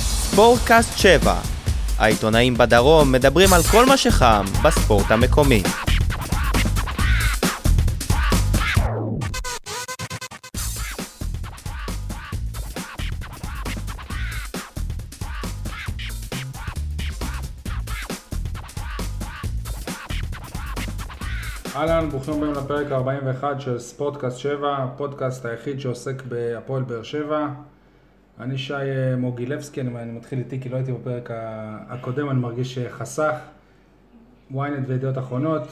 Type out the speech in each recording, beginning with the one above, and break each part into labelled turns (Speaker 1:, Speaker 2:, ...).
Speaker 1: ספורטקאסט 7. העיתונאים בדרום מדברים על כל מה שחם בספורט המקומי.
Speaker 2: אהלן, ברוכים הבאים לפרק 41 של ספורטקאסט 7, הפודקאסט היחיד שעוסק בהפועל באר שבע. אני שי אה, מוגילבסקי, אני, אני מתחיל איתי כי לא הייתי בפרק ה- הקודם, אני מרגיש שחסך. ynet וידיעות אחרונות.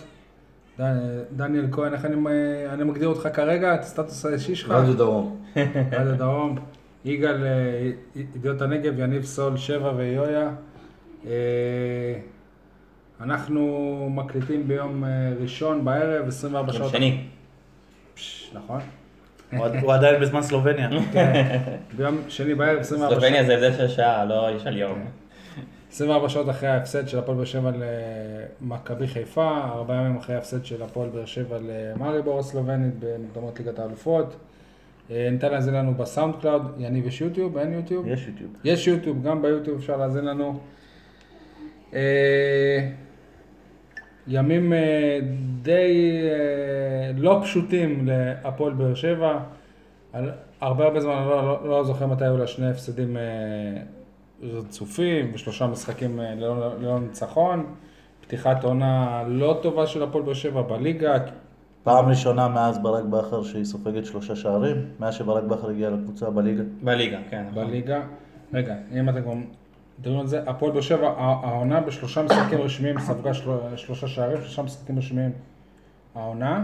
Speaker 2: ד- דניאל כהן, איך אני, אה, אני מגדיר אותך כרגע, את הסטטוס האישי
Speaker 1: לא
Speaker 2: שלך?
Speaker 3: רדיו דרום.
Speaker 2: עד הדרום, יגאל, אה, ידיעות הנגב, יניב סול, שבע ויויה. אה, אנחנו מקליטים ביום אה, ראשון בערב, 24 שעות.
Speaker 4: שני.
Speaker 2: פש, נכון.
Speaker 5: הוא עד- הוא עדיין בזמן סלובניה.
Speaker 2: ביום שני בערב, 24 שעות.
Speaker 4: כן, סלובניה זה הבדל של שעה, לא של
Speaker 2: כן.
Speaker 4: יום.
Speaker 2: 24 שעות אחרי ההפסד של הפועל באר שבע למכבי חיפה, ארבעה ימים אחרי ההפסד של הפועל באר שבע למאריבור הסלובנית במוקדמות ליגת האלופות. אה, ניתן להאזין לנו בסאונד קלאוד, יניב יש יוטיוב? אין יוטיוב?
Speaker 5: יש יוטיוב.
Speaker 2: יש יוטיוב, גם ביוטיוב אפשר להאזין לנו. אה, ימים אה, די אה, לא פשוטים להפועל באר שבע. על- הרבה הרבה זמן, אני לא, לא, לא זוכר מתי היו לה שני הפסדים אה, רצופים ושלושה משחקים אה, ללא, ללא ניצחון. פתיחת עונה לא טובה של הפועל באר שבע בליגה.
Speaker 3: פעם ראשונה מאז ברק בכר שהיא סופגת שלושה שערים, מאז שברק בכר הגיע לקבוצה בליגה.
Speaker 4: בליגה, כן. נכון.
Speaker 2: בליגה. רגע, אם אתם כבר מדברים על זה, הפועל באר שבע, הע- העונה בשלושה משחקים רשמיים ספגה של- שלושה שערים, שלושה משחקים רשמיים העונה,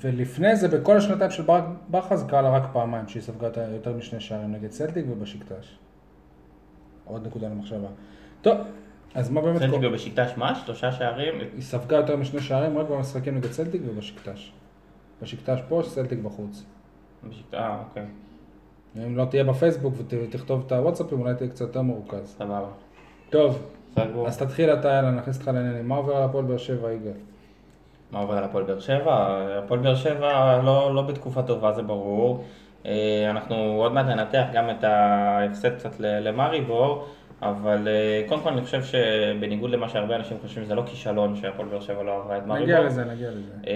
Speaker 2: ולפני זה, בכל השנתיים של ברק בכר זה קרה לה רק פעמיים, שהיא ספגה את ה- יותר משני שערים נגד סלטיק ובשקטש. עוד נקודה למחשבה. טוב, אז מה באמת
Speaker 4: סלטיק
Speaker 2: קורה?
Speaker 4: ובשקטש מה? שלושה שערים?
Speaker 2: היא ספגה יותר משני שערים רק במשחקים נגד סלטיק ובשקטש. בשקטש פה, סלטיק בחוץ.
Speaker 4: בשקט- אה, אוקיי,
Speaker 2: אם לא תהיה בפייסבוק ות- ותכתוב את הוואטסאפים, אולי תהיה קצת יותר מרוכז.
Speaker 4: סבבה.
Speaker 2: טוב,
Speaker 4: סגור.
Speaker 2: אז תתחיל אתה, יאללה, נכניס אותך לעניינים. מה עובר על הפועל באר שבע, יגאל?
Speaker 4: מה עובר על הפועל באר שבע? הפועל באר שבע לא, לא בתקופה טובה, זה ברור. אה, אנחנו עוד מעט ננתח גם את ההפסד קצת ל- למאריבור, אבל אה, קודם כל אני חושב שבניגוד למה שהרבה אנשים חושבים, זה לא כישלון שהפועל באר שבע לא עברה את מאריבור.
Speaker 2: נגיע לזה, נגיע לזה.
Speaker 4: אה,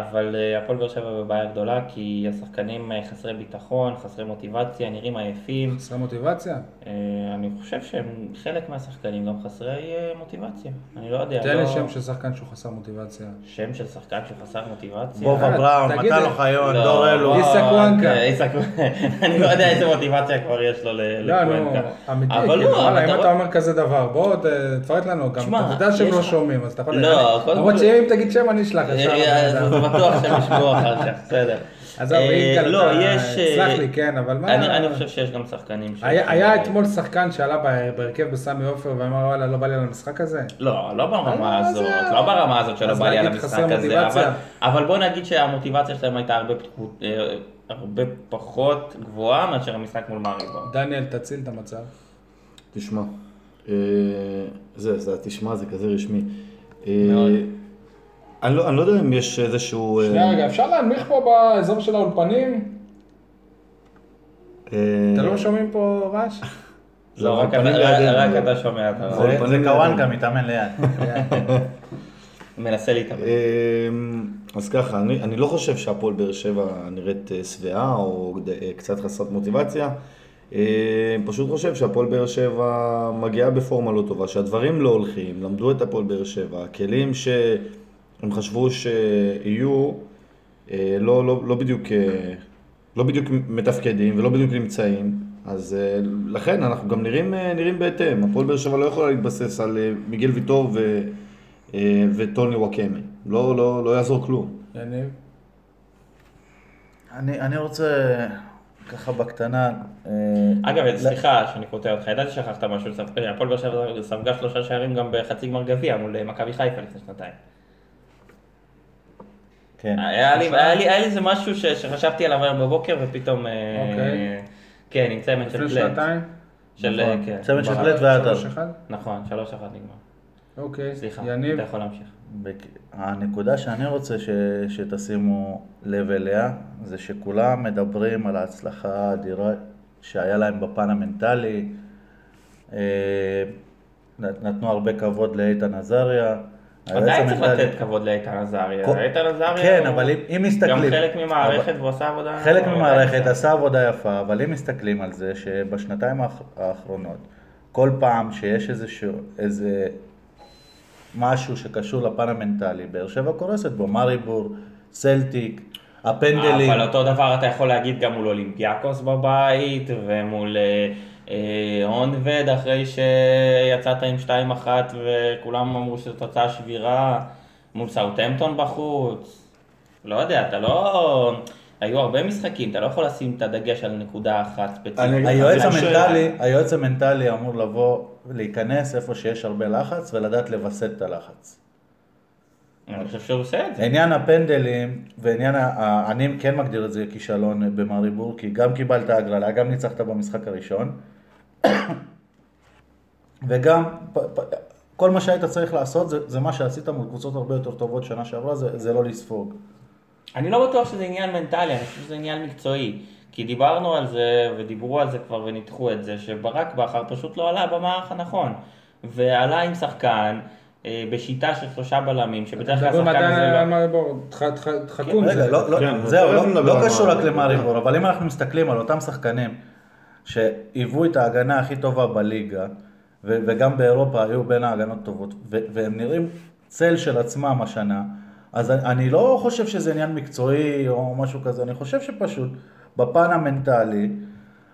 Speaker 4: אבל אה, הפועל באר שבע בבעיה גדולה, כי השחקנים אה, חסרי ביטחון, חסרי מוטיבציה, נראים עייפים.
Speaker 2: חסרי מוטיבציה?
Speaker 4: אה, אני חושב שהם חלק מהשחקנים גם חסרי אה, מוטיבציה. אני לא יודע.
Speaker 2: תן לי
Speaker 4: לא-
Speaker 2: שם של שחקן שהוא חסר מוטיבציה.
Speaker 4: שם של שחקן שחסר מוטיבציה.
Speaker 3: בובה
Speaker 2: יאללה,
Speaker 3: בראון,
Speaker 2: תגיד
Speaker 3: מתן
Speaker 2: לי.
Speaker 3: אוחיון,
Speaker 4: לא,
Speaker 3: דור אלו.
Speaker 4: לא,
Speaker 2: איסק וואנקה.
Speaker 4: אה, איסק וואנקה. אני לא יודע איזה מוטיבציה כבר יש לו ל-
Speaker 2: לא, נו,
Speaker 4: לקוונקה.
Speaker 2: אמיתי,
Speaker 4: אבל
Speaker 2: כאילו,
Speaker 4: לא,
Speaker 2: וואלה, אם
Speaker 4: רואה-
Speaker 2: אתה אומר כזה דבר, בוא, ת- תפרט לנו גם,
Speaker 4: תשמע,
Speaker 2: אתה יודע שהם
Speaker 4: יש
Speaker 2: לא
Speaker 4: לך-
Speaker 2: שומעים, אז אתה יכול...
Speaker 4: לא,
Speaker 2: אני-
Speaker 4: קודם
Speaker 2: למרות
Speaker 4: כל-
Speaker 2: שאם תגיד שם, אני אשלח ישר.
Speaker 4: אה,
Speaker 2: לבן
Speaker 4: אה,
Speaker 2: אדם.
Speaker 4: זה בטוח שהם ישמעו אחר כך, בסדר.
Speaker 2: עזוב,
Speaker 4: אה,
Speaker 2: יגאל,
Speaker 4: לא,
Speaker 2: אתה-
Speaker 4: יש, אה,
Speaker 2: סלח לי, כן, אבל מה-
Speaker 4: אני אני חושב שיש גם שחקנים ש...
Speaker 2: היה היה אתמול שחקן שעלה ב- בהרכב בסמי עופר ואמר, וואלה, לא בא לי על המשחק הזה?
Speaker 4: לא, לא ברמה
Speaker 2: אה,
Speaker 4: הזאת,
Speaker 2: זהו.
Speaker 4: לא ברמה הזאת שלא
Speaker 2: אז
Speaker 4: בא לי על
Speaker 2: להגיד חסר
Speaker 4: המשחק הזה,
Speaker 2: מוטיבציה.
Speaker 4: אבל, אבל בוא נגיד שהמוטיבציה שלהם הייתה הרבה, פתקו- אה, הרבה פחות גבוהה מאשר המשחק מול מאריבור.
Speaker 2: דניאל, תציל את המצב.
Speaker 3: תשמע, אה, זה, זה, תשמע, זה כזה רשמי. אה,
Speaker 4: מאוד.
Speaker 3: אני לא אני לא יודע אם יש איזשהו... אה,
Speaker 2: שנייה רגע, אפשר להנמיך פה באזור של האולפנים?
Speaker 3: אה,
Speaker 2: אתם לא שומעים פה רעש?
Speaker 3: זה
Speaker 4: לא, רק
Speaker 3: האולפנים
Speaker 4: אתה-
Speaker 3: לידינו.
Speaker 4: רק רק אתה שומע, אתה
Speaker 3: זה-
Speaker 5: זה קוואנקה מתאמן ליד.
Speaker 4: מנסה להתאבד.
Speaker 2: אה,
Speaker 3: אמ, אז ככה, אני, אני לא חושב שהפועל באר שבע נראית אה, שבעה או אה, קצת חסרת מוטיבציה. אה, פשוט חושב שהפועל באר שבע מגיעה בפורמה לא טובה, שהדברים לא הולכים, למדו את הפועל באר שבע, הכלים שהם חשבו שיהיו, אה, לא, לא, לא בדיוק... אה, לא בדיוק מתפקדים ולא בדיוק נמצאים, אז אה, לכן אנחנו גם נראים, אה, נראים בהתאם. הפועל באר שבע לא יכולה להתבסס על אה, מיגל ויטור ו, אה, וטוני וואקמה. לא, לא, לא יעזור כלום.
Speaker 2: יניב?
Speaker 3: אני, אני רוצה ככה בקטנה... אה,
Speaker 2: לא-
Speaker 4: אגב, סליחה שאני קוטע אותך, ידעתי ששכחת משהו, ספ- אה, הפועל באר שבע ספגה שלושה שערים גם בחצי גמר גביע מול אה, מכבי חיפה לפני שנתיים.
Speaker 3: כן.
Speaker 4: היה לי- היה לי היה לי איזה משהו ש- שחשבתי עליו היום בבוקר ופתאום... אה,
Speaker 2: אוקיי.
Speaker 4: כן, עם צמד של
Speaker 2: לפני
Speaker 4: פלט.
Speaker 2: שנתיים? נכון.
Speaker 4: של... אה, כן.
Speaker 3: צמד של
Speaker 4: ברק.
Speaker 3: פלט ועטר.
Speaker 2: שלוש אחד?
Speaker 4: נכון, שלוש אחת נגמר.
Speaker 2: אוקיי,
Speaker 4: סליחה,
Speaker 2: יניב,
Speaker 4: אתה יכול להמשיך.
Speaker 6: בק- הנקודה שאני רוצה ש... שתשימו לב אליה, זה שכולם מדברים על ההצלחה האדירה שהיה להם בפן המנטלי, אה, נ- נתנו הרבה כבוד לאיתן עזריה. היועץ
Speaker 4: עדיין צריך
Speaker 6: המנכ"לי-
Speaker 4: לתת כבוד לאיתן עזריה.
Speaker 6: כל-
Speaker 4: איתן עזריה
Speaker 6: כן,
Speaker 4: הוא
Speaker 6: אבל אם- אם מסתכלים...
Speaker 4: גם חלק ממערכת
Speaker 6: אבל-
Speaker 4: והוא עשה עבודה...
Speaker 6: חלק
Speaker 4: עבודה
Speaker 6: ממערכת
Speaker 4: יפה.
Speaker 6: עשה עבודה יפה, אבל אם מסתכלים על זה שבשנתיים האח- האחרונות, כל פעם שיש איזשהו, איזה משהו שקשור לפן המנטלי, באר שבע קורסת בו, מריבור, סלטיק, הפנדלים.
Speaker 3: אה,
Speaker 4: אבל אותו דבר אתה יכול להגיד גם מול אולימפיאקוס בבית, ומול אה, אה, הונבד אחרי שיצאת עם 2-1 וכולם אמרו שזו תוצאה שבירה, מול סאוטהמפטון בחוץ. לא יודע, אתה לא... היו הרבה משחקים, אתה לא יכול לשים את הדגש על נקודה אחת ספציפית.
Speaker 3: אני-
Speaker 6: היועץ
Speaker 3: אני חושב-
Speaker 6: המנטלי, היועץ המנטלי אמור לבוא, להיכנס איפה שיש הרבה לחץ ולדעת לווסת את הלחץ.
Speaker 4: אני חושב שהוא עושה את זה.
Speaker 6: עניין הפנדלים ועניין, ה- ה- אני כן מגדיר את זה כישלון במריבור, כי גם קיבלת הגרלה, גם ניצחת במשחק הראשון, וגם פ, פ, כל מה שהיית צריך לעשות זה, זה מה שעשית מול קבוצות הרבה יותר טובות שנה שעברה, זה, זה לא לספוג.
Speaker 4: אני לא בטוח שזה עניין מנטלי, אני חושב שזה עניין מקצועי. כי דיברנו על זה, ודיברו על זה כבר, וניתחו את זה, שברק בכר פשוט לא עלה במערך הנכון. ועלה עם שחקן, אה, בשיטה של שלושה בלמים, שבדרך כלל
Speaker 2: מדברים
Speaker 4: השחקן
Speaker 2: עדיין
Speaker 4: הזה
Speaker 2: על
Speaker 4: לא...
Speaker 2: מריבור, תח- תח- תחכו עם
Speaker 6: רגע,
Speaker 2: זה.
Speaker 6: לא, לא,
Speaker 3: כן,
Speaker 6: זהו,
Speaker 3: אבל
Speaker 6: לא,
Speaker 3: תכף
Speaker 6: לא,
Speaker 3: נדבר על
Speaker 6: קשור רק
Speaker 3: מריבור.
Speaker 6: למריבור, אבל אם אנחנו מסתכלים על אותם שחקנים שהיוו את ההגנה הכי טובה בליגה, ו- וגם באירופה היו בין ההגנות הטובות, ו- והם נראים צל של עצמם השנה, אז אני- אני לא חושב שזה עניין מקצועי או משהו כזה, אני חושב שפשוט בפן המנטלי,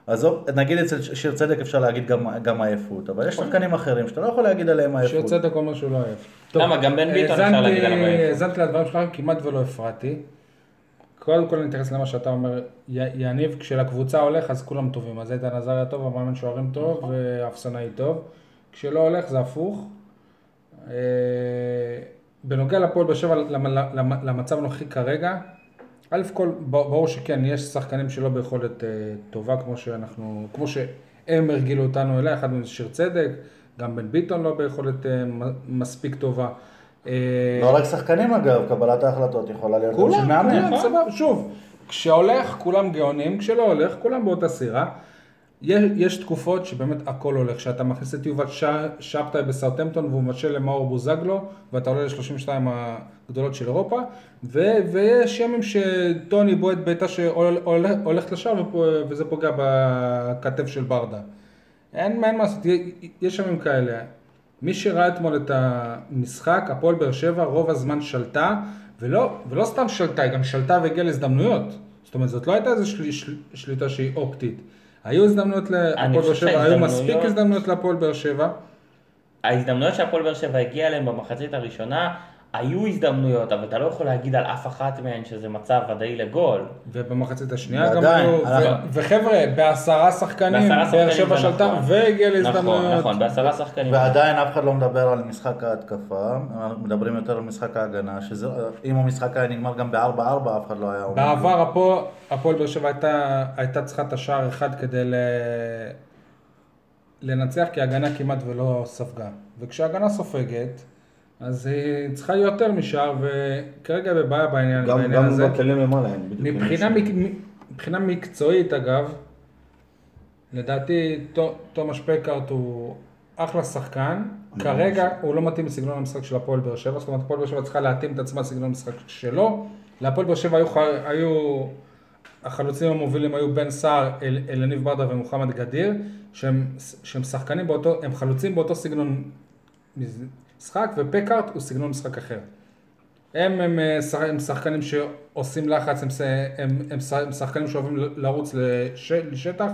Speaker 6: עזוב, נגיד אצל ש- שיר צדק אפשר להגיד גם, גם עייפות, אבל יש שחקנים אחרים שאתה לא יכול להגיד עליהם עייפות.
Speaker 2: שיר צדק אומר שהוא לא אוהב.
Speaker 4: למה? גם בן ביטון אפשר
Speaker 2: האזנתי-
Speaker 4: להגיד עליו לא עייפות.
Speaker 2: האזנתי לדברים שלך כמעט ולא הפרעתי. קודם כל אני אתייחס למה שאתה אומר, י- יניב, כשלקבוצה הולך אז כולם טובים, אז איתן עזריה טוב, המאמן שוערים טוב, והאפסנאי טוב. כשלא הולך זה הפוך. אה, בנוגע לפועל באר שבע, למ- למ- למצב הנוכחי כרגע, א' כל, ב- ברור שכן, יש שחקנים שלא ביכולת אה, טובה, כמו שאנחנו, כמו שהם הרגילו אותנו אליה, אחד מהם זה שיר צדק, גם בן ביטון לא ביכולת אה, מ- מספיק טובה. אה,
Speaker 6: לא רק שחקנים אגב, קבלת ההחלטות יכולה להיות גם של
Speaker 2: כולם,
Speaker 6: מאמן.
Speaker 2: כולם, סבבה. שוב, כשהולך כולם גאונים, כשלא הולך כולם באותה סירה. יש, יש תקופות שבאמת הכל הולך, שאתה מכניס את יובל ש- שבתאי בסאוטמפטון והוא מבשל למאור בוזגלו ואתה עולה ל-32 הגדולות של אירופה ו- ויש ימים שטוני בועט בעיטה שהולכת לשער ופו- וזה פוגע בכתף של ברדה. אין, אין מה לעשות, יש ימים כאלה. מי שראה אתמול את המשחק, הפועל באר שבע, רוב הזמן שלטה, ולא, ולא סתם שלטה, היא גם שלטה והגיעה להזדמנויות. זאת אומרת, זאת לא הייתה איזו של, של, שליטה שהיא אופטית. היו הזדמנויות
Speaker 4: אני
Speaker 2: להפועל
Speaker 4: חושב
Speaker 2: באר שבע, היו
Speaker 4: שההזדמנויות-
Speaker 2: מספיק הזדמנויות להפועל באר שבע.
Speaker 4: ההזדמנויות שהפועל באר שבע הגיע אליהם במחצית הראשונה, היו הזדמנויות, אבל אתה לא יכול להגיד על אף אחת מהן שזה מצב ודאי לגול.
Speaker 2: ובמחצית השנייה גם
Speaker 6: ועדיין,
Speaker 2: היו, ו-
Speaker 6: אנחנו-
Speaker 2: וחבר'ה, בעשרה שחקנים,
Speaker 4: בעשרה
Speaker 2: באר
Speaker 4: שחקנים
Speaker 2: שבע
Speaker 4: זה
Speaker 2: שלטה
Speaker 4: נכון.
Speaker 2: והגיעה להזדמנויות.
Speaker 4: נכון, נכון, בעשרה שחקנים.
Speaker 6: ועדיין אף אחד לא מדבר על משחק ההתקפה, אנחנו מדברים יותר על משחק ההגנה, שזה, אם המשחק היה נגמר גם ב-4-4, אף אחד לא היה אומר.
Speaker 2: בעבר הפועל- הפועל באר שבע הייתה, הייתה צריכה את השער אחד כדי ל... לנצח, כי ההגנה כמעט ולא ספגה. וכשההגנה סופגת, אז היא צריכה יותר משער, וכרגע היא בבעיה בעניין,
Speaker 3: גם,
Speaker 2: בעניין
Speaker 3: גם
Speaker 2: הזה.
Speaker 3: בכלים למעלה אין בדיוק.
Speaker 2: מבחינה, מק... מבחינה מקצועית, אגב, לדעתי תו- תומש פקארט הוא אחלה שחקן. כרגע הוא לא מתאים לסגנון המשחק של הפועל באר שבע, זאת אומרת הפועל באר שבע צריכה להתאים את עצמה לסגנון המשחק שלו. להפועל באר שבע היו, ח- היו, החלוצים המובילים היו בן סער, אל, אלניב ברדה ומוחמד גדיר, שהם, שהם שחקנים באותו, הם חלוצים באותו סגנון משחק, ופקארט הוא סגנון משחק אחר. הם, הם, אה, שח- הם שחקנים שעושים לחץ, הם, ש- הם, הם, ש- הם שחקנים שאוהבים ל- לרוץ לש, לשטח.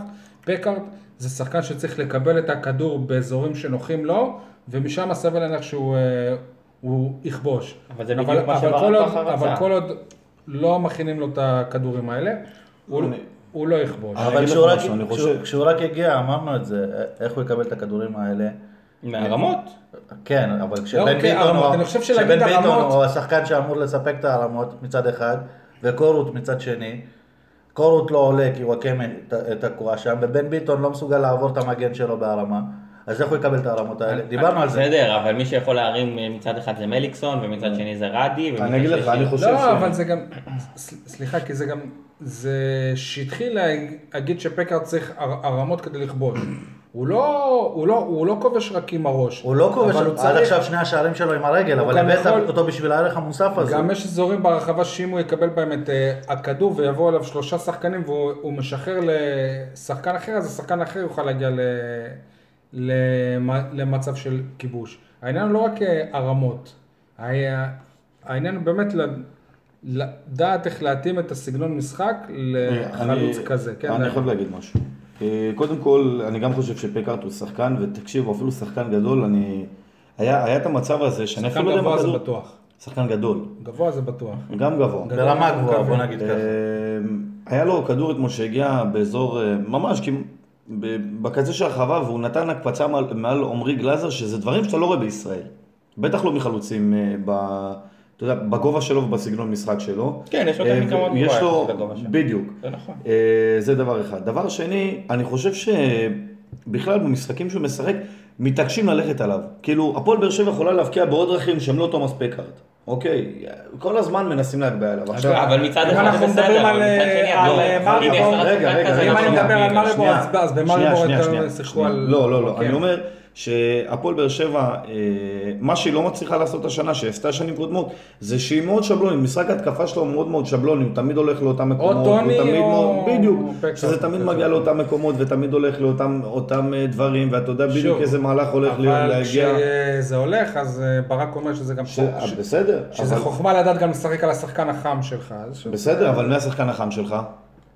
Speaker 2: פקארט זה שחקן שצריך לקבל את הכדור באזורים שנוחים לו, ומשם סביר להניח שהוא אה, הוא יכבוש.
Speaker 4: אבל זה בדיוק מה שברק
Speaker 2: כל עוד-
Speaker 4: בכר רצה.
Speaker 2: אבל כל עוד לא מכינים לו את הכדורים האלה, הוא,
Speaker 3: אני-
Speaker 2: הוא לא יכבוש.
Speaker 3: אני
Speaker 6: אבל
Speaker 3: אגיד
Speaker 6: כשהוא
Speaker 3: לך
Speaker 6: רק,
Speaker 3: משהו, אני
Speaker 6: כשהוא-
Speaker 3: חושב-
Speaker 6: כשהוא רק הגיע, אמרנו את זה, איך הוא יקבל את הכדורים האלה?
Speaker 4: מהרמות.
Speaker 6: כן, אבל כשבן
Speaker 2: אוקיי,
Speaker 6: ביטון,
Speaker 2: הרמות,
Speaker 6: הוא-
Speaker 2: אני חושב
Speaker 6: כשבן
Speaker 2: שלהגיד
Speaker 6: ביטון
Speaker 2: הרמות-
Speaker 6: הוא השחקן שאמור לספק את הרמות מצד אחד, וקורות מצד שני. קורות לא עולה כי הוא עקם את- את הקורה שם, ובן ביטון לא מסוגל לעבור את המגן שלו בהרמה, אז איך הוא יקבל את הרמות האלה? דיברנו על זה.
Speaker 4: בסדר, אבל מי שיכול להרים אה, מצד אחד זה מליקסון, ומצד שני זה רדי, ומצד
Speaker 3: אני אגיד לך,
Speaker 4: שלישי-
Speaker 3: אני חושב
Speaker 2: לא,
Speaker 3: ש...
Speaker 2: אבל זה גם, ס- סליחה, כי זה גם, זה שהתחיל להגיד שפקארד צריך הר- הרמות כדי לכבוש. הוא לא, הוא לא, הוא לא כובש רק עם הראש.
Speaker 6: הוא לא כובש,
Speaker 2: אבל הוא
Speaker 6: עד
Speaker 2: צריך,
Speaker 6: עכשיו שני השערים שלו עם הרגל,
Speaker 2: הוא
Speaker 6: אבל
Speaker 2: גם
Speaker 6: הבאת
Speaker 2: יכול-
Speaker 6: אותו בשביל הערך המוסף הזה.
Speaker 2: גם יש אזורים ברחבה שאם הוא יקבל בהם את אה, הכדור ויבואו אליו שלושה שחקנים והוא הוא משחרר לשחקן אחר, אז השחקן האחר יוכל להגיע ל, למ- למצב של כיבוש. העניין הוא לא רק אה, הרמות, ה- העניין הוא באמת ל- לדעת איך להתאים את הסגנון משחק לחלוץ
Speaker 3: אה, אני-
Speaker 2: אה, כזה. כן,
Speaker 3: אני
Speaker 2: דרך-
Speaker 3: חייב להגיד משהו. אה, קודם כל, אני גם חושב שפקארט הוא שחקן, ותקשיב, הוא אפילו שחקן גדול, אני... היה היה את המצב הזה, שאני
Speaker 2: שחקן
Speaker 3: אפילו לא יודע
Speaker 2: גבוה
Speaker 3: מה
Speaker 2: זה
Speaker 3: כדור...
Speaker 2: בטוח.
Speaker 3: שחקן גדול,
Speaker 2: גבוה זה בטוח.
Speaker 3: גם גבוה.
Speaker 6: ברמה גבוהה, בוא נגיד ככה.
Speaker 3: אה, היה לו כדור אתמול שהגיע באזור, אה, ממש כמעט, בקצה של הרחבה, והוא נתן הקפצה מעל- מעל עמרי גלאזר, שזה דברים שאתה לא רואה בישראל. בטח לא מחלוצים, אה, ב... אתה יודע, בגובה שלו ובסגנון משחק שלו.
Speaker 4: כן, יש לו טכניקה
Speaker 3: אה,
Speaker 4: מאוד גבוהה
Speaker 3: יש לו,
Speaker 4: יחסית לגובה שלו.
Speaker 3: בדיוק.
Speaker 4: זה נכון.
Speaker 3: אה, זה דבר אחד. דבר שני, אני חושב שבכלל במשחקים שהוא משחק, מתעקשים ללכת עליו. כאילו, הפועל באר שבע יכולה להבקיע בעוד דרכים שהם לא תומאס פקארט. אוקיי, כל הזמן מנסים להגביה עליו. עכשיו,
Speaker 4: אבל מצד
Speaker 2: אם
Speaker 4: אחד
Speaker 2: אנחנו
Speaker 4: זה
Speaker 2: מדברים
Speaker 4: בסדר,
Speaker 2: על,
Speaker 4: אבל מצד
Speaker 2: אה,
Speaker 4: שני,
Speaker 2: על,
Speaker 4: לא,
Speaker 2: אה,
Speaker 4: אם
Speaker 2: מריבור,
Speaker 4: יש לך
Speaker 3: רגע,
Speaker 4: שחקן
Speaker 3: רגע,
Speaker 4: כזה, לא
Speaker 3: רגע,
Speaker 2: אם אני
Speaker 4: אנחנו
Speaker 2: מדבר על
Speaker 4: נאמין לו.
Speaker 2: מריבור, אז- אז במריבור
Speaker 3: שנייה,
Speaker 2: יותר
Speaker 3: שנייה,
Speaker 2: שיחקו
Speaker 3: שנייה.
Speaker 2: על...
Speaker 3: לא, לא, לא.
Speaker 2: אוקיי.
Speaker 3: אני אומר שהפועל באר שבע, אה, מה שהיא לא מצליחה לעשות השנה, שעשתה שנים קודמות, זה שהיא מאוד שבלונית. משחק ההתקפה שלו הוא מאוד מאוד שבלוני, הוא תמיד הולך לאותם מקומות. הוא
Speaker 2: טוני
Speaker 3: תמיד
Speaker 2: או-
Speaker 3: מאוד- בדיוק.
Speaker 2: או פקארט.
Speaker 3: שזה תמיד מגיע לאותם מקומות ותמיד הולך לאותם אותם, אה, דברים, ואתה יודע בדיוק איזה מהלך הולך להיות-
Speaker 2: אבל
Speaker 3: להגיע.
Speaker 2: כשזה הולך, אז אה, ברק אומר שזה גם
Speaker 3: ש- אה,
Speaker 2: חוק- ש-
Speaker 3: בסדר.
Speaker 2: שזה
Speaker 3: אבל-
Speaker 2: חוכמה לדעת גם לשחק על השחקן החם שלך. אז ש-
Speaker 3: בסדר, אבל מי השחקן החם שלך?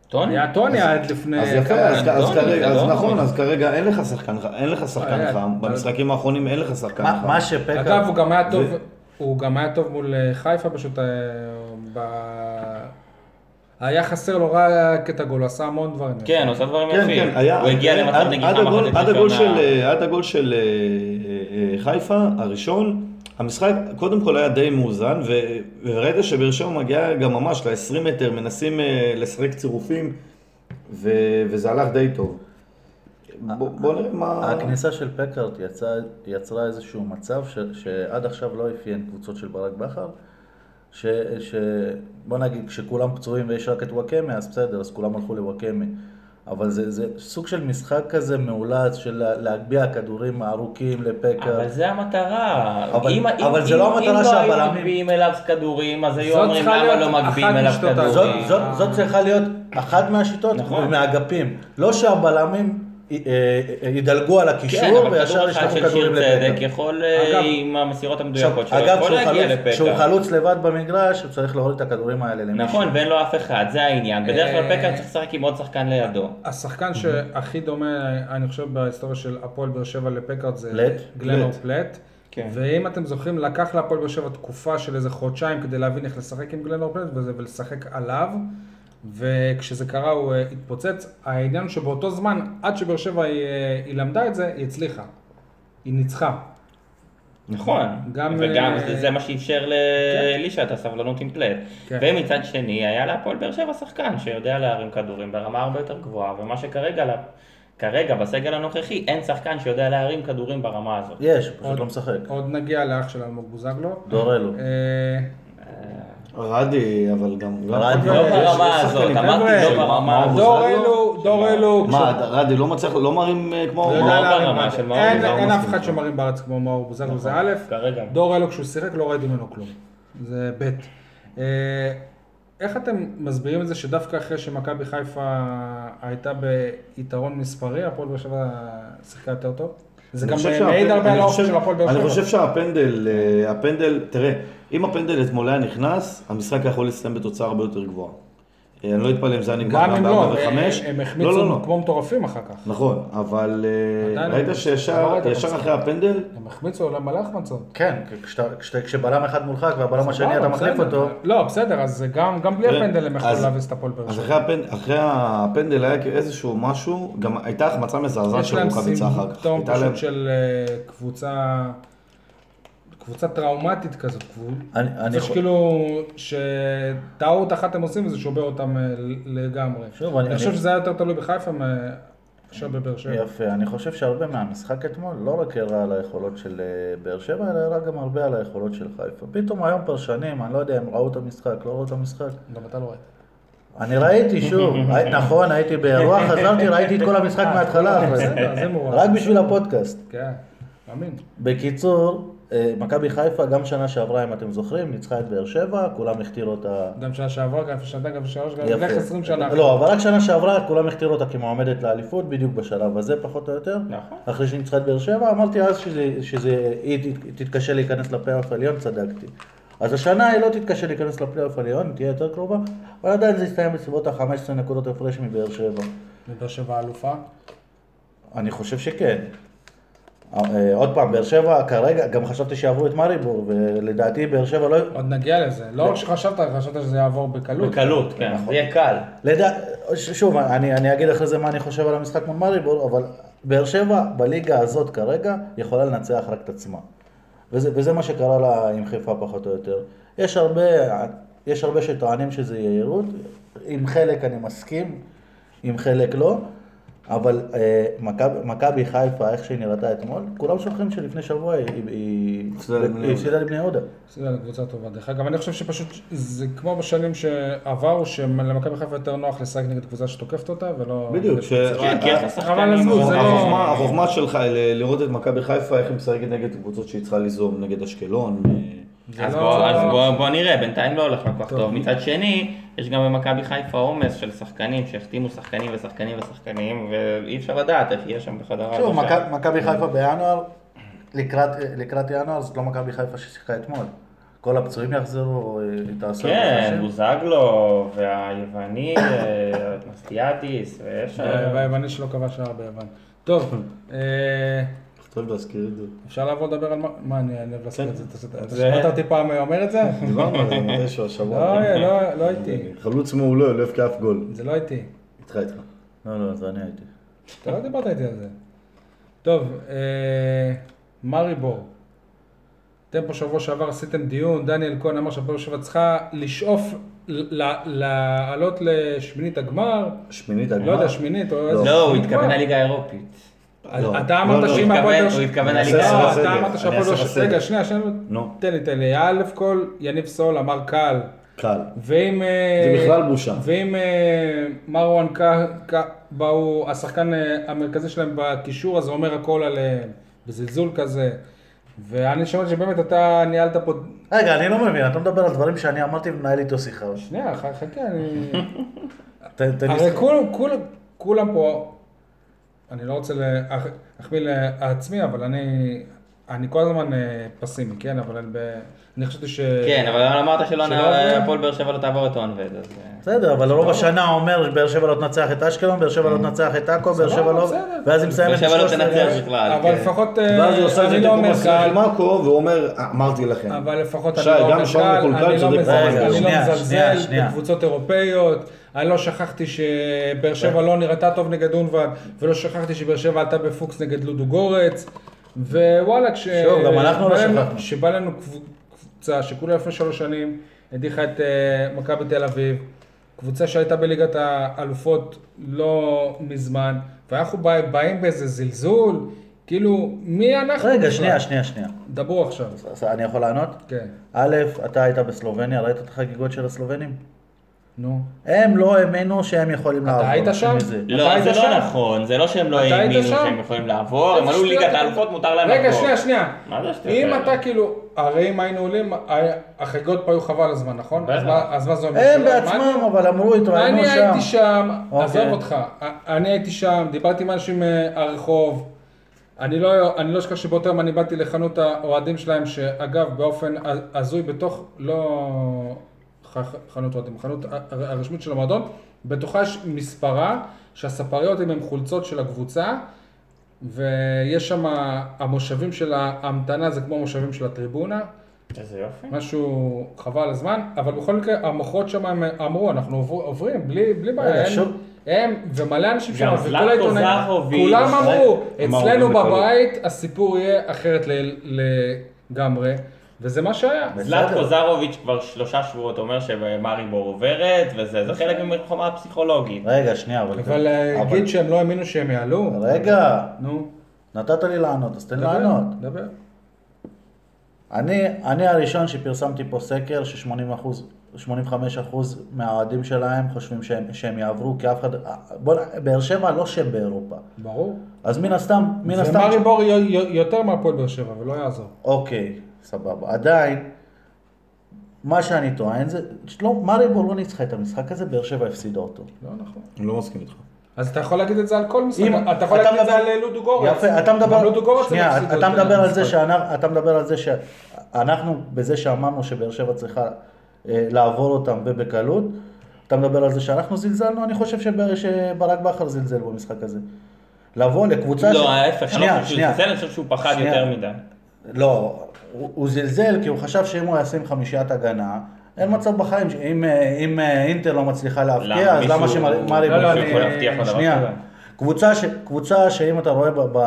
Speaker 4: טוני?
Speaker 2: היה טוני עד לפני...
Speaker 6: אה,
Speaker 3: אז יפה, אז
Speaker 4: לא,
Speaker 3: אז
Speaker 4: זה
Speaker 3: כרגע-
Speaker 4: לא.
Speaker 3: אז נכון, אז כרגע אין לך שחקן ח- אין לך שחקן
Speaker 2: אה,
Speaker 3: חם,
Speaker 2: אה.
Speaker 3: במשחקים האחרונים אין לך שחקן
Speaker 6: מה
Speaker 3: חם.
Speaker 6: מה שפקארט...
Speaker 2: אגב, הוא גם היה טוב,
Speaker 3: זה-
Speaker 2: הוא גם היה טוב מול אה, חיפה פשוט, אה, ב... היה חסר לו רק את הגול, הוא עשה המון דברים.
Speaker 4: כן, הוא עושה דברים
Speaker 3: כן, כן,
Speaker 4: יפים.
Speaker 3: היה...
Speaker 4: הוא הגיע
Speaker 3: היה-
Speaker 4: למצב
Speaker 3: עד-
Speaker 4: נגיחה
Speaker 3: עד הגול-
Speaker 4: מחצית
Speaker 3: עד הגול
Speaker 4: ראשונה.
Speaker 3: של, אה, עד הגול של אה, אה, אה, חיפה, הראשון, המשחק קודם כל היה די מאוזן, ו- וראית שבאר שבע מגיעה גם ממש ל-20 מטר, מנסים אה, לשחק צירופים, ו- וזה הלך די טוב. בוא בוא נראה מה...
Speaker 6: הכניסה של פקארט יצאה- יצרה איזשהו מצב ש, שעד עכשיו לא אפיין קבוצות של ברק בכר, ש, ש... בוא נגיד, כשכולם פצועים ויש רק את וואקמה, אז בסדר, אז כולם הלכו לוואקמה. אבל זה, זה סוג של משחק כזה מאולץ של לה- להגביה כדורים ארוכים
Speaker 4: אבל
Speaker 6: לפקארט.
Speaker 4: זה המטרה.
Speaker 6: אה, אבל-
Speaker 4: אם-
Speaker 6: אבל
Speaker 4: אם-
Speaker 6: זה לא
Speaker 4: אם-
Speaker 6: המטרה
Speaker 4: אם לא היו
Speaker 6: שהבלמים-
Speaker 4: מגביהים אליו כדורים, אז היו
Speaker 2: זאת
Speaker 4: אומרים
Speaker 2: צריכה
Speaker 4: למה
Speaker 2: להיות
Speaker 4: לא מגביהים
Speaker 2: אחת
Speaker 4: אליו
Speaker 2: משתות
Speaker 4: כדורים.
Speaker 2: הזו.
Speaker 6: זאת, זאת, זאת צריכה להיות אחת מהשיטות
Speaker 4: לא נכון.
Speaker 6: מהאגפים. לא שהבלמים י- אה, אה, ידלגו על
Speaker 4: כן,
Speaker 6: הקישור
Speaker 4: אבל כדור אחד
Speaker 6: וישר ישלחו
Speaker 4: של
Speaker 6: כדורים
Speaker 4: שיר צדק
Speaker 6: לפקארט.
Speaker 4: יכול, אה,
Speaker 2: אגב-
Speaker 4: עם המסירות
Speaker 6: עכשיו,
Speaker 4: המדויקות שלו,
Speaker 6: אגב,
Speaker 4: יכול
Speaker 6: כשהוא
Speaker 4: להגיע
Speaker 6: חלוץ- כשהוא
Speaker 4: לפקארט.
Speaker 6: חלוץ לבד במגרש, הוא צריך להוריד את הכדורים האלה למישהו.
Speaker 4: נכון, ואין לו אף אחד, זה העניין. בדרך כלל
Speaker 2: אה,
Speaker 4: פקארט צריך לשחק עם עוד שחקן לידו.
Speaker 2: השחקן
Speaker 3: Mhm.
Speaker 2: שהכי דומה, אני חושב, בהיסטוריה של הפועל באר שבע לפקארד זה
Speaker 6: פלט?
Speaker 2: גלנור
Speaker 3: פלט.
Speaker 2: פלט.
Speaker 4: כן.
Speaker 2: ואם אתם זוכרים, לקח להפועל באר שבע תקופה של איזה חודשיים כדי להבין איך לשחק עם גלנור פלט וזה- ולשחק עליו. וכשזה קרה הוא אה, התפוצץ. העניין הוא שבאותו זמן, עד שבאר שבע היא, אה, היא למדה את זה, היא הצליחה. היא ניצחה.
Speaker 4: נכון,
Speaker 2: גם,
Speaker 4: וגם
Speaker 2: אה,
Speaker 4: זה- זה מה שאפשר לאלישע את הסבלנות עם פלט.
Speaker 2: כן.
Speaker 4: ומצד שני, היה להפועל באר שבע שחקן שיודע להרים כדורים ברמה הרבה יותר גבוהה, ומה שכרגע לה- כרגע בסגל הנוכחי אין שחקן שיודע להרים כדורים ברמה הזאת.
Speaker 6: יש, הוא פשוט לא משחק.
Speaker 2: עוד נגיע לאח של אלמוג בוזגלו.
Speaker 6: דורלו.
Speaker 2: אה,
Speaker 3: רדי, אבל גם... גם-
Speaker 6: רדי.
Speaker 4: לא
Speaker 3: יש-
Speaker 4: ברמה
Speaker 3: יש
Speaker 4: הזאת,
Speaker 3: שחקנים-
Speaker 4: אמרתי לא
Speaker 2: חבר'ה,
Speaker 4: ברמה
Speaker 3: מה,
Speaker 4: הזאת.
Speaker 3: בוזגלו?
Speaker 2: דור אלו, דור אלו.
Speaker 3: מה, רדי לא מצליח, לא מרים אה, כמו...
Speaker 2: לא
Speaker 4: לא
Speaker 2: יודע להרים
Speaker 4: ברמה
Speaker 2: בארץ.
Speaker 4: של מאור
Speaker 2: אין
Speaker 4: בוזגלו
Speaker 2: אין אף
Speaker 4: מספיק. נכון,
Speaker 2: אחד שמרים בארץ כמו מאור בוזגלו, זה א',
Speaker 4: כרגע.
Speaker 2: דור אלו כשהוא שיחק לא ראיתי ממנו כלום, זה ב'. אה, איך אתם מסבירים את זה שדווקא אחרי שמכבי חיפה הייתה ביתרון מספרי, הפועל באר שבע שיחקה יותר טוב? זה
Speaker 3: אני
Speaker 2: גם
Speaker 3: חושב
Speaker 2: מעיד
Speaker 3: שהפנדל-
Speaker 2: הרבה
Speaker 3: אני
Speaker 2: על האופן
Speaker 3: חושב-
Speaker 2: של הפועל באר שבע.
Speaker 3: אני חושב שהפנדל, אה, הפנדל, תראה, אם הפנדל אתמול היה נכנס, המשחק יכול להסתיים בתוצאה הרבה יותר גבוהה. אה, אני לא אתפלא אם זה היה נגמר
Speaker 2: גם
Speaker 3: גם
Speaker 2: אם
Speaker 3: בארבע
Speaker 2: לא,
Speaker 3: וחמש.
Speaker 2: הם- הם
Speaker 3: לא, לא, לא.
Speaker 2: החמיצו כמו מטורפים אחר כך.
Speaker 3: נכון, אבל אה,
Speaker 2: עדיין לא.
Speaker 3: ראית
Speaker 2: לא
Speaker 3: שישר
Speaker 2: ראית את
Speaker 3: ישר
Speaker 2: המשחק.
Speaker 3: אחרי הפנדל,
Speaker 2: הם החמיצו על מלא החמצות.
Speaker 6: כן, כשאתה- כשאתה- כשבלם אחד מולחק והבלם השני אתה מחליף
Speaker 2: בסדר.
Speaker 6: אותו,
Speaker 2: לא, בסדר, אז זה גם גם בלי
Speaker 3: תראה,
Speaker 2: הפנדל הם יכלו
Speaker 3: אז-
Speaker 2: להביס את הפועל באר
Speaker 3: אז
Speaker 2: שבע.
Speaker 3: אחרי הפנדל, אחרי הפנדל היה איזשהו משהו, גם הייתה החמצה מזעזעת
Speaker 2: יש
Speaker 3: של
Speaker 2: להם
Speaker 3: רוקאביצה אחר כך.
Speaker 2: סימפטום
Speaker 3: הייתה
Speaker 2: פשוט
Speaker 3: להם-
Speaker 2: של אה, קבוצה, קבוצה טראומטית כזאת. קבוצ-
Speaker 6: אני- אני
Speaker 2: זה
Speaker 6: חו-
Speaker 2: שכאילו, שטעות אחת הם עושים וזה שובר אותם אה, לגמרי.
Speaker 6: שוב, אני-
Speaker 2: אני חושב
Speaker 6: אני-
Speaker 2: שזה היה יותר תלוי בחיפה מאשר בבאר שבע.
Speaker 6: יפה. אני חושב שהרבה מהמשחק אתמול לא רק הראה על היכולות של אה, באר שבע, אלא הראה גם הרבה על היכולות של חיפה. פתאום היום פרשנים, אני לא יודע אם ראו את המשחק, לא ראו את המשחק.
Speaker 2: גם אתה לא ראית.
Speaker 6: אני ראיתי שוב, הי- נכון, הייתי באירוע, חזרתי, ראיתי את כל המשחק מההתחלה אחרי זה.
Speaker 2: בסדר, זה מורה.
Speaker 6: רק בשביל הפודקאסט.
Speaker 2: כן, מאמין.
Speaker 6: בקיצור, אה, מכבי חיפה גם שנה שעברה, אם אתם זוכרים, ניצחה את באר שבע, כולם הכתירו אותה.
Speaker 2: גם שנה שעברה, גם שנתיים, גם שלוש, גם
Speaker 6: יפה.
Speaker 2: לך עשרים שנה.
Speaker 6: לא, אבל רק שנה שעברה, כולם הכתירו אותה כמועמדת לאליפות, בדיוק בשלב הזה, פחות או יותר.
Speaker 4: נכון.
Speaker 6: אחרי שניצחה את באר שבע, אמרתי אז שזה- שזה, היא ת- תתקשה להיכנס לפלייאוף העליון, צדקתי. אז השנה היא לא תתקשה להיכנס לפלייאוף העליון, תהיה יותר קרובה, אבל עדיין זה יסתיים בסביבות ה-15 נקודות הפרש מבאר שבע.
Speaker 2: בבאר שבע אלופה.
Speaker 6: אני חושב שכן. אה, אה, עוד פעם, באר שבע כרגע, גם חשבתי שיעברו את מאריבור, ולדעתי באר שבע לא...
Speaker 2: עוד נגיע לזה. לא רק שחשבת, חשבת שזה יעבור בקלות.
Speaker 4: בקלות, כן, זה יהיה קל.
Speaker 6: לדע... ש- שוב, אני, אני אגיד אחרי זה מה אני חושב על המשחק מול מאריבור, אבל באר שבע בליגה הזאת כרגע יכולה לנצח רק את עצמה. וזה, וזה מה שקרה לה עם חיפה פחות או יותר. יש הרבה, יש הרבה שטוענים שזה יהירות, עם חלק אני מסכים, עם חלק לא, אבל אה, מכב- מכבי חיפה, איך שהיא נראתה אתמול, כולם שוכחים שלפני שבוע היא- היא- היא
Speaker 3: הפסידה לבני
Speaker 6: היא הפסידה לבני יהודה.
Speaker 2: בסדר, זו קבוצה טובה. דרך אגב, אני חושב שפשוט זה כמו בשנים שעברו, שלמכבי חיפה יותר נוח לשחק נגד קבוצה שתוקפת אותה, ולא...
Speaker 3: בדיוק, ש-
Speaker 4: כן, כי איך השחקנים...
Speaker 2: אבל עזבו, זה לא-
Speaker 3: החוכמה- החוכמה שלך היא ל- לראות את מכבי חיפה, איך היא משחקת נגד הקבוצות שהיא צריכה ליזום, נגד אשקלון. אה,
Speaker 2: זה
Speaker 4: אז
Speaker 2: לא-
Speaker 4: בוא- אז בוא- בוא נראה, בינתיים לא הולך לה כל כך
Speaker 2: טוב.
Speaker 4: טוב. מצד שני, יש גם במכבי חיפה עומס של שחקנים שהחתימו שחקנים ושחקנים ושחקנים, ואי אפשר לדעת איך יהיה שם בחדר
Speaker 6: שוב,
Speaker 4: ההלבשה.
Speaker 6: מכ- מכבי חיפה בינואר, לקראת, לקראת ינואר, זאת לא מכבי חיפה ששיחקה אתמול. כל הפצועים יחזרו, אה, היא תעשה...
Speaker 4: כן,
Speaker 6: הפרשים.
Speaker 4: בוזגלו, והיווני, אה, מסטיאטיס, ויש...
Speaker 2: אה, והיווני שלא כבש שער ביוון. טוב, אה,
Speaker 3: אתה אוהב להזכיר את זה.
Speaker 2: אפשר לעבור לדבר על מה... מה, אני אני אוהב להזכיר את זה.
Speaker 3: כן.
Speaker 2: אתה- אתה- אתה
Speaker 4: זה-
Speaker 2: שמעת אותי פעם אומר את זה?
Speaker 3: דיברנו על זה מתישהו השבוע.
Speaker 2: לא, לא- לא איתי.
Speaker 3: חלוץ מעולה, לא הבקיע אף גול.
Speaker 2: זה לא איתי.
Speaker 3: איתך איתך.
Speaker 6: לא, לא, זה אני הייתי.
Speaker 2: אתה לא דיברת איתי על זה. טוב, אה, מארי בור. אתם פה שבוע שעבר עשיתם דיון, דניאל כהן אמר שהפועל שבע צריכה לשאוף ל- ל- לעלות לשמינית הגמר,
Speaker 3: שמינית הגמר.
Speaker 2: לא יודע, שמינית או איזה...
Speaker 4: לא, הוא
Speaker 2: שמינית
Speaker 4: התכוון
Speaker 2: גמר.
Speaker 4: לליגה האירופית.
Speaker 2: אז
Speaker 3: לא,
Speaker 2: אתה
Speaker 3: לא,
Speaker 2: אמרת
Speaker 3: לא,
Speaker 2: שאם
Speaker 4: הוא
Speaker 2: הפועל...
Speaker 4: התכוון-
Speaker 2: באר-
Speaker 4: הוא התכוון
Speaker 2: לא,
Speaker 4: לליגה
Speaker 3: בסדר,
Speaker 4: האירופית.
Speaker 3: בסדר.
Speaker 2: אתה אמרת
Speaker 3: אני
Speaker 2: שהפועל...
Speaker 3: אעשה
Speaker 2: באר
Speaker 3: לך
Speaker 2: שבע-
Speaker 3: סדר.
Speaker 2: רגע, שנייה, שנייה.
Speaker 3: נו.
Speaker 2: תן לי, תן לי. א' כל, יניב סול אמר קל.
Speaker 3: קל.
Speaker 2: ואם... אה,
Speaker 3: זה בכלל בושה.
Speaker 2: ואם אה, מרואן קה- קה- באו, השחקן אה, המרכזי שלהם בקישור הזה אומר הכל עליהם, בזלזול כזה. ואני שמעתי שבאמת אתה ניהלת פה...
Speaker 6: רגע, אני לא מבין, אתה מדבר על דברים שאני אמרתי ומנהל איתו שיחה.
Speaker 2: שנייה, ח- חכה, אני...
Speaker 6: תן תן לי...
Speaker 2: הרי כול- כול- כולם פה, אני לא רוצה להח- להחמיא לעצמי, אה, אבל אני... אני כל הזמן אה, פסימי, כן? אבל אני, ב... אני חשבתי ש...
Speaker 4: כן, אבל אמרת שלא
Speaker 2: אה. שלא עובר?
Speaker 4: הפועל באר שבע לא תעבור את אונבד, אז... אה,
Speaker 6: בסדר, אבל רוב השנה אומר באר שבע לא תנצח את אשקלון, באר שבע לא תנצח את עכו, באר שבע לא...
Speaker 2: Mm. בסדר.
Speaker 6: ואז היא מסיימת...
Speaker 4: באר שבע לא
Speaker 6: ב- 13.
Speaker 4: תנצח בכלל.
Speaker 2: אבל
Speaker 4: כן.
Speaker 2: לפחות
Speaker 3: ואז
Speaker 2: אה,
Speaker 3: הוא עושה את זה
Speaker 2: אני לא
Speaker 3: תיקו
Speaker 2: אומר
Speaker 3: מסריח
Speaker 2: קל,
Speaker 3: עם עכו, והוא אומר, "אה, אמרתי לכם.
Speaker 2: אבל לפחות אני
Speaker 3: שי,
Speaker 2: לא
Speaker 3: גם
Speaker 2: מזלזל,
Speaker 3: שם מקולקל,
Speaker 2: אני לא
Speaker 3: צודק,
Speaker 2: מזלזל,
Speaker 6: רגע,
Speaker 2: אני לא
Speaker 6: שנייה, שנייה,
Speaker 2: מזלזל
Speaker 6: שנייה.
Speaker 2: בקבוצות אירופאיות, אני לא שכחתי שבאר שבע לא נראתה טוב נגד אונבן, ולא שכחתי שבאר שבע עלתה בפוקס נגד לודו גורץ, ווואלה, כש...
Speaker 6: שוב, גם אנחנו לא
Speaker 2: שבא לנו-
Speaker 6: שכחנו.
Speaker 2: שבא לנו קבוצ- קבוצה שכולה לפני שלוש שנים הדיחה את אה, מכבי תל אביב, קבוצה שהייתה בליגת האלופות לא מזמן, ואנחנו בא- באים באיזה זלזול, כאילו, מי אנחנו?
Speaker 6: רגע,
Speaker 2: בכלל?
Speaker 6: שנייה, שנייה, שנייה.
Speaker 2: דברו עכשיו,
Speaker 6: אז אני יכול לענות?
Speaker 2: כן.
Speaker 6: א', אתה היית בסלובניה, ראית את החגיגות של הסלובנים?
Speaker 2: נו.
Speaker 6: הם לא האמינו שהם יכולים לעבור.
Speaker 2: היית שם?
Speaker 6: מזה.
Speaker 2: אתה
Speaker 4: לא,
Speaker 2: היית
Speaker 4: זה
Speaker 2: שם?
Speaker 4: לא נכון, זה לא שהם לא
Speaker 2: אתה היית
Speaker 4: האמינו
Speaker 2: שם?
Speaker 4: שהם יכולים לעבור, לא, הם
Speaker 2: איזה
Speaker 4: עלו
Speaker 2: שטויות
Speaker 4: ליגת
Speaker 2: אתה-
Speaker 4: האלופות, מותר להם לעבור.
Speaker 2: רגע, שנייה, שנייה.
Speaker 4: מה זה השטויות
Speaker 2: אם
Speaker 4: האלה?
Speaker 2: אתה כאילו, הרי אם היינו עולים, ה- החגיגות פה היו חבל הזמן, נכון? אז
Speaker 4: בטח.
Speaker 2: מה- אז מה זה אומר?
Speaker 6: הם
Speaker 2: שלא
Speaker 6: בעצמם,
Speaker 2: למדנו?
Speaker 6: אבל אמרו, התראיינו
Speaker 2: אני
Speaker 6: שם.
Speaker 2: הייתי שם,
Speaker 6: אוקיי.
Speaker 2: עזוב אותך, א- אני הייתי שם, דיברתי עם אנשים מהרחוב. אני לא, אני לא אשכח שבאותו יום אני באתי לחנות האוהדים שלהם, שאגב, באופן הז- הזוי, בתוך, לא ח- חנות אוהדים, חנות ה- הרשמית של המועדון, בתוכה יש מספרה, שהספריות הן עם חולצות של הקבוצה, ויש שם, המושבים של ההמתנה זה כמו המושבים של הטריבונה,
Speaker 4: איזה יופי.
Speaker 2: משהו חבל על הזמן, אבל בכל מקרה, המוחות שם הם אמרו, אנחנו עובר, עוברים, בלי, בלי בעיה,
Speaker 6: רגע,
Speaker 2: הם,
Speaker 6: אה, שוב.
Speaker 2: הם ומלא אנשים שם,
Speaker 4: גם
Speaker 2: וכל
Speaker 4: זלאטקו
Speaker 2: העיתונאים,
Speaker 4: זהרוביץ',
Speaker 2: כולם
Speaker 4: רגע,
Speaker 2: אמרו,
Speaker 3: אמרו,
Speaker 2: אצלנו
Speaker 3: זה בקלות."
Speaker 2: בבית הסיפור יהיה אחרת ל- לגמרי, וזה מה שהיה.
Speaker 4: זלאטקו זרוביץ' כבר שלושה שבועות אומר שמאריבור עוברת, וזה זה חלק מהמלחמה הפסיכולוגית.
Speaker 6: רגע, שנייה, אבל...
Speaker 2: אבל להגיד שהם לא האמינו שהם יעלו,
Speaker 6: רגע,
Speaker 2: נו,
Speaker 6: נתת לי לענות, אז תן לי
Speaker 2: דבר,
Speaker 6: לענות.
Speaker 2: דבר.
Speaker 6: אני, אני הראשון שפרסמתי פה סקר ש-80% 85% מהאוהדים שלהם חושבים שהם, שהם יעברו, כי אף אחד... בוא, נ- באר שבע לא שם באירופה.
Speaker 2: ברור.
Speaker 6: אז מן הסתם, מן הסתם...
Speaker 2: ומרי בור יו- יו- יותר מהפועל באר שבע, ולא יעזור.
Speaker 6: אוקיי, סבבה. עדיין, מה שאני טוען זה, לא, מריבור לא ניצחה את המשחק הזה, באר שבע הפסידה אותו.
Speaker 2: לא נכון.
Speaker 3: אני לא מסכים איתך.
Speaker 2: אז אתה יכול להגיד את זה על כל משחק,
Speaker 6: אם-
Speaker 2: אתה יכול להגיד את זה
Speaker 6: מדבר-
Speaker 2: על אה, לודו גורץ.
Speaker 6: יפה, אתה מדבר,
Speaker 2: גם לודו גורץ הם
Speaker 6: שנייה,
Speaker 2: הפסידו
Speaker 6: אתה
Speaker 2: את
Speaker 6: מדבר על זה
Speaker 2: המשחק.
Speaker 6: שאנחנו, אתה מדבר על זה שאנחנו, בזה שאמרנו שבאר שבע צריכה אה, לעבור אותם ובקלות, אתה מדבר על זה שאנחנו זלזלנו, אני חושב שבאר- שברק בכר זלזל במשחק הזה. לבוא לקבוצה... ש-
Speaker 4: לא, ההפך, אני לא
Speaker 6: שנייה,
Speaker 4: חושב שהוא
Speaker 6: שנייה.
Speaker 4: זלזל, אני חושב שהוא פחד
Speaker 6: שנייה.
Speaker 4: יותר מדי.
Speaker 6: לא, הוא, הוא זלזל כי הוא חשב שאם הוא ישים חמישיית הגנה, אין מצב בחיים, ש- אם, אה, אם אה, אינטר לא מצליחה להבקיע,
Speaker 4: למה?
Speaker 6: אז למה
Speaker 4: מישהו-
Speaker 6: שמרי...
Speaker 4: לא, לא,
Speaker 2: אני-
Speaker 4: יכול להבטיח על דבר
Speaker 6: שנייה.
Speaker 4: כזה?
Speaker 6: קבוצה, ש, קבוצה שאם אתה רואה ב, ב,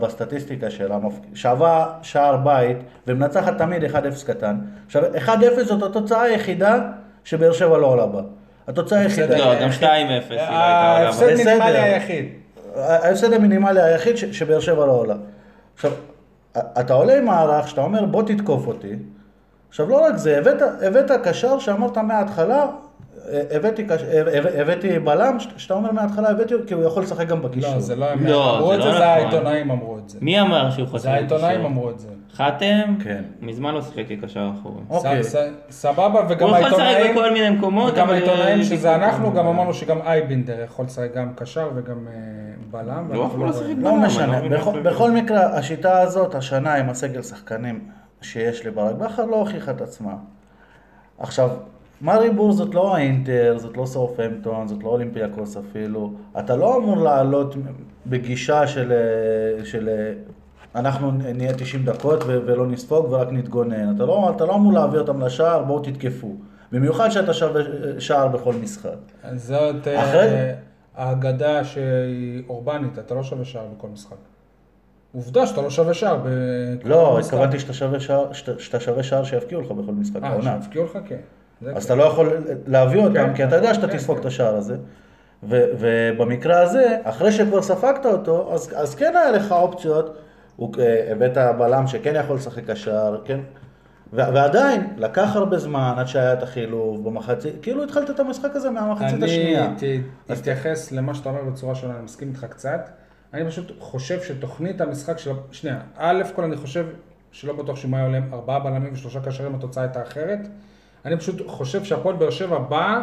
Speaker 6: בסטטיסטיקה שלה, מפק- שווה שער בית ומנצחת תמיד 1-0 קטן. עכשיו, 1-0 זאת התוצאה היחידה שבאר שבע לא עולה בה. התוצאה היחידה.
Speaker 4: לא, גם 2-0 היא לא הייתה עולה.
Speaker 2: אה, ההפסד
Speaker 4: אבל-
Speaker 6: אה, בסדר.
Speaker 2: מינימלי היחיד.
Speaker 6: ההפסד המינימלי היחיד ש- שבאר שבע לא עולה. עכשיו, א- אתה עולה עם מערך שאתה אומר בוא תתקוף אותי. עכשיו לא רק זה, הבאת, הבאת קשר שאמרת מההתחלה, אה, הבאתי, קש, אה, הבא- הבאתי בלם ש- שאתה אומר מההתחלה הבאתי כי הוא יכול לשחק גם בגישור.
Speaker 2: לא, זה לא הם
Speaker 4: לא,
Speaker 2: אמרו
Speaker 4: זה
Speaker 2: את
Speaker 4: לא
Speaker 2: זה,
Speaker 4: נכון.
Speaker 2: זה העיתונאים אמרו את זה.
Speaker 4: מי אמר שהוא חושב?
Speaker 2: זה העיתונאים אמרו את זה.
Speaker 4: חתם?
Speaker 6: כן.
Speaker 4: מזמן לא שיחק כקשר אחורי.
Speaker 6: אוקיי.
Speaker 2: ס- ס- סבבה, וגם
Speaker 4: הוא יכול לשחק
Speaker 2: העיתונאים,
Speaker 4: בכל מיני מקומות,
Speaker 2: וגם
Speaker 4: אבל- אה,
Speaker 2: העיתונאים שזה אנחנו, גם אמרנו שגם אייבינדר יכול לשחק גם קשר וגם אה, בלם.
Speaker 4: לא,
Speaker 2: ואנחנו
Speaker 4: הוא
Speaker 2: רואים.
Speaker 4: לא שיחק
Speaker 6: לא
Speaker 4: בלם,
Speaker 6: משנה,
Speaker 4: אני לא
Speaker 6: בכל-
Speaker 4: מבין.
Speaker 6: בכל מקרה, השיטה הזאת, השנה עם הסגל שחקנים שיש לברק בכר, לא הוכיחה את עצמה. עכשיו, מארי בור זאת לא האינטר, זאת לא סאופהמפטון, זאת לא אולימפיאקוס אפילו. אתה לא אמור לעלות בגישה של... אה, של אה, אנחנו נהיה 90 דקות ו- ולא נספוג ורק נתגונן. אתה לא, אתה לא אמור להביא אותם לשער, בואו תתקפו. במיוחד שאתה שווה שער בכל משחק.
Speaker 2: זאת אה,
Speaker 6: אחרי-
Speaker 2: האגדה שהיא אורבנית, אתה לא שווה שער בכל משחק. עובדה שאתה לא שווה שער ב...
Speaker 6: לא, התכוונתי שאתה שווה שער- שאתה- שאתה שווה שער שיבקיעו לך בכל משחק
Speaker 2: אה,
Speaker 6: העונה.
Speaker 2: שהפקיעו לך? כן. זה
Speaker 6: אז
Speaker 2: כן.
Speaker 6: אתה לא יכול להביא אותם,
Speaker 2: כן,
Speaker 6: כי אתה יודע שאתה
Speaker 2: כן,
Speaker 6: תספוג
Speaker 2: כן.
Speaker 6: את השער הזה. ו- ובמקרה הזה, אחרי שכבר ספגת אותו, אז, אז כן היה לך אופציות. הוא, אה, הבאת בלם שכן יכול לשחק קשר, כן? ו- ועדיין, לקח הרבה זמן עד שהיה את החילוב במחצית, כאילו התחלת את המשחק הזה מהמחצית השנייה.
Speaker 2: אני ת- אתייחס למה שאתה אומר בצורה שונה, אני מסכים איתך קצת. אני פשוט חושב שתוכנית המשחק של... שנייה, א' כל אני חושב שלא בטוח שאם היה עולה ארבעה בלמים ושלושה קשרים התוצאה הייתה אחרת. אני פשוט חושב שהפועל באר שבע באה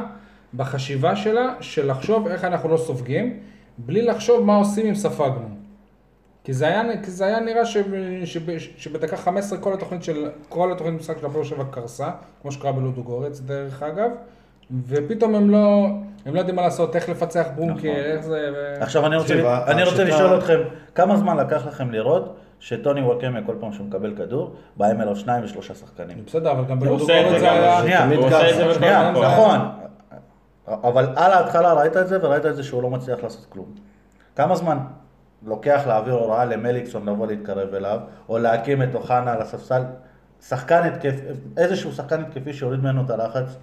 Speaker 2: בחשיבה שלה של לחשוב איך אנחנו לא סופגים, בלי לחשוב מה עושים אם ספגנו. כי זה היה, כי זה היה נראה ש, ש, ש, שבדקה 15 כל התוכנית של, כל התוכנית משחק של הפועל שבע קרסה, כמו שקרה בלודו גורץ דרך אגב, ופתאום הם לא, הם לא יודעים מה לעשות, איך לפצח
Speaker 4: נכון.
Speaker 2: בונקר, איך זה... ו...
Speaker 6: עכשיו אני
Speaker 3: תקשיב,
Speaker 6: רוצה, אני רוצה
Speaker 3: השיטה-
Speaker 6: לשאול אתכם, כמה זמן לקח לכם לראות שטוני וואקמה כל פעם שהוא מקבל כדור, באים אליו שניים ושלושה שחקנים?
Speaker 2: בסדר, אבל גם בלודו
Speaker 4: עושה את
Speaker 2: גורץ
Speaker 4: זה
Speaker 2: זה
Speaker 4: גם,
Speaker 2: היה...
Speaker 4: זה
Speaker 6: שנייה,
Speaker 3: תמיד
Speaker 4: הוא עושה את
Speaker 3: ככה.
Speaker 4: זה בכל
Speaker 6: שנייה,
Speaker 4: מקום.
Speaker 6: נכון. אבל על ההתחלה ראית את זה, וראית את זה שהוא לא מצליח לעשות כלום. כמה זמן לוקח להעביר הוראה למליקסון לבוא להתקרב אליו, או להקים את אוחנה על הספסל, שחקן התקף, איזשהו שחקן התקפי שיוריד ממנו את הלחץ.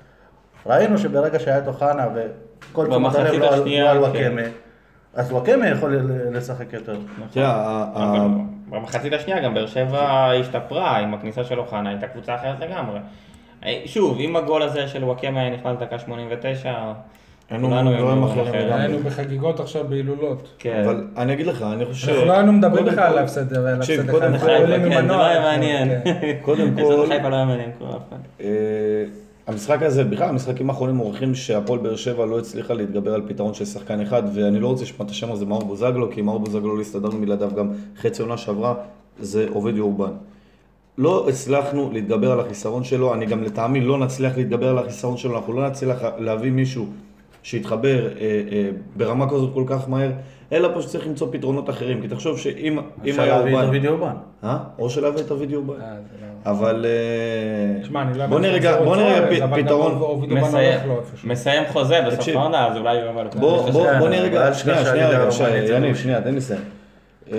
Speaker 6: ראינו שברגע שהיה את אוחנה וכל תשומת הלב
Speaker 4: במחצית
Speaker 6: לא על-
Speaker 4: השנייה,
Speaker 6: לא על
Speaker 4: כן.
Speaker 6: וואקמה, אז וואקמה יכול ל- לשחק יותר.
Speaker 3: תראה, ה-
Speaker 4: אבל
Speaker 3: ה-
Speaker 4: במחצית השנייה גם באר שבע השתפרה עם הכניסה של אוחנה, הייתה קבוצה אחרת לגמרי. אה, שוב, אם הגול הזה של וואקמה היה נכנס דקה 89,
Speaker 3: היינו
Speaker 4: כולנו
Speaker 3: דברים
Speaker 4: היינו
Speaker 3: אחרים
Speaker 4: אחרת.
Speaker 3: לגמרי.
Speaker 2: היינו בחגיגות עכשיו בהילולות.
Speaker 4: כן.
Speaker 3: אבל אני אגיד לך, אני חושב...
Speaker 2: אנחנו לא היינו מדברים
Speaker 3: קודם
Speaker 2: בכלל על
Speaker 3: כל-
Speaker 2: ההפסד על
Speaker 3: תקשיב,
Speaker 2: ההפסד
Speaker 3: קודם
Speaker 2: אחד,
Speaker 3: כל-
Speaker 2: אנחנו עולים
Speaker 4: כן,
Speaker 2: עם
Speaker 4: זה
Speaker 2: מנוע.
Speaker 4: לא היה
Speaker 2: אנחנו-
Speaker 4: מעניין.
Speaker 2: כן.
Speaker 3: קודם
Speaker 4: אזור
Speaker 3: כל,
Speaker 4: חיפה לא היה מעניין כל אף אחד.
Speaker 3: אה, המשחק הזה, בכלל המשחקים האחרונים מוכיחים שהפועל באר שבע לא הצליחה להתגבר על פתרון של שחקן אחד, ואני לא רוצה לשמוע את השם הזה מאור בוזגלו, כי מאור בוזגלו לא הסתדרנו בלעדיו גם חצי עונה שעברה, זה עובד יאורבן. לא הצלחנו להתגבר על החיסרון שלו, אני גם לטעמי לא נצליח להתגבר על החיסרון שלו, אנחנו לא נצליח להביא מישהו שיתחבר אה, אה, ברמה כזאת כל כך מהר, אלא פשוט צריך למצוא פתרונות אחרים, כי תחשוב שאם אם
Speaker 6: אפשר
Speaker 3: היה
Speaker 6: להביא את
Speaker 3: אורבן,
Speaker 6: דוד יורבן.
Speaker 3: אה? או שלהביא את אביד יאורבן.
Speaker 2: אה, זה לא-
Speaker 3: אבל... אה,
Speaker 2: תשמע, אני לא...
Speaker 3: בוא
Speaker 2: יודע
Speaker 3: נרגע,
Speaker 2: איך זה
Speaker 3: בוא
Speaker 2: רוצה,
Speaker 3: נראה
Speaker 2: אבל גם
Speaker 3: פ- פתרון.
Speaker 2: אובידו בנו
Speaker 4: מסיים-
Speaker 2: הולך לו איפשהו.
Speaker 4: מסיים חוזה בסוף
Speaker 3: תקשיב.
Speaker 4: העונה, אז אולי הוא יבוא לכאן.
Speaker 3: בוא בוא- בוא
Speaker 6: אבל
Speaker 3: נרגע,
Speaker 6: אה, אל
Speaker 3: שנייה,
Speaker 6: תשכח
Speaker 3: שנייה,
Speaker 6: שהליגה
Speaker 3: רגע,
Speaker 6: הרומנית
Speaker 3: שי,
Speaker 6: זה
Speaker 3: יניב,
Speaker 6: לא-
Speaker 3: שנייה, תן לי לסיים. אה,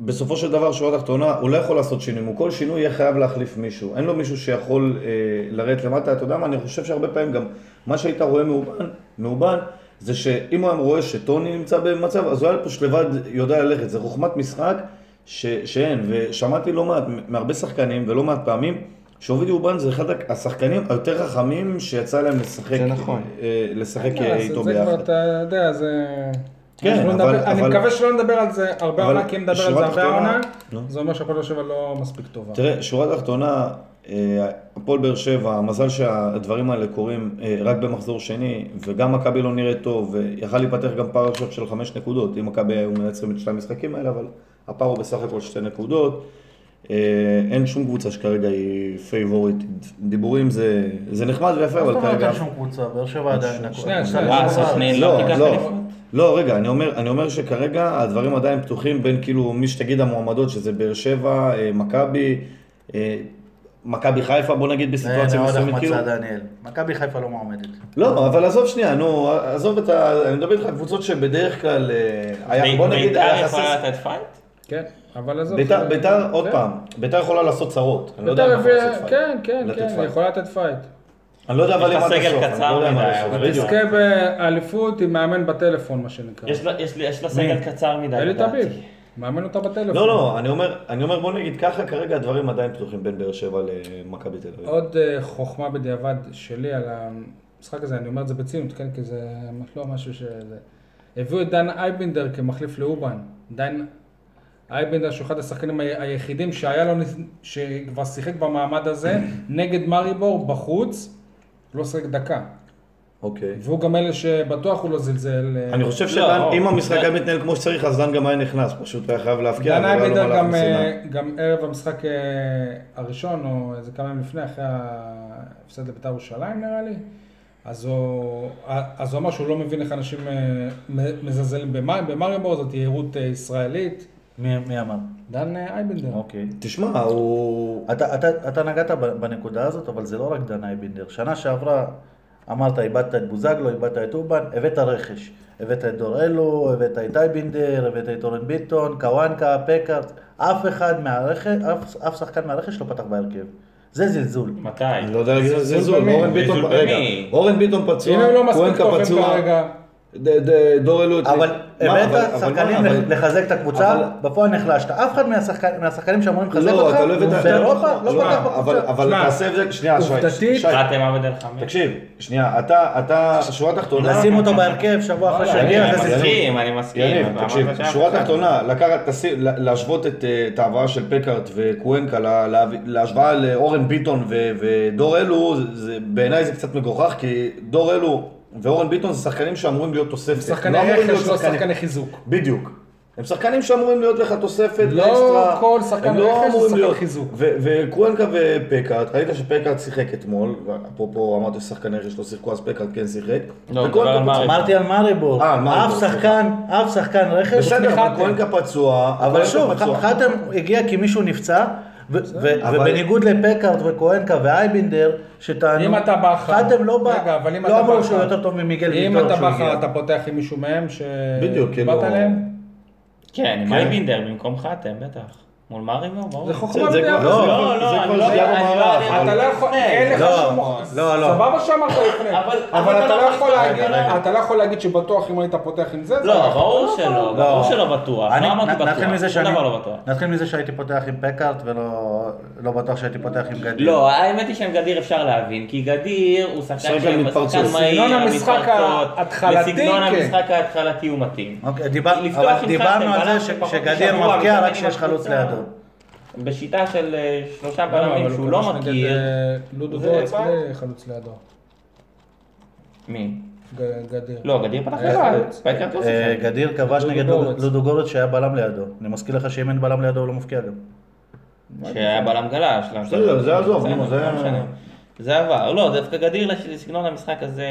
Speaker 3: בסופו של דבר, שורה תחתונה, הוא לא יכול לעשות שינויים, הוא כל שינוי יהיה חייב להחליף מישהו. אין לו מישהו שיכול אה, לרדת למטה, אתה יודע מה, אני חושב שהרבה פעמים גם מה שהיית רואה מאובן, מאובן, זה שאם הוא היה רואה שטוני נמצא במצב, אז הוא היה פשוט לבד יודע ללכת, זה חוכמת משחק ש, שאין, ושמעתי לא מעט, מהרבה שחקנים ולא מעט פעמים, שאוביד אובן זה אחד השחקנים היותר חכמים שיצא להם לשחק,
Speaker 7: זה נכון.
Speaker 3: אה, לשחק
Speaker 2: אה,
Speaker 3: אה,
Speaker 2: זה-
Speaker 3: איתו
Speaker 2: זה כבר,
Speaker 3: ביחד.
Speaker 2: אתה יודע, זה...
Speaker 3: כן,
Speaker 2: אנחנו
Speaker 3: אבל-
Speaker 2: נדבר- אני
Speaker 3: אבל-
Speaker 2: מקווה שלא נדבר על זה הרבה
Speaker 3: אבל
Speaker 2: עונה, כי אם נדבר על
Speaker 3: שורה
Speaker 2: זה הרבה
Speaker 3: תחתונה-
Speaker 2: עונה,
Speaker 3: נו. כן.
Speaker 2: זה אומר שהפועל באר שבע לא מספיק טובה.
Speaker 3: תראה, שורה תחתונה, אה, הפועל באר שבע, מזל שהדברים האלה קורים אה, רק במחזור שני, וגם מכבי לא נראית טוב, ויכל להיפתח גם פער עכשיו של חמש נקודות, אם מכבי היו מנצחים את שני המשחקים האלה, אבל הפער הוא בסך הכל שתי נקודות. אה, אין שום קבוצה שכרגע היא פייבוריט, דיבורים זה, זה נחמד ויפה,
Speaker 6: זאת
Speaker 3: אבל
Speaker 6: אומרת,
Speaker 3: כרגע...
Speaker 6: אין שום קבוצה, באר שבע עדיין... הכל.
Speaker 2: שנייה, שנייה.
Speaker 4: מה, סכנין לא תיקח
Speaker 3: לא,
Speaker 4: אליפות?
Speaker 3: לא, רגע, אני אומר, אני אומר שכרגע הדברים עדיין פתוחים בין כאילו מי שתגיד המועמדות, שזה באר שבע, אה, מכבי, אה, מכבי חיפה, בוא נגיד
Speaker 6: הנה
Speaker 3: בסיטואציה
Speaker 6: עוד
Speaker 3: מסוימת, כאילו.
Speaker 6: החמצה דניאל. מכבי חיפה לא מועמדת.
Speaker 3: לא, אבל עזוב שנייה, נו, עזוב את ה... אני מדבר איתך על קבוצות שבדרך כלל, אה, היה, בוא נגיד,
Speaker 4: בית"ר
Speaker 3: היחסי...
Speaker 4: יכולה לתת פייט?
Speaker 2: כן, אבל עזוב.
Speaker 3: ביתר,
Speaker 2: זה-
Speaker 3: ביתר, עוד
Speaker 2: כן.
Speaker 3: פעם, ביתר יכולה לעשות צרות. אני לא יודע
Speaker 2: ביתר
Speaker 3: אם אנחנו
Speaker 2: הביאה-
Speaker 3: נעשה פייט.
Speaker 2: כן, כן,
Speaker 3: לתת
Speaker 2: כן, היא
Speaker 3: פייט.
Speaker 2: יכולה לתת פייט.
Speaker 3: אני לא יודע אבל
Speaker 4: יש
Speaker 3: אם
Speaker 4: לה
Speaker 3: עד
Speaker 4: סגל
Speaker 3: הסוף, אני
Speaker 4: קצר
Speaker 3: לא יודע אם
Speaker 4: מדי,
Speaker 3: עד הסוף,
Speaker 4: אבל
Speaker 3: בדיוק.
Speaker 2: תזכה באליפות עם מאמן בטלפון, מה שנקרא.
Speaker 4: יש לה- יש לה- יש לה סגל קצר מדי.
Speaker 2: אלי
Speaker 4: לדעתי.
Speaker 2: תביב, מאמן אותה בטלפון.
Speaker 3: לא, לא, אני אומר, אני אומר, בוא נגיד ככה, כרגע הדברים עדיין פתוחים בין באר שבע למכבי תל אביב.
Speaker 2: עוד אה, חוכמה בדיעבד שלי על המשחק הזה, אני אומר את זה בציניות, כן, כי זה לא משהו ש... זה- הביאו את דן אייבנדר כמחליף לאובן. דן אייבנדר שהוא אחד השחקנים ה- היחידים שהיה לו, ניס- שכבר שיחק במעמד הזה, נגד מריבור בחוץ, לא שיחק דקה.
Speaker 3: אוקיי.
Speaker 2: והוא גם אלה שבטוח הוא לא זלזל. אה,
Speaker 3: אני חושב
Speaker 4: לא,
Speaker 3: שדן,
Speaker 4: לא.
Speaker 3: אם המשחק היה מתנהל כמו שצריך, אז דן גם היה נכנס, פשוט היה חייב להבקיע,
Speaker 2: דן
Speaker 3: כן, אבל לא היה לו
Speaker 2: אייבדר
Speaker 3: מהלך
Speaker 2: גם, אה,
Speaker 3: מסיני.
Speaker 2: גם ערב המשחק אה, הראשון, או איזה כמה ימים לפני, אחרי ההפסד לבית"ר ירושלים נראה לי, אז הוא, אז הוא אמר שהוא לא מבין איך אנשים אה, מ- מזלזלים במים, במריבור, זאת יהירות אה, ישראלית.
Speaker 6: מי מי אמר?
Speaker 2: דן אה, אייבנדר.
Speaker 6: אוקיי.
Speaker 3: תשמע, הוא...
Speaker 6: אתה, אתה, אתה נגעת ב- בנקודה הזאת, אבל זה לא רק דנאי בינדר. שנה שעברה אמרת, איבדת את בוזגלו, איבדת את אובן, הבאת רכש. הבאת את דור אלו, הבאת את אייבינדר, הבאת את אורן ביטון, קוואנקה, פקארט. אף אחד מהרכש, אף, אף שחקן מהרכש לא פתח בהרכב. זה זלזול.
Speaker 4: מתי?
Speaker 3: אני לא יודע להגיד על זה
Speaker 2: זלזול
Speaker 3: זול,
Speaker 2: במי?
Speaker 3: אורן ביטון,
Speaker 4: זלזול
Speaker 3: רגע,
Speaker 4: במי?
Speaker 3: אורן ביטון פצוע,
Speaker 2: אם הם לא מספיק
Speaker 3: קוונקה
Speaker 2: טובים
Speaker 3: פצוע,
Speaker 2: כרגע,
Speaker 3: ד- ד- דור אלו...
Speaker 6: אבל
Speaker 3: מה,
Speaker 6: הבאת
Speaker 3: אבל-
Speaker 6: שחקנים
Speaker 3: אבל מה, אבל-
Speaker 6: לחזק את
Speaker 3: אבל-
Speaker 6: הקבוצה, בפועל נחלשת. אף אחד מהשחק- מהשחקנים שאמורים לחזק
Speaker 3: לא,
Speaker 6: אותך,
Speaker 3: אתה לא הבאת...
Speaker 6: באירופה לא
Speaker 3: שמע,
Speaker 6: פתח
Speaker 3: אבל-
Speaker 6: בקבוצה.
Speaker 3: אבל
Speaker 2: שמע,
Speaker 3: תעשה הבדל, שנייה, שי,
Speaker 2: עובדתית-
Speaker 3: שי,
Speaker 4: חתם עבד אל חמיד.
Speaker 3: תקשיב, שנייה, אתה, אתה, שורה תחתונה...
Speaker 6: לשים אותו בהרכב שבוע אחרי
Speaker 3: אני-
Speaker 6: שיגיע,
Speaker 4: כן. אני
Speaker 6: זה
Speaker 3: אני-
Speaker 6: זלזול.
Speaker 4: מסכים, אני מסכים.
Speaker 3: יניב,
Speaker 4: אבל אמרת
Speaker 3: תקשיב,
Speaker 4: שאף
Speaker 3: שורה
Speaker 2: לא-
Speaker 4: אחד-
Speaker 3: תחתונה, לקחת, תשים- לה- להשוות את אה, את ההבאה של פקארט וקוונקה, לה- לה- להשוואה לאורן ביטון ו- ודור אלו, זה- זה- בעיניי זה קצת מגוחך, כי דור אלו ואורן ביטון זה שחקנים שאמורים להיות תוספת.
Speaker 2: שחקני
Speaker 3: לא אמורים
Speaker 2: רכש,
Speaker 3: להיות
Speaker 2: לא
Speaker 3: שחקנים-
Speaker 2: שחקני חיזוק.
Speaker 3: בדיוק. הם שחקנים שאמורים להיות לך תוספת
Speaker 2: לא
Speaker 3: אקסטרה.
Speaker 2: כל שחקן
Speaker 3: הם לא
Speaker 2: רכש זה
Speaker 3: אמורים
Speaker 2: שחקן
Speaker 3: להיות.
Speaker 2: חיזוק.
Speaker 3: ו- וקוונקה ופקארט, ראית שפקארט שיחק אתמול, אפרופו אמרת ששחקני רכש לא שיחקו, אז פקארט כן שיחק.
Speaker 4: לא, הוא
Speaker 3: וקוונקה
Speaker 4: מדבר על מארי.
Speaker 6: אמרתי על מאריבור,
Speaker 3: אה, על מאריבור,
Speaker 6: אף שחקן, אף שחקן רכש,
Speaker 3: בסדר,
Speaker 2: חתם.
Speaker 3: אבל קוונקה פצוע,
Speaker 6: אבל
Speaker 3: קוונקה
Speaker 6: שוב,
Speaker 3: פצוע.
Speaker 6: ח- חתם הגיע כי מישהו נפצע, ו- ו-
Speaker 3: אבל-
Speaker 6: ובניגוד לפקארט וקוהנקה ואייבינדר, שטענו,
Speaker 2: אם אתה בכר,
Speaker 6: חתם לא
Speaker 2: רגע,
Speaker 6: בא,
Speaker 2: אבל אם
Speaker 6: לא
Speaker 2: אתה
Speaker 6: אמרו
Speaker 2: בכר-
Speaker 6: שהוא יותר טוב ממיגל
Speaker 2: אם
Speaker 6: ויטור
Speaker 2: אתה
Speaker 6: שהוא הגיע.
Speaker 2: בכר, אתה פותח עם מישהו מהם
Speaker 3: בדיוק, כאילו-
Speaker 2: שדיברת עליהם?
Speaker 4: כן, עם אייבינדר במקום חתם, בטח. מול מארימו, ברור.
Speaker 2: זה חוכמה
Speaker 3: זה
Speaker 2: בדיעבד.
Speaker 3: כבר- לא,
Speaker 4: לא,
Speaker 3: זה
Speaker 4: לא,
Speaker 3: כבר
Speaker 4: אני לא
Speaker 3: שגיאה
Speaker 4: יודע, אני לא
Speaker 3: במערך,
Speaker 4: יודע.
Speaker 3: אבל-
Speaker 2: אתה לא יכול, אין לך
Speaker 6: לא,
Speaker 2: שום מוכ-
Speaker 6: לא, לא.
Speaker 2: סבבה שאמרת לפני,
Speaker 4: אבל-
Speaker 2: אבל
Speaker 4: אבל
Speaker 2: אתה לא
Speaker 4: אנחנו-
Speaker 2: יכול להגיד,
Speaker 4: רגע.
Speaker 2: אתה לא יכול להגיד שבטוח אם היית פותח עם זה, זה
Speaker 4: לא,
Speaker 2: נכון.
Speaker 4: ברור שלא, ברור שלא בטוח.
Speaker 6: אני-
Speaker 4: לא אמרתי
Speaker 6: נ- נתחיל מזה
Speaker 4: בטוח, שום
Speaker 6: שאני-
Speaker 4: דבר לא בטוח.
Speaker 6: נתחיל מזה שהייתי פותח עם פקארט ולא לא בטוח שהייתי פותח עם גדיר.
Speaker 4: לא, האמת היא שעם גדיר אפשר להבין, כי גדיר הוא
Speaker 3: שחקן
Speaker 4: שחקן שהוא
Speaker 3: מתפרצות.
Speaker 4: שחקן מהיר,
Speaker 2: סגנון המשחק
Speaker 4: המתפרצות,
Speaker 2: ההתחלתי,
Speaker 4: וסגנון
Speaker 2: כן.
Speaker 4: המשחק ההתחלתי הוא מתאים.
Speaker 6: אוקיי, דיבר-
Speaker 4: לפתוח עם
Speaker 6: אבל
Speaker 4: חתם,
Speaker 6: דיברנו על
Speaker 4: בלם
Speaker 6: זה ש-
Speaker 4: שפחות
Speaker 6: שגדיר
Speaker 4: משבוע,
Speaker 6: מבקיע
Speaker 4: מתאמן
Speaker 6: רק
Speaker 4: עם
Speaker 6: כשיש חלוץ
Speaker 4: הקבוצה.
Speaker 6: לידו.
Speaker 4: בשיטה של אה, שלושה
Speaker 2: למה, אבל
Speaker 4: בלמים
Speaker 2: הוא
Speaker 4: שהוא לא
Speaker 2: כבש נגד,
Speaker 4: מכיר.
Speaker 2: אה, לודו
Speaker 4: זה
Speaker 2: דורץ,
Speaker 4: בעיה.
Speaker 2: בלי חלוץ לידו,
Speaker 4: מי?
Speaker 2: ג- גדיר.
Speaker 4: לא, גדיר פתח
Speaker 2: אה,
Speaker 4: לבד.
Speaker 2: אה,
Speaker 4: פקארט לא
Speaker 6: אה,
Speaker 4: שיחק.
Speaker 6: גדיר כבש
Speaker 2: לודו
Speaker 6: נגד
Speaker 2: גורץ.
Speaker 6: לודו גורץ שהיה בלם לידו. אני מזכיר לך שאם אין בלם לידו הוא לא מובקיע גם.
Speaker 4: שהיה בלם גלש. לא משנה.
Speaker 3: בסדר, זה עזוב, נו,
Speaker 4: בסדר,
Speaker 3: זה-
Speaker 4: לא משנה. זה עבר. לא, דווקא גדיר לש- לסגנון המשחק הזה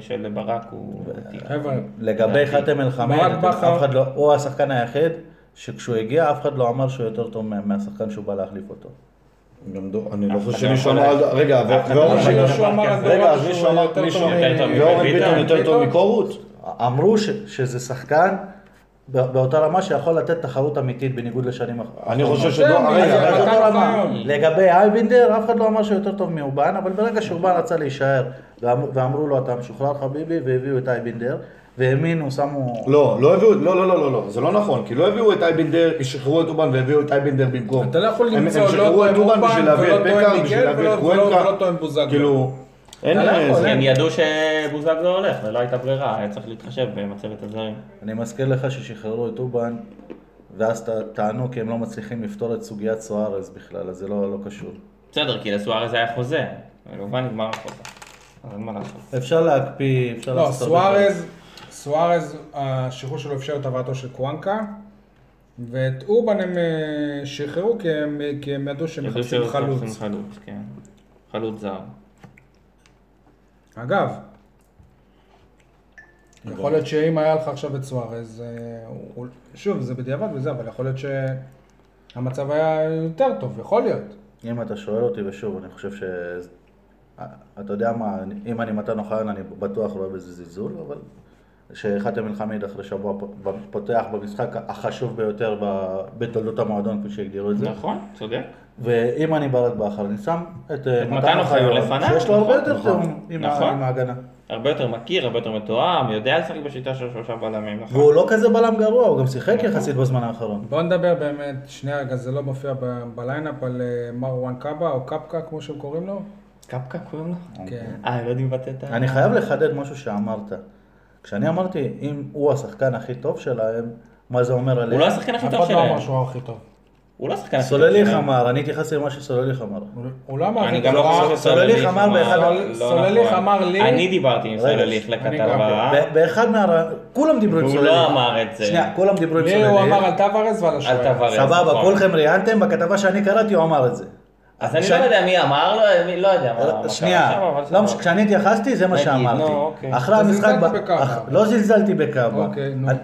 Speaker 4: של ברק הוא...
Speaker 2: חבר'ה,
Speaker 6: לגבי חתם אל חמיד,
Speaker 2: ברק
Speaker 6: אתם-
Speaker 2: בכר.
Speaker 6: אף אחד לא, הוא השחקן היחיד שכשהוא הגיע אף אחד לא אמר שהוא יותר טוב מה- מהשחקן שהוא בא להחליף אותו.
Speaker 3: גם דור, אני לא חושב
Speaker 4: לא
Speaker 3: שמישהו
Speaker 4: יכול
Speaker 3: אמר על... רגע, ו-
Speaker 4: אף אחד לא
Speaker 3: ואורן
Speaker 4: יכול
Speaker 3: ביטון...
Speaker 4: להגיד דבר
Speaker 2: אמר על
Speaker 4: כזה.
Speaker 2: דור
Speaker 3: רגע,
Speaker 2: אלו
Speaker 3: אז
Speaker 2: שהוא
Speaker 3: מישהו אמר...
Speaker 2: יותר
Speaker 3: מישהו
Speaker 2: טוב
Speaker 3: אמר-
Speaker 4: יותר טוב
Speaker 3: ואורן
Speaker 4: מביטון?
Speaker 3: ביטון יותר טוב
Speaker 2: ביטון? כן,
Speaker 3: מקורות?
Speaker 6: אמרו ש, שזה שחקן ב- באותה רמה שיכול לתת תחרות אמיתית בניגוד לשנים אחרות.
Speaker 3: אני חושב
Speaker 2: תן
Speaker 3: שדור...
Speaker 2: לי, לא,
Speaker 3: רגע,
Speaker 2: זה לא
Speaker 3: רגע.
Speaker 2: מתן אוחיון.
Speaker 6: לגבי אייבינדר, אף אחד לא אמר שהוא יותר טוב מאובן, אבל ברגע שאובן רצה להישאר ואמ- ואמרו לו אתה משוחרר חביבי והביאו את אייבינדר, והאמינו, שמו...
Speaker 3: לא, לא הביאו, לא, לא, לא, לא, לא, זה לא נכון, כי לא הביאו את אייבינדר, שחררו את אובן והביאו את אייבינדר במקום.
Speaker 2: אתה לא יכול
Speaker 3: הם-
Speaker 2: למצוא
Speaker 3: הם
Speaker 2: לא
Speaker 3: שחררו את
Speaker 2: טועם
Speaker 3: אובן
Speaker 2: אובן
Speaker 3: בשביל להביא את
Speaker 2: ולא טועם
Speaker 3: בקאם, בשביל
Speaker 2: מיגל
Speaker 3: להביא את
Speaker 2: ולא- ולא-
Speaker 3: קוונקה.
Speaker 2: ולא טועם בוזגלו.
Speaker 3: כאילו, אין...
Speaker 4: אתה לא
Speaker 3: אה,
Speaker 4: יכול,
Speaker 3: זה-
Speaker 4: הם ידעו שבוזגלו הולך, ולא הייתה ברירה, היה צריך להתחשב במצבת הזרים.
Speaker 6: אני מזכיר לך ששחררו את אובן, ואז ט- טענו כי הם לא מצליחים לפתור את סוגיית סוארז בכלל, אז זה לא, לא קשור.
Speaker 4: בסדר, כי לסוארז היה חוזה, ולובן נגמר החוזה. אז אין מה לעשות.
Speaker 6: אפשר להקפיא, אפשר
Speaker 2: לא,
Speaker 6: לעשות... הרבה דברים.
Speaker 2: סוארז, סוארז, השחרור שלו אפשר את הבאתו של קוואנקה, ואת אובן הם אה, שחררו כי הם- כי הם ידעו שהם
Speaker 4: ידעו
Speaker 2: מחפשים
Speaker 4: שהם
Speaker 2: חלוץ.
Speaker 4: מחפשים חלוץ, כן. חלוץ זר.
Speaker 2: אגב, יכול להיות שאם היה לך עכשיו את סוארז, אה, הוא- הוא- שוב, זה בדיעבד וזה, אבל יכול להיות שהמצב היה יותר טוב, יכול להיות.
Speaker 6: אם אתה שואל אותי, ושוב, אני חושב ש... אתה יודע מה, אם אני מתן אוחיון, אני בטוח רואה בזה זלזול, אבל שחתם אל-חמיד אחרי שבוע פ- פותח במשחק החשוב ביותר ב- בתולדות המועדון, כפי שהגדירו את זה.
Speaker 4: נכון, צודק.
Speaker 6: ואם אני ברק בכר, אני שם את אה,
Speaker 4: את מתן אוחיון לפניו,
Speaker 6: שיש לו הרבה
Speaker 4: נכון,
Speaker 6: יותר תיאום עם ה-
Speaker 4: נכון.
Speaker 6: עם ההגנה.
Speaker 4: הרבה יותר מכיר, הרבה יותר מתואם, יודע לשחק בשיטה של שלושה בלמים, נכון.
Speaker 6: והוא לא כזה בלם גרוע, הוא גם שיחק יחסית בזמן האחרון.
Speaker 2: בוא נדבר באמת, שנייה רגע, זה לא מופיע ב- בליינאפ על אה, מרואן קאבה או קפקא כמו שהם קוראים לו?
Speaker 4: קפקא קוראים לו?
Speaker 2: כן.
Speaker 4: אה, הם לא יודעים לבטא את ה...
Speaker 6: אני חייב לחדד משהו שאמרת. כשאני אמרתי, אם הוא השחקן הכי טוב שלהם, מה זה אומר עליהם?
Speaker 4: הוא לא השחקן הכי
Speaker 2: אף
Speaker 4: טוב
Speaker 2: אחד לא
Speaker 4: שלהם.
Speaker 2: אמר שהוא הכי טוב.
Speaker 4: הוא לא השחקן הכי טוב
Speaker 6: סולליך
Speaker 4: שלהם.
Speaker 6: אמר, אני התייחסתי למה שסולליך אמר.
Speaker 2: הוא- הוא לא אמר
Speaker 4: אני
Speaker 2: הכי
Speaker 4: גם לא
Speaker 2: טוב.
Speaker 4: חושב
Speaker 6: סולליך אמר באחד-
Speaker 4: לא
Speaker 2: סולליך
Speaker 4: נכון.
Speaker 2: אמר לי-
Speaker 4: אני דיברתי עם
Speaker 6: רגע,
Speaker 4: סולליך
Speaker 2: אני
Speaker 4: לכתבה.
Speaker 6: ב- באחד מה... כולם דיברו עם
Speaker 4: אה? והוא
Speaker 6: סולליך.
Speaker 4: לא אמר את זה.
Speaker 6: שנייה, כולם דיברו עם
Speaker 2: לי הוא אמר
Speaker 6: סולליך.
Speaker 2: על טווארז ועל
Speaker 4: על
Speaker 2: השוער.
Speaker 4: תברס.
Speaker 6: סבבה, כולכם ראיינתם, בכתבה שאני קראתי הוא אמר את זה.
Speaker 4: אז אני לא יודע מי אמר לו, מי- לא יודע מה- מה קרה שם,
Speaker 6: אה, שנייה,
Speaker 4: אבל
Speaker 6: לא,
Speaker 4: סבבה.
Speaker 6: כשאני התייחסתי זה מה
Speaker 4: נגיד,
Speaker 6: שאמרתי.
Speaker 4: נו, אוקיי.
Speaker 6: אחרי
Speaker 2: אתה
Speaker 6: המשחק...
Speaker 2: לא זלזלת
Speaker 6: ב-
Speaker 2: בקאבה.
Speaker 6: אח- לא זלזלתי בקאבה.
Speaker 2: אוקיי, נו.
Speaker 6: אני-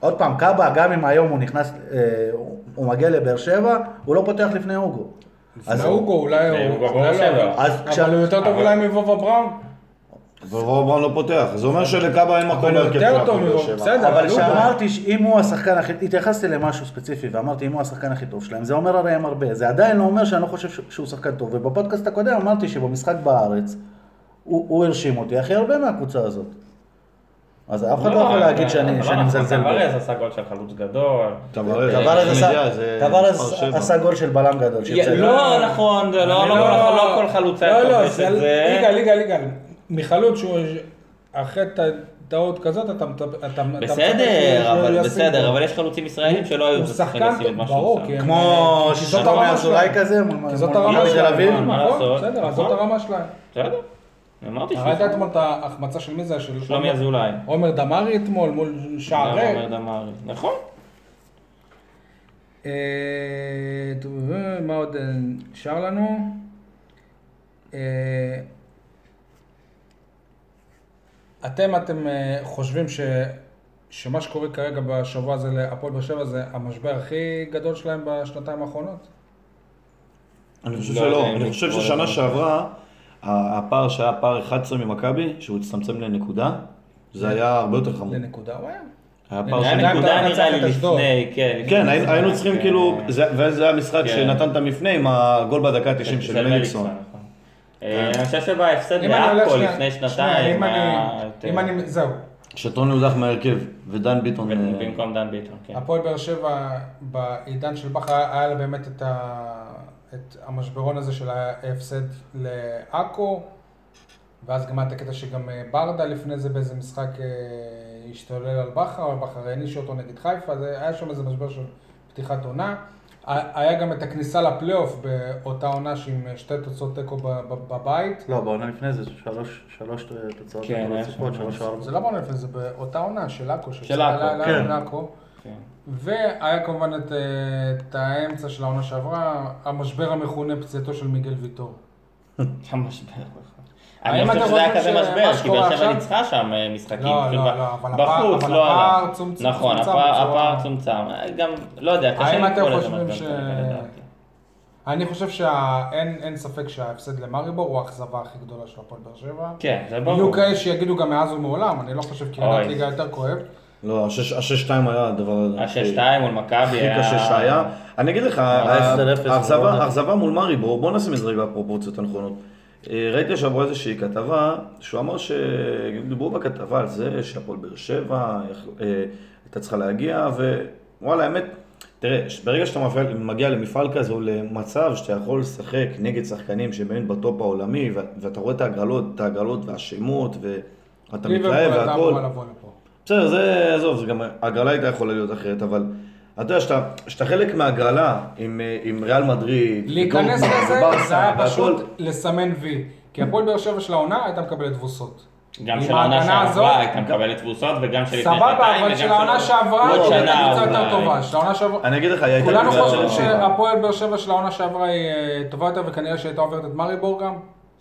Speaker 6: עוד פעם, קאבה, גם אם היום הוא נכנס, אה, הוא- הוא מגיע לבאר שבע, הוא לא פותח לפני אוגו.
Speaker 2: אז
Speaker 6: אז-
Speaker 2: אוגו אולי
Speaker 4: זה
Speaker 2: הוא... אולי
Speaker 4: הוא בבאר
Speaker 2: לא.
Speaker 4: שבע.
Speaker 6: אז
Speaker 2: אבל
Speaker 6: כשאני-
Speaker 2: הוא יותר טוב
Speaker 4: אבל-
Speaker 2: אולי מבובה בראון?
Speaker 3: ורוב ברון לא פותח, זה אומר שלקאבה אין מקום
Speaker 2: אבל הוא
Speaker 3: בהרכב של
Speaker 2: יותר טוב
Speaker 3: הפועל באר
Speaker 2: מבובה.
Speaker 3: שבע.
Speaker 2: בסדר,
Speaker 6: אבל
Speaker 2: הוא-
Speaker 6: כשאמרתי שאם הוא השחקן הכי, התייחסתי למשהו ספציפי ואמרתי אם הוא השחקן הכי טוב שלהם, זה אומר הרי הם הרבה, זה עדיין לא אומר שאני לא חושב ש- שהוא שחקן טוב, ובפודקאסט הקודם אמרתי שבמשחק בארץ, הוא הוא הרשים אותי הכי הרבה מהקבוצה הזאת. אז אף אחד לא יכול להגיד
Speaker 4: אבל-
Speaker 6: שאני
Speaker 4: אבל
Speaker 6: שאני
Speaker 4: לא,
Speaker 6: מזלזל בו.
Speaker 4: טווארז עשה גול של חלוץ גדול.
Speaker 3: טווארז,
Speaker 4: אה,
Speaker 3: טווארז
Speaker 6: טווארז
Speaker 3: יודע,
Speaker 6: עשה-
Speaker 3: זה
Speaker 6: טווארז
Speaker 3: מספר שבע.
Speaker 6: עשה גול של בלם גדול. שיוצא.
Speaker 2: אה,
Speaker 4: לא נכון, זה לא
Speaker 2: אני
Speaker 4: לא כל- לא כל חלוץ היה
Speaker 2: לא,
Speaker 4: טוב
Speaker 2: לא,
Speaker 4: יש
Speaker 2: זה...
Speaker 4: את
Speaker 2: יגאל,
Speaker 4: זה.
Speaker 2: יגאל, יגאל. מחלוץ שהוא... אחרי ט- טעות כזאת, אתה... מצפ- אתה- אתה מצפה
Speaker 4: בסדר,
Speaker 2: שהוא
Speaker 4: אבל
Speaker 2: ישים
Speaker 4: בסדר,
Speaker 2: גול.
Speaker 4: אבל יש חלוצים ישראלים שלא היו
Speaker 2: הוא
Speaker 4: צריכים
Speaker 2: שחקן,
Speaker 4: לשים את מה שהוא
Speaker 2: ברור, כן.
Speaker 4: שם.
Speaker 2: כי הם-
Speaker 6: כמו
Speaker 2: כי זאת
Speaker 6: ששלומי
Speaker 2: הרמה
Speaker 6: אזולאי
Speaker 2: שלהם.
Speaker 6: כזה, מול
Speaker 2: כי
Speaker 6: מול
Speaker 2: זאת הרמה
Speaker 6: מכבי תל
Speaker 2: שלהם.
Speaker 6: אביב.
Speaker 4: מה
Speaker 2: נכון,
Speaker 4: לעשות?
Speaker 2: בסדר, אז זאת
Speaker 4: נכון.
Speaker 2: הרמה שלהם.
Speaker 4: בסדר, אני אמרתי
Speaker 2: ראית
Speaker 4: שהוא
Speaker 2: אתמול את ההחמצה של מי זה? של
Speaker 4: שלומי אזולאי.
Speaker 2: עומר דמארי אתמול מול שער
Speaker 4: גם
Speaker 2: ריק.
Speaker 4: אומר דמארי. נכון.
Speaker 2: אה, טוב, אה, מה עוד אה, נשאר לנו? אה, אתם, אתם אה, חושבים ש... שמה שקורה כרגע בשבוע הזה להפועל באר שבע זה המשבר הכי גדול שלהם בשנתיים האחרונות?
Speaker 3: אני חושב
Speaker 4: לא,
Speaker 3: שלא,
Speaker 4: זה
Speaker 3: אני חושב
Speaker 4: לקרוא
Speaker 3: ששנה
Speaker 4: לזה.
Speaker 3: שעברה, ה- הפער שהיה פער 11 ממכבי, שהוא הצטמצם לנקודה, זה היה הרבה יותר חמור.
Speaker 2: לנקודה, וואי.
Speaker 3: היה פער של
Speaker 4: היה
Speaker 2: לא, שגם
Speaker 4: נקודה
Speaker 2: אתה
Speaker 4: נראה לי
Speaker 2: מנצח את אשדוד.
Speaker 4: לפני, כן. לפני
Speaker 3: כן, הי-
Speaker 4: זה,
Speaker 3: היינו צריכים
Speaker 4: כן.
Speaker 3: כאילו, זה- וזה היה משחק
Speaker 4: כן.
Speaker 3: שנתן את המפנה עם הגול בדקה ה-90 של מליקסון.
Speaker 4: נכון. אה, אני חושב שבהפסד
Speaker 2: כן. אם אני הולך
Speaker 4: לעכו
Speaker 2: שנייה-
Speaker 4: לפני
Speaker 2: שנייה,
Speaker 4: שנתיים אה,
Speaker 2: אם
Speaker 4: היה
Speaker 2: אני-
Speaker 4: יותר-
Speaker 2: אם אני, זהו,
Speaker 3: שטון הודח מהרכב, ודן ביטון... אה,
Speaker 4: במקום דן ביטון, כן.
Speaker 2: הפועל באר שבע בעידן של בכר היה היה לה באמת את, ה... את המשברון הזה של ההפסד לעכו, ואז גם היה את הקטע שגם אה, ברדה לפני זה באיזה משחק אה, השתולל על בכר, אבל בכר העניש אותו נגד חיפה, זה היה שם איזה משבר של פתיחת עונה. ה- היה גם את הכניסה לפלייאוף באותה עונה שעם אה, שתי תוצאות תיקו ב- ב- בבית.
Speaker 6: לא, בעונה לפני זה שלוש- שלוש אה, תוצאות
Speaker 4: כן, היה שם
Speaker 6: רצופות, שלוש או ארבע.
Speaker 2: זה לא בעונה לפני זה, באותה עונה של עכו.
Speaker 4: של עכו,
Speaker 6: כן.
Speaker 2: עכו.
Speaker 4: כן.
Speaker 2: והיה כמובן את, אה, את האמצע של העונה שעברה, המשבר המכונה פציעתו של מיגל ויטור.
Speaker 4: היה משבר.
Speaker 2: האם
Speaker 4: אני לא
Speaker 2: אתם
Speaker 4: חושב שזה היה
Speaker 2: חושבים
Speaker 4: כזה
Speaker 2: שמה
Speaker 4: משבר, כי
Speaker 2: שקורה
Speaker 4: באר שבע
Speaker 2: עכשיו-
Speaker 4: ניצחה שם אה, משחקים.
Speaker 2: לא,
Speaker 4: פשוט
Speaker 2: לא,
Speaker 4: ב-
Speaker 2: לא, אבל
Speaker 4: בחוץ,
Speaker 2: הפער-
Speaker 4: לא
Speaker 2: אבל
Speaker 4: עלה.
Speaker 2: הפער צומצם-
Speaker 4: נכון,
Speaker 2: צומצם
Speaker 4: הפער-
Speaker 2: בצורה-
Speaker 4: הפער צומצם. גם, לא יודע,
Speaker 2: האם
Speaker 4: קשה
Speaker 2: אתם
Speaker 4: לקרוא לזה
Speaker 2: חושבים
Speaker 4: משבר
Speaker 2: ש-
Speaker 4: כרגע, לדעתי.
Speaker 2: אני חושב שאין אין ספק שההפסד למריבור הוא האכזבה הכי גדולה של הפועל באר שבע.
Speaker 4: כן, זה
Speaker 2: יהיו
Speaker 4: ברור.
Speaker 2: כאלה שיגידו גם מאז ומעולם, אני לא חושב כי עונת
Speaker 4: אוי.
Speaker 2: ליגה יותר כואבת.
Speaker 3: לא, השש- השש-שתיים היה הדבר... הכי-
Speaker 4: ה-6-2 אה, מול מכבי אה,
Speaker 3: הכי
Speaker 4: היה...
Speaker 3: קשה שהיה. אני אגיד לך, ה-
Speaker 6: 14-0,
Speaker 3: האכזבה
Speaker 6: לא יודע.
Speaker 3: האכזבה מול מארי, בואו בוא נשים את זה רגע בפרופורציות הנכונות. אה, ראיתי השבוע איזושהי כתבה, שהוא אמר ש... דיברו בכתבה על זה שהפועל באר שבע יכ- אה, הייתה צריכה להגיע, ווואלה, האמת, תראה, ברגע שאתה מפעל- מגיע למפעל כזה, או למצב שאתה יכול לשחק נגד שחקנים שבאמת בטופ העולמי, ו- ואתה רואה את ההגרלות, את ההגרלות והשמות, ואתה מתלהב
Speaker 2: ליברפול הייתה
Speaker 3: והכל.
Speaker 2: אמורה לבוא לפה.
Speaker 3: בסדר, זה, עזוב, זה גם, הגרלה הייתה יכולה להיות אחרת, אבל אתה יודע, שאתה, שאתה חלק מהגרלה עם, אה, עם ריאל מדריד,
Speaker 2: להיכנס
Speaker 3: ודורטמונד,
Speaker 2: לזה,
Speaker 3: וברסה,
Speaker 2: זה היה
Speaker 3: והכל.
Speaker 2: פשוט לסמן וי. כי הפועל באר שבע של העונה הייתה מקבלת תבוסות.
Speaker 4: גם
Speaker 2: עם
Speaker 4: של העונה
Speaker 2: ההגנה
Speaker 4: שעברה
Speaker 2: הזאת-
Speaker 4: הייתה מקבלת תבוסות, וגם של לפני
Speaker 2: סבבה,
Speaker 4: שנתיים,
Speaker 2: אבל
Speaker 4: וגם
Speaker 2: של העונה שעברה,
Speaker 4: עוד
Speaker 2: היא הייתה
Speaker 4: שנה
Speaker 2: קבוצה יותר
Speaker 4: אולי.
Speaker 2: טובה. של העונה שעברה...
Speaker 3: אני אגיד לך, היא הייתה
Speaker 2: כולנו
Speaker 3: קבוצה
Speaker 2: חושבים
Speaker 3: של
Speaker 2: שהפועל באר שבע של העונה שעברה היא אה, טובה יותר, וכנראה שהייתה עוברת את מריבור גם.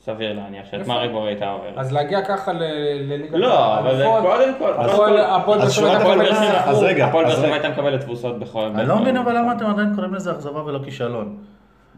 Speaker 4: סביר להניח שאת מריבור הייתה עוברת.
Speaker 2: אז להגיע ככה ל- לליגת
Speaker 4: לא, אבל זה
Speaker 2: האלופות,
Speaker 4: קודם כל,
Speaker 2: הפועל-
Speaker 4: קודם כל-
Speaker 2: הפועל באר
Speaker 3: אז
Speaker 2: שבע הייתה
Speaker 3: שורת
Speaker 4: הפועל
Speaker 2: מקבלת
Speaker 4: באר שבע-
Speaker 3: אז רגע,
Speaker 4: הפועל באר
Speaker 3: אז
Speaker 4: שבע
Speaker 3: רגע.
Speaker 4: הייתה מקבלת תבוסות בכל...
Speaker 6: אני לא מבין אבל למה אתם עדיין קוראים לזה אכזבה ולא כישלון.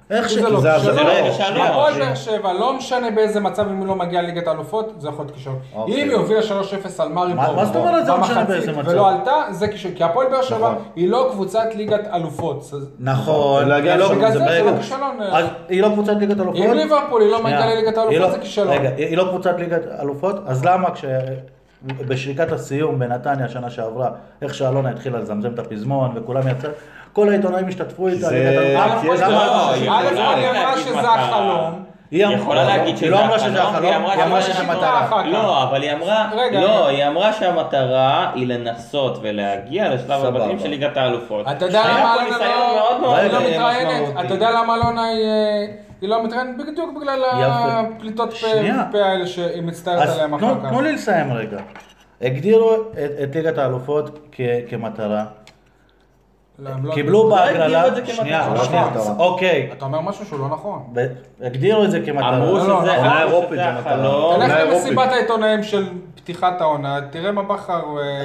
Speaker 6: איך
Speaker 2: זה לא
Speaker 6: שכאילו...
Speaker 3: זה- זה
Speaker 2: כישלון.
Speaker 3: לא-
Speaker 4: כישלון.
Speaker 2: הפועל באר שבע, לא משנה באיזה מצב, אם היא לא מגיעה לליגת האלופות, זה יכול להיות כישלון.
Speaker 3: אוקיי.
Speaker 2: אם היא הובילה 3-0 על מריבור,
Speaker 6: מה- מה זאת אומרת זה לא משנה
Speaker 2: במחצית
Speaker 6: באיזה מצב?
Speaker 2: ולא עלתה, זה כישלון. כי הפועל באר שבע
Speaker 3: נכון.
Speaker 2: היא לא קבוצת ליגת אלופות. זה-
Speaker 6: נכון.
Speaker 3: להגיע
Speaker 6: נכון.
Speaker 3: לא,
Speaker 2: בגלל זה
Speaker 3: זה
Speaker 2: זה לא
Speaker 3: בעיה.
Speaker 2: כישלון. אה,
Speaker 6: אז היא לא קבוצת ליגת אלופות?
Speaker 2: אם ליברפול היא לא מגיעה
Speaker 6: שנייה.
Speaker 2: לליגת
Speaker 6: היא
Speaker 2: האלופות,
Speaker 6: לא-
Speaker 2: זה כישלון.
Speaker 6: רגע, היא היא לא קבוצת ליגת אלופות, אז למה כש... בשריקת הסיום בנתניה שנה שעברה, איך שאלונה התחילה לזמזם את הפזמון וכולם יצא, כל העיתונאים השתתפו איתה.
Speaker 3: זה-
Speaker 6: ליגת אלופות.
Speaker 2: א',
Speaker 3: כי יש
Speaker 2: א',
Speaker 6: למה-
Speaker 4: לא, היא יכולה
Speaker 2: א', היא אמרה
Speaker 4: להגיד
Speaker 2: שזה
Speaker 4: מטרה.
Speaker 2: החלום.
Speaker 6: היא
Speaker 4: היא
Speaker 6: אמרה-
Speaker 4: יכולה להגיד
Speaker 6: היא
Speaker 4: שזה
Speaker 6: לא אמרה שזה החלום, היא אמרה
Speaker 2: שזה
Speaker 6: שזה
Speaker 2: מטרה.
Speaker 6: מטרה.
Speaker 2: אחר כך.
Speaker 4: לא, אבל היא אמרה,
Speaker 2: רגע,
Speaker 4: לא,
Speaker 2: רגע.
Speaker 4: היא אמרה שהמטרה היא לנסות ולהגיע לשלב
Speaker 6: סבבה.
Speaker 4: הבתים של ליגת האלופות.
Speaker 2: אתה יודע
Speaker 4: היה
Speaker 2: למה
Speaker 4: פה
Speaker 2: אלונה
Speaker 4: ניסיון
Speaker 2: לא-
Speaker 4: מאוד מאוד
Speaker 2: היא לא
Speaker 4: אה,
Speaker 2: מתראיינת?
Speaker 4: משמעותי.
Speaker 2: אתה יודע למה אלונה היא... אה, היא לא מתראיינת בדיוק בגלל
Speaker 6: יפה.
Speaker 2: הפליטות פה-
Speaker 6: שנייה.
Speaker 2: פה האלה שהיא מצטערת
Speaker 6: אז
Speaker 2: עליהם
Speaker 6: תנו-
Speaker 2: אחר כך.
Speaker 6: תנו לי לסיים רגע. הגדירו את- את ליגת האלופות כ- כמטרה,
Speaker 2: לא, הם לא-
Speaker 6: קיבלו
Speaker 4: לא הגדירו
Speaker 6: בהגרלה,
Speaker 4: את זה כמטרה.
Speaker 6: שנייה,
Speaker 3: לא
Speaker 6: שנייה,
Speaker 3: כמטרה.
Speaker 6: אוקיי,
Speaker 2: אתה אומר משהו שהוא לא נכון.
Speaker 6: ב- הגדירו את זה כמטרה.
Speaker 4: אמרו
Speaker 2: לא, לא,
Speaker 4: שזה
Speaker 2: עונה
Speaker 4: אמרו
Speaker 3: אירופית
Speaker 4: שזה
Speaker 3: זה מטרה.
Speaker 4: החלום.
Speaker 2: תלך
Speaker 3: אולי
Speaker 2: למסיבת העיתונאים של פתיחת העונה, תראה מה בכר...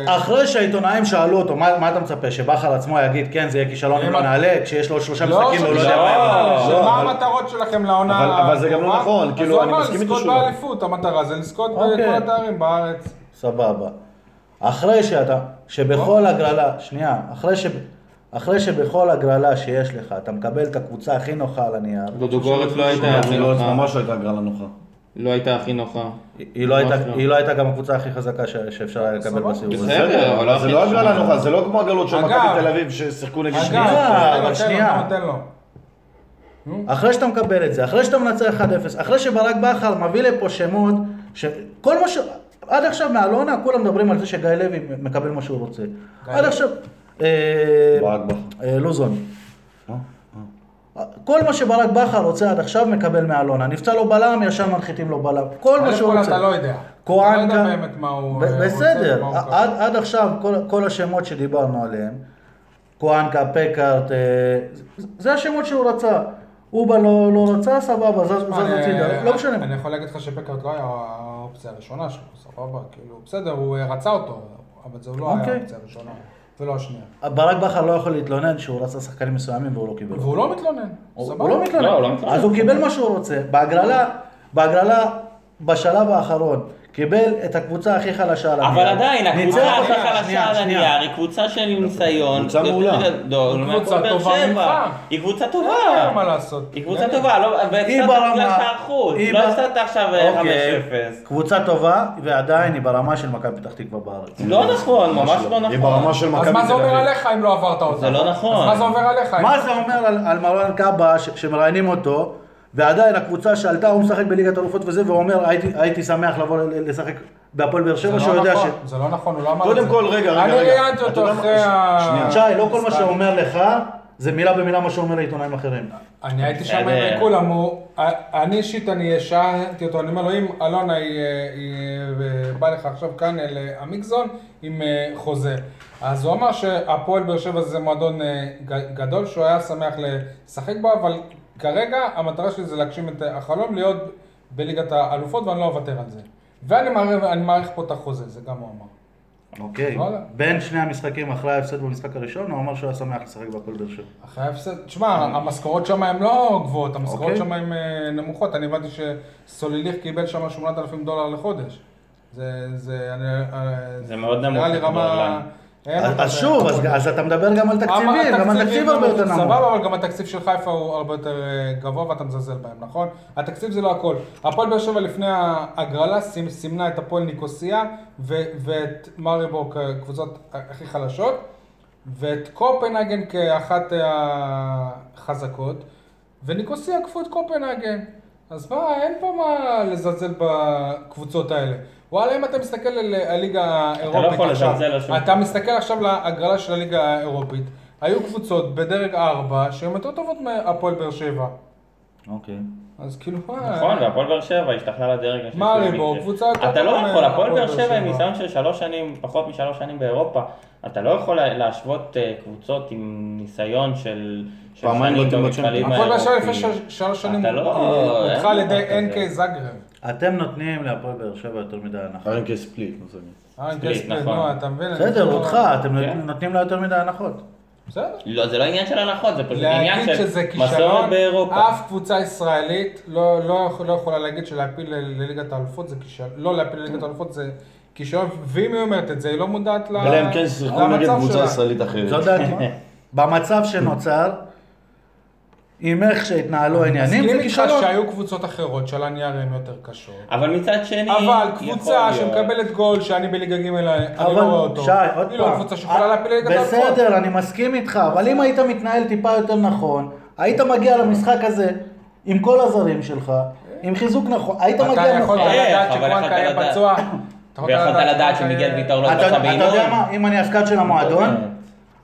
Speaker 2: אה,
Speaker 6: אחרי שהעיתונאים שאלו אותו, מה, מה אתה מצפה, שבכר עצמו יגיד, כן, זה יהיה כישלון אם
Speaker 2: אם
Speaker 6: לא
Speaker 2: את-
Speaker 6: נעלה, כשיש לו עוד שלושה
Speaker 2: לא,
Speaker 6: משחקים,
Speaker 2: של
Speaker 6: הוא לא יודע
Speaker 4: לא.
Speaker 6: מה הם אמרו.
Speaker 2: של
Speaker 3: לא,
Speaker 2: מה
Speaker 3: אבל-
Speaker 2: המטרות שלכם לעונה...
Speaker 3: אבל- אבל זה גם לא
Speaker 2: הקרובה.
Speaker 3: נכון, כאילו, אני מסכים איתו
Speaker 2: אז הוא
Speaker 3: שהוא
Speaker 2: אמר
Speaker 3: לא.
Speaker 2: לזכות באליפות, המטרה זה לזכות בכל
Speaker 6: אוקיי.
Speaker 2: התארים בארץ.
Speaker 6: סבבה. אחרי שאתה, שבכל הגרלה, שנייה, אחרי ש... אחרי שבכל הגרלה שיש לך, אתה מקבל את הקבוצה הכי נוחה על הנייר,
Speaker 4: דודו גורץ לא הייתה הכי
Speaker 3: לא, זה
Speaker 4: נוחה.
Speaker 3: ממש הייתה הגרלה נוחה.
Speaker 4: לא הייתה הכי נוחה.
Speaker 6: היא- היא לא הייתה-
Speaker 4: ממש לא.
Speaker 6: היא לא הייתה גם הקבוצה הכי חזקה ש- שאפשר היה לקבל בסיבוב הזה.
Speaker 4: בסדר, אבל לא
Speaker 3: זה
Speaker 4: הכי
Speaker 3: לא
Speaker 4: נוחה.
Speaker 3: הגרלה נוחה, זה לא כמו הגרלות של
Speaker 2: אגב,
Speaker 3: מכבי תל אביב ששיחקו נגד
Speaker 2: אגב,
Speaker 3: שנייה.
Speaker 6: שנייה,
Speaker 2: אבל
Speaker 6: אבל שנייה.
Speaker 2: תן לו,
Speaker 6: אחרי שאתה מקבל את זה, אחרי שאתה מנצח 1-0, אחרי שברק בכר מביא לפה שמות, שכל מה ש... עד עכשיו מאלונה כולם מדברים על זה שגיא לוי מקבל מה שהוא רוצה. עד עכשיו...
Speaker 2: לא
Speaker 6: אה,
Speaker 3: ברק
Speaker 4: נכון.
Speaker 3: בכר.
Speaker 6: אה, לוזון. כל מה שברק בכר רוצה עד עכשיו מקבל מאלונה. נפצע לו בלם, ישר מנחיתים לו בלם. כל מה
Speaker 2: אלף
Speaker 6: שהוא
Speaker 2: כל
Speaker 6: רוצה.
Speaker 2: אתה לא יודע. אתה
Speaker 6: כהן
Speaker 2: לא
Speaker 6: גם-
Speaker 2: יודע באמת מה הוא...
Speaker 6: ב-
Speaker 2: אה, רוצה
Speaker 6: בסדר,
Speaker 2: ומה הוא מקבל.
Speaker 6: עד, עד עכשיו כל, כל השמות שדיברנו עליהם, קואנקה, פקארט, אה, זה- זה השמות שהוא רצה. אובה לא, לא רצה, סבבה, זז זז
Speaker 2: אני-
Speaker 6: הצידה, לא משנה.
Speaker 2: אני יכול להגיד לך שפקארט לא היה האופציה הראשונה שלו, סבבה, כאילו, בסדר, הוא אה, רצה אותו, אבל זה לא היה
Speaker 6: אוקיי.
Speaker 2: האופציה הראשונה, ולא השנייה.
Speaker 6: ברק בכר לא יכול להתלונן שהוא רצה שחקנים מסוימים והוא לא קיבל.
Speaker 2: והוא לא מתלונן,
Speaker 6: הוא
Speaker 2: סבבה.
Speaker 6: הוא לא מתלונן.
Speaker 4: לא, הוא לא מתלונן.
Speaker 6: אז הוא קיבל מה שהוא רוצה. בהגרלה, בהגרלה, בשלב האחרון, קיבל את הקבוצה הכי חלשה על
Speaker 4: אבל
Speaker 6: הנייר.
Speaker 4: עדיין,
Speaker 6: ניצח
Speaker 4: הקבוצה הכי
Speaker 6: אותה-
Speaker 4: חלשה
Speaker 6: שנייה,
Speaker 4: על
Speaker 6: שנייה.
Speaker 4: הנייר היא קבוצה של ניסיון.
Speaker 3: קבוצה מעולה.
Speaker 4: לא,
Speaker 2: היא
Speaker 4: לעומת
Speaker 2: קבוצה
Speaker 4: באר
Speaker 2: טובה
Speaker 4: שבע.
Speaker 2: ממך.
Speaker 4: היא קבוצה
Speaker 2: אין מה
Speaker 6: אה!
Speaker 4: טובה.
Speaker 2: לעשות.
Speaker 4: היא קבוצה טובה, לא- והפסדת
Speaker 6: ברמה-
Speaker 4: בגלל שער חוץ.
Speaker 6: היא
Speaker 4: לא
Speaker 6: ב-
Speaker 4: הפסדת עכשיו אה,
Speaker 6: אוקיי.
Speaker 4: 5-0.
Speaker 6: קבוצה טובה, ועדיין היא ברמה של מכבי פתח תקווה בארץ.
Speaker 4: לא נכון, ממש לא
Speaker 3: היא
Speaker 4: נכון.
Speaker 3: ברמה של מכבי תל
Speaker 2: אז
Speaker 3: אביב.
Speaker 2: מה זה אומר עליך אם לא עברת אותה?
Speaker 4: זה לא נכון.
Speaker 2: אז מה זה אומר עליך?
Speaker 6: מה זה אומר על, על מרואן קאבה ש- שמראיינים אותו, ועדיין הקבוצה שעלתה, הוא משחק בליגת אלופות וזה, והוא אומר, הייתי, הייתי שמח לבוא ל- ל- לשחק בהפועל באר
Speaker 2: זה
Speaker 6: שבע, שהוא
Speaker 2: לא
Speaker 6: יודע
Speaker 2: נכון,
Speaker 6: ש...
Speaker 2: זה לא נכון, הוא לא אמר את זה.
Speaker 3: קודם כל, רגע, רגע,
Speaker 2: אני
Speaker 3: רגע.
Speaker 2: ראיינתי
Speaker 3: אתה
Speaker 2: אותו
Speaker 3: יודע מה?
Speaker 2: אחרי ה...
Speaker 6: שי, לא כל מה שאומר לך, זה מילה במילה מה שאומר לעיתונאים אחרים.
Speaker 2: אני הייתי שם
Speaker 4: בסדר.
Speaker 2: עם כולם, הוא... אני אישית, אני שאלתי אותו, אני אומר לו, אם אלונה היא אה, היא, אה, באה לך עכשיו כאן אל אה, המיקזון עם אה, חוזה. אז הוא אמר שהפועל באר שבע זה מועדון אה, ג- גדול, שהוא היה שמח לשחק בו, אבל כרגע המטרה שלי זה להגשים את החלום, להיות בליגת האלופות, ואני לא אוותר על זה. ואני מעריך- אני מעריך פה את החוזה, זה גם הוא אמר.
Speaker 6: אוקיי.
Speaker 2: וואלה.
Speaker 6: בין שני המשחקים אחרי ההפסד במשחק הראשון, הוא אמר שהוא היה שמח לשחק בהפועל באר שבע.
Speaker 2: אחרי ההפסד, תשמע, המשכורות שם הן לא גבוהות, המשכורות
Speaker 6: אוקיי.
Speaker 2: שם הן אה, נמוכות, אני הבנתי שסולליך קיבל שם 8,000 דולר לחודש. זה, זה, אני, אה,
Speaker 4: זה מאוד נמוך
Speaker 2: נראה
Speaker 4: אה.
Speaker 2: לי רמה
Speaker 4: בכדורגלן.
Speaker 2: אין לו
Speaker 6: אז שוב, אז- אז אתה מדבר גם על תקציבים, גם על תקציב הרבה יותר נמוך.
Speaker 2: סבבה, לא אבל גם התקציב של חיפה הוא הרבה יותר אה, גבוה ואתה מזלזל בהם, נכון? התקציב זה לא הכל. הפועל באר שבע לפני ההגרלה סימ- סימנה את הפועל ניקוסיה ו- ואת מריבור כקבוצות אה, הכי חלשות, ואת קופנהגן כאחת החזקות, וניקוסיה עקפו את קופנהגן. אז מה, אין פה מה לזלזל בקבוצות האלה. וואלה, אם אתה מסתכל על אה, הליגה האירופית
Speaker 4: לא יכול
Speaker 2: עכשיו,
Speaker 4: לזלזל על שום
Speaker 2: אתה מסתכל עכשיו להגרלה של הליגה האירופית, היו קבוצות בדרג 4 שהן יותר טובות מהפועל באר שבע.
Speaker 6: אוקיי.
Speaker 2: אז כאילו,
Speaker 4: נכון, והפועל באר שבע השתכלה לדרג השלישי.
Speaker 2: מה,
Speaker 4: במקרה.
Speaker 2: ריבו, קבוצה יותר
Speaker 4: אתה לא
Speaker 2: טובה
Speaker 4: יכול, הפועל
Speaker 2: מהפועל
Speaker 4: באר
Speaker 2: באר
Speaker 4: שבע עם
Speaker 2: שבע.
Speaker 4: ניסיון של שלוש שנים, פחות משלוש שנים באירופה, אתה לא יכול לה- להשוות אה, קבוצות עם ניסיון של... של
Speaker 3: פעמיים
Speaker 4: שנים
Speaker 3: באתם
Speaker 4: במפעלים
Speaker 3: בצ'מפיונס.
Speaker 2: הפועל באר שבע לפני
Speaker 4: האירופיים.
Speaker 2: ש- שלוש שנים
Speaker 4: אתה לא-
Speaker 2: אה,
Speaker 4: אין
Speaker 2: הודחה על
Speaker 4: דבר
Speaker 2: ידי
Speaker 4: כזה.
Speaker 2: NK זאגרב.
Speaker 6: אתם נותנים להפועל באר שבע יותר מדי הנחות.
Speaker 3: ארנקה כן, ספליט, מושג.
Speaker 2: אה, NK
Speaker 4: ספליט,
Speaker 2: ספליט,
Speaker 4: נכון.
Speaker 2: נו, אתה מבין? אני
Speaker 6: בסדר,
Speaker 2: לא-
Speaker 6: אותך,
Speaker 4: כן.
Speaker 6: אתם נותנים לה יותר מדי הנחות.
Speaker 2: בסדר.
Speaker 4: לא, זה לא עניין של הנחות, זה פשוט עניין
Speaker 2: להגיד
Speaker 4: של
Speaker 2: שזה
Speaker 4: מסורת
Speaker 2: כישלון,
Speaker 4: באירופה.
Speaker 2: אף קבוצה ישראלית לא לא יכול- לא יכולה להגיד שלהפיל ל- לליגת האלופות זה כישלון, לא להפיל
Speaker 3: כן.
Speaker 2: לליגת האלופות זה כישלון, ואם היא אומרת את זה, היא לא מודעת ל-
Speaker 3: אלא אם כן שיחקו נגד
Speaker 2: למצב
Speaker 3: קבוצה
Speaker 2: שלה.
Speaker 3: ישראלית
Speaker 6: זו
Speaker 3: אחרת.
Speaker 6: דעתי. במצב שנוצר, עם איך שהתנהלו העניינים,
Speaker 2: מסכים
Speaker 6: זה
Speaker 2: איתך
Speaker 6: כישלון.
Speaker 2: שהיו קבוצות אחרות של הניירים יותר קשות.
Speaker 4: אבל מצד שני,
Speaker 2: אבל
Speaker 4: יכול
Speaker 2: קבוצה
Speaker 4: להיות.
Speaker 2: שמקבלת גול שאני בליגה ג' אני לא רואה
Speaker 6: אבל
Speaker 2: אותו.
Speaker 6: שי, עוד
Speaker 2: היא לא
Speaker 6: פעם,
Speaker 2: קבוצה שיכולה להפיל נכון. ליגת האלופות.
Speaker 6: בסדר, אני מסכים איתך, אבל אם היית מתנהל טיפה יותר נכון, היית מגיע למשחק הזה עם כל הזרים שלך, עם חיזוק נכון, היית
Speaker 2: אתה
Speaker 6: מגיע
Speaker 2: יכולת
Speaker 6: נכון.
Speaker 4: איך,
Speaker 2: לדעת
Speaker 4: אה, אבל
Speaker 2: שקוואנקה
Speaker 4: יכולת
Speaker 2: היה
Speaker 4: לדעת.
Speaker 2: פצוע. אתה יכול
Speaker 4: ויכולת
Speaker 2: שקוואנקה
Speaker 4: לדעת שמיגל
Speaker 2: היה-
Speaker 4: ויטור לא
Speaker 6: אתה
Speaker 4: זכה
Speaker 6: אתה
Speaker 4: באימון.
Speaker 6: יודע מה, אם אני הסקאט של
Speaker 4: אה.
Speaker 6: המועדון,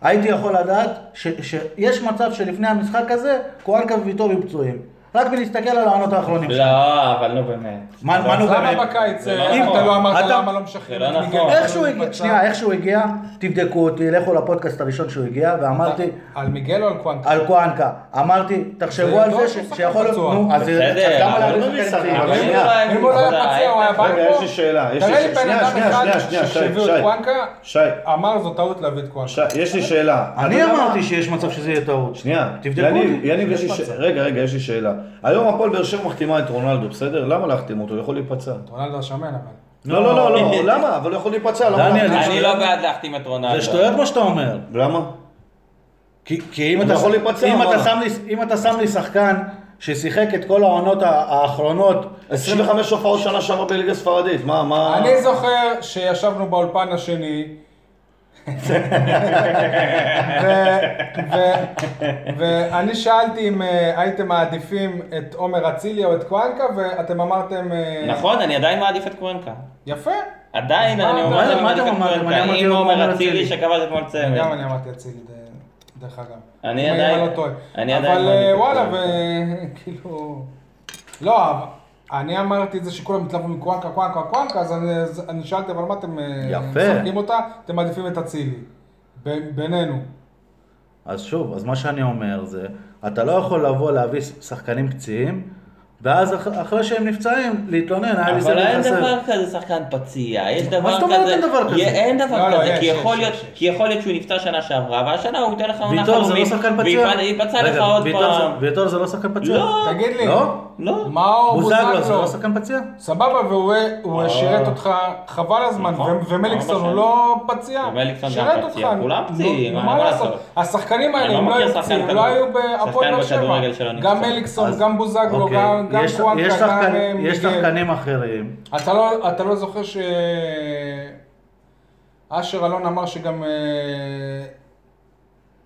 Speaker 6: הייתי יכול לדעת ש- שיש מצב שלפני המשחק הזה, קואנקה וויטור יהיו פצועים. רק מלהסתכל על העונות האחרונים. שלהם.
Speaker 4: לא, אבל נו באמת.
Speaker 6: מה מה נו
Speaker 2: אז
Speaker 6: באמת?
Speaker 2: למה בקיץ
Speaker 4: אה, זה לא
Speaker 2: אה,
Speaker 4: נכון.
Speaker 2: אתה לא אמרת
Speaker 6: אתה-
Speaker 2: למה לא משחררים
Speaker 4: זה לא
Speaker 2: את מיגל? אה,
Speaker 4: נכון.
Speaker 2: ויטור
Speaker 6: איך שהוא הגיע,
Speaker 2: מפצע?
Speaker 6: שנייה, איך שהוא הגיע, תבדקו אותי, לכו לפודקאסט הראשון שהוא הגיע, ואמרתי,
Speaker 2: על מיגל או על קוואנקה?
Speaker 6: על קואנקה, אמרתי, תחשבו
Speaker 2: זה
Speaker 6: על
Speaker 3: לא
Speaker 2: ידוע
Speaker 6: זה
Speaker 2: שהוא
Speaker 6: ש-
Speaker 2: שחקן
Speaker 6: שיכול להיות,
Speaker 2: פצוע.
Speaker 6: נו, אז
Speaker 4: בסדר,
Speaker 6: אז למה
Speaker 4: אבל
Speaker 6: להביא
Speaker 4: לא
Speaker 6: שחקן
Speaker 3: מסתכל
Speaker 6: פצועים?
Speaker 4: אבל
Speaker 3: שנייה,
Speaker 4: היה-
Speaker 2: אם הוא לא היה
Speaker 4: אתה-
Speaker 2: פצוע, הוא היה בא
Speaker 3: רגע,
Speaker 2: פה?
Speaker 3: יש לי שאלה. יש לי
Speaker 2: תראה
Speaker 3: ש-
Speaker 2: לי בן
Speaker 3: שנייה,
Speaker 2: אדם
Speaker 3: שנייה,
Speaker 2: אחד
Speaker 3: שנייה, שנייה, שי,
Speaker 2: שהביאו את
Speaker 3: שי.
Speaker 2: קוואנקה,
Speaker 3: שי.
Speaker 2: אמר זאת טעות להביא את
Speaker 3: ש-
Speaker 2: קוואנקה.
Speaker 3: יש לי שאלה. אתה
Speaker 6: אני
Speaker 3: יודע מה?
Speaker 6: אמרתי שיש מצב שזה יהיה טעות.
Speaker 3: שנייה,
Speaker 6: תבדקו
Speaker 3: יניב,
Speaker 6: אותי.
Speaker 3: יניב, יש לי ש... רגע, רגע, יש לי שאלה. היום הפועל באר שבע מחתימה את רונלדו, בסדר? למה להחתים אותו? הוא יכול להיפצע.
Speaker 2: רונלדו השמן אבל.
Speaker 3: לא, לא, לא, לא, למה? אבל הוא יכול להיפצע, למה?
Speaker 6: דניאל,
Speaker 3: להחתים
Speaker 4: אני
Speaker 3: אותו?
Speaker 4: לא בעד להחתים את רונלדו.
Speaker 6: זה שטויות מה שאתה אומר.
Speaker 3: למה?
Speaker 6: כי כי אם
Speaker 3: הוא
Speaker 6: אתה
Speaker 3: יכול להיפצע,
Speaker 6: אם
Speaker 3: מה?
Speaker 6: אתה שם לי- אם אתה שם לי שחקן ששיחק את כל העונות ה- האחרונות,
Speaker 3: 25 הופעות שנה שעברה בליגה ספרדית, מה, מה...
Speaker 2: אני זוכר שישבנו באולפן השני, ו- ו- ואני שאלתי אם אה, הייתם מעדיפים את עומר אצילי או את קואנקה, ואתם אמרתם... אה,
Speaker 4: נכון, אני עדיין מעדיף את קוונקה.
Speaker 2: יפה.
Speaker 4: עדיין
Speaker 2: מה,
Speaker 4: אני
Speaker 6: מה-
Speaker 4: אומר שאני
Speaker 6: מה
Speaker 4: מעדיף
Speaker 6: אתם
Speaker 4: את
Speaker 6: אמרתם? אני
Speaker 4: קוונקה.
Speaker 6: אמרתי
Speaker 4: אם
Speaker 6: עומר
Speaker 4: עומר
Speaker 6: אצילי.
Speaker 4: אצילי שכבש אתמול צמד.
Speaker 2: גם אני אמרתי אצילי, ד- דרך אגב.
Speaker 4: אני
Speaker 2: אם
Speaker 4: עדיין-
Speaker 2: אני לא טועה.
Speaker 4: אני עדיין
Speaker 2: אבל
Speaker 4: מעדיף
Speaker 2: אה,
Speaker 4: את
Speaker 2: וואלה,
Speaker 4: קואנקה.
Speaker 2: וכאילו... לא, אבל אני אמרתי את זה שכולם התלהבו מקוואנקה, קוואנקה, קוואנקה, אז אני- אז אני שאלתי, אבל מה אתם אה,
Speaker 6: יפה.
Speaker 2: משחקים אותה? אתם מעדיפים את אצילי. ב- בינינו.
Speaker 6: אז שוב, אז מה שאני אומר זה, אתה לא יכול לבוא להביא שחקנים פציעים, ואז אח- אחרי שהם נפצעים, להתלונן, היה לי
Speaker 4: אבל
Speaker 6: סרט
Speaker 4: אין
Speaker 6: חסר.
Speaker 4: דבר כזה שחקן פציע, יש דבר כזה.
Speaker 6: זאת אומרת אין דבר כזה?
Speaker 4: יה- אין
Speaker 2: לא,
Speaker 4: דבר
Speaker 2: לא,
Speaker 4: כזה,
Speaker 2: יש,
Speaker 4: כי יכול
Speaker 2: יש,
Speaker 4: להיות-
Speaker 2: יש, יש.
Speaker 4: כי יכול להיות שהוא נפצע שנה שעברה, והשנה הוא ייתן לך עונה
Speaker 6: ויטור זה לא
Speaker 4: חלומית,
Speaker 6: שחקן פציע?
Speaker 4: וייפצע לך
Speaker 6: רגע,
Speaker 4: עוד
Speaker 6: ויטור
Speaker 4: פעם.
Speaker 6: זה- ויטור זה לא שחקן פציע?
Speaker 4: לא.
Speaker 2: תגיד לי.
Speaker 6: לא?
Speaker 4: לא.
Speaker 2: מאור
Speaker 6: בוזגלו זה
Speaker 2: בוזגלו.
Speaker 6: לא שחקן פציע?
Speaker 2: סבבה, והוא הוא שירת אותך חבל הזמן,
Speaker 4: אה. נכון,
Speaker 2: ו- ומליקסון
Speaker 4: ארבע
Speaker 2: הוא לא פציע.
Speaker 4: ומליקסון גם
Speaker 2: שירת
Speaker 4: פציע,
Speaker 2: אותך,
Speaker 4: כולם
Speaker 2: נו,
Speaker 4: פציעים,
Speaker 2: נו,
Speaker 4: מה
Speaker 2: מה לעשות?
Speaker 4: לעשות?
Speaker 2: השחקנים
Speaker 4: אני
Speaker 2: האלה,
Speaker 4: לא
Speaker 2: הם לא
Speaker 4: מכיר
Speaker 2: היו
Speaker 4: שחקן
Speaker 2: פציעים, הם לא
Speaker 4: כדורגל-
Speaker 2: היו בהפועל
Speaker 4: שחקן
Speaker 2: באר שבע.
Speaker 4: בכדורגל שלא נפצע.
Speaker 2: גם מליקסון,
Speaker 6: אז-
Speaker 2: גם בוזגלו,
Speaker 6: אוקיי.
Speaker 2: גם גם
Speaker 6: יש-
Speaker 2: קוואנקה,
Speaker 6: יש
Speaker 2: גם
Speaker 6: שחקן-
Speaker 2: אה,
Speaker 6: יש
Speaker 2: מיגל.
Speaker 6: שחקנים אחרים.
Speaker 2: אתה לא- אתה לא זוכר ש... אשר אלון אמר שגם... אה,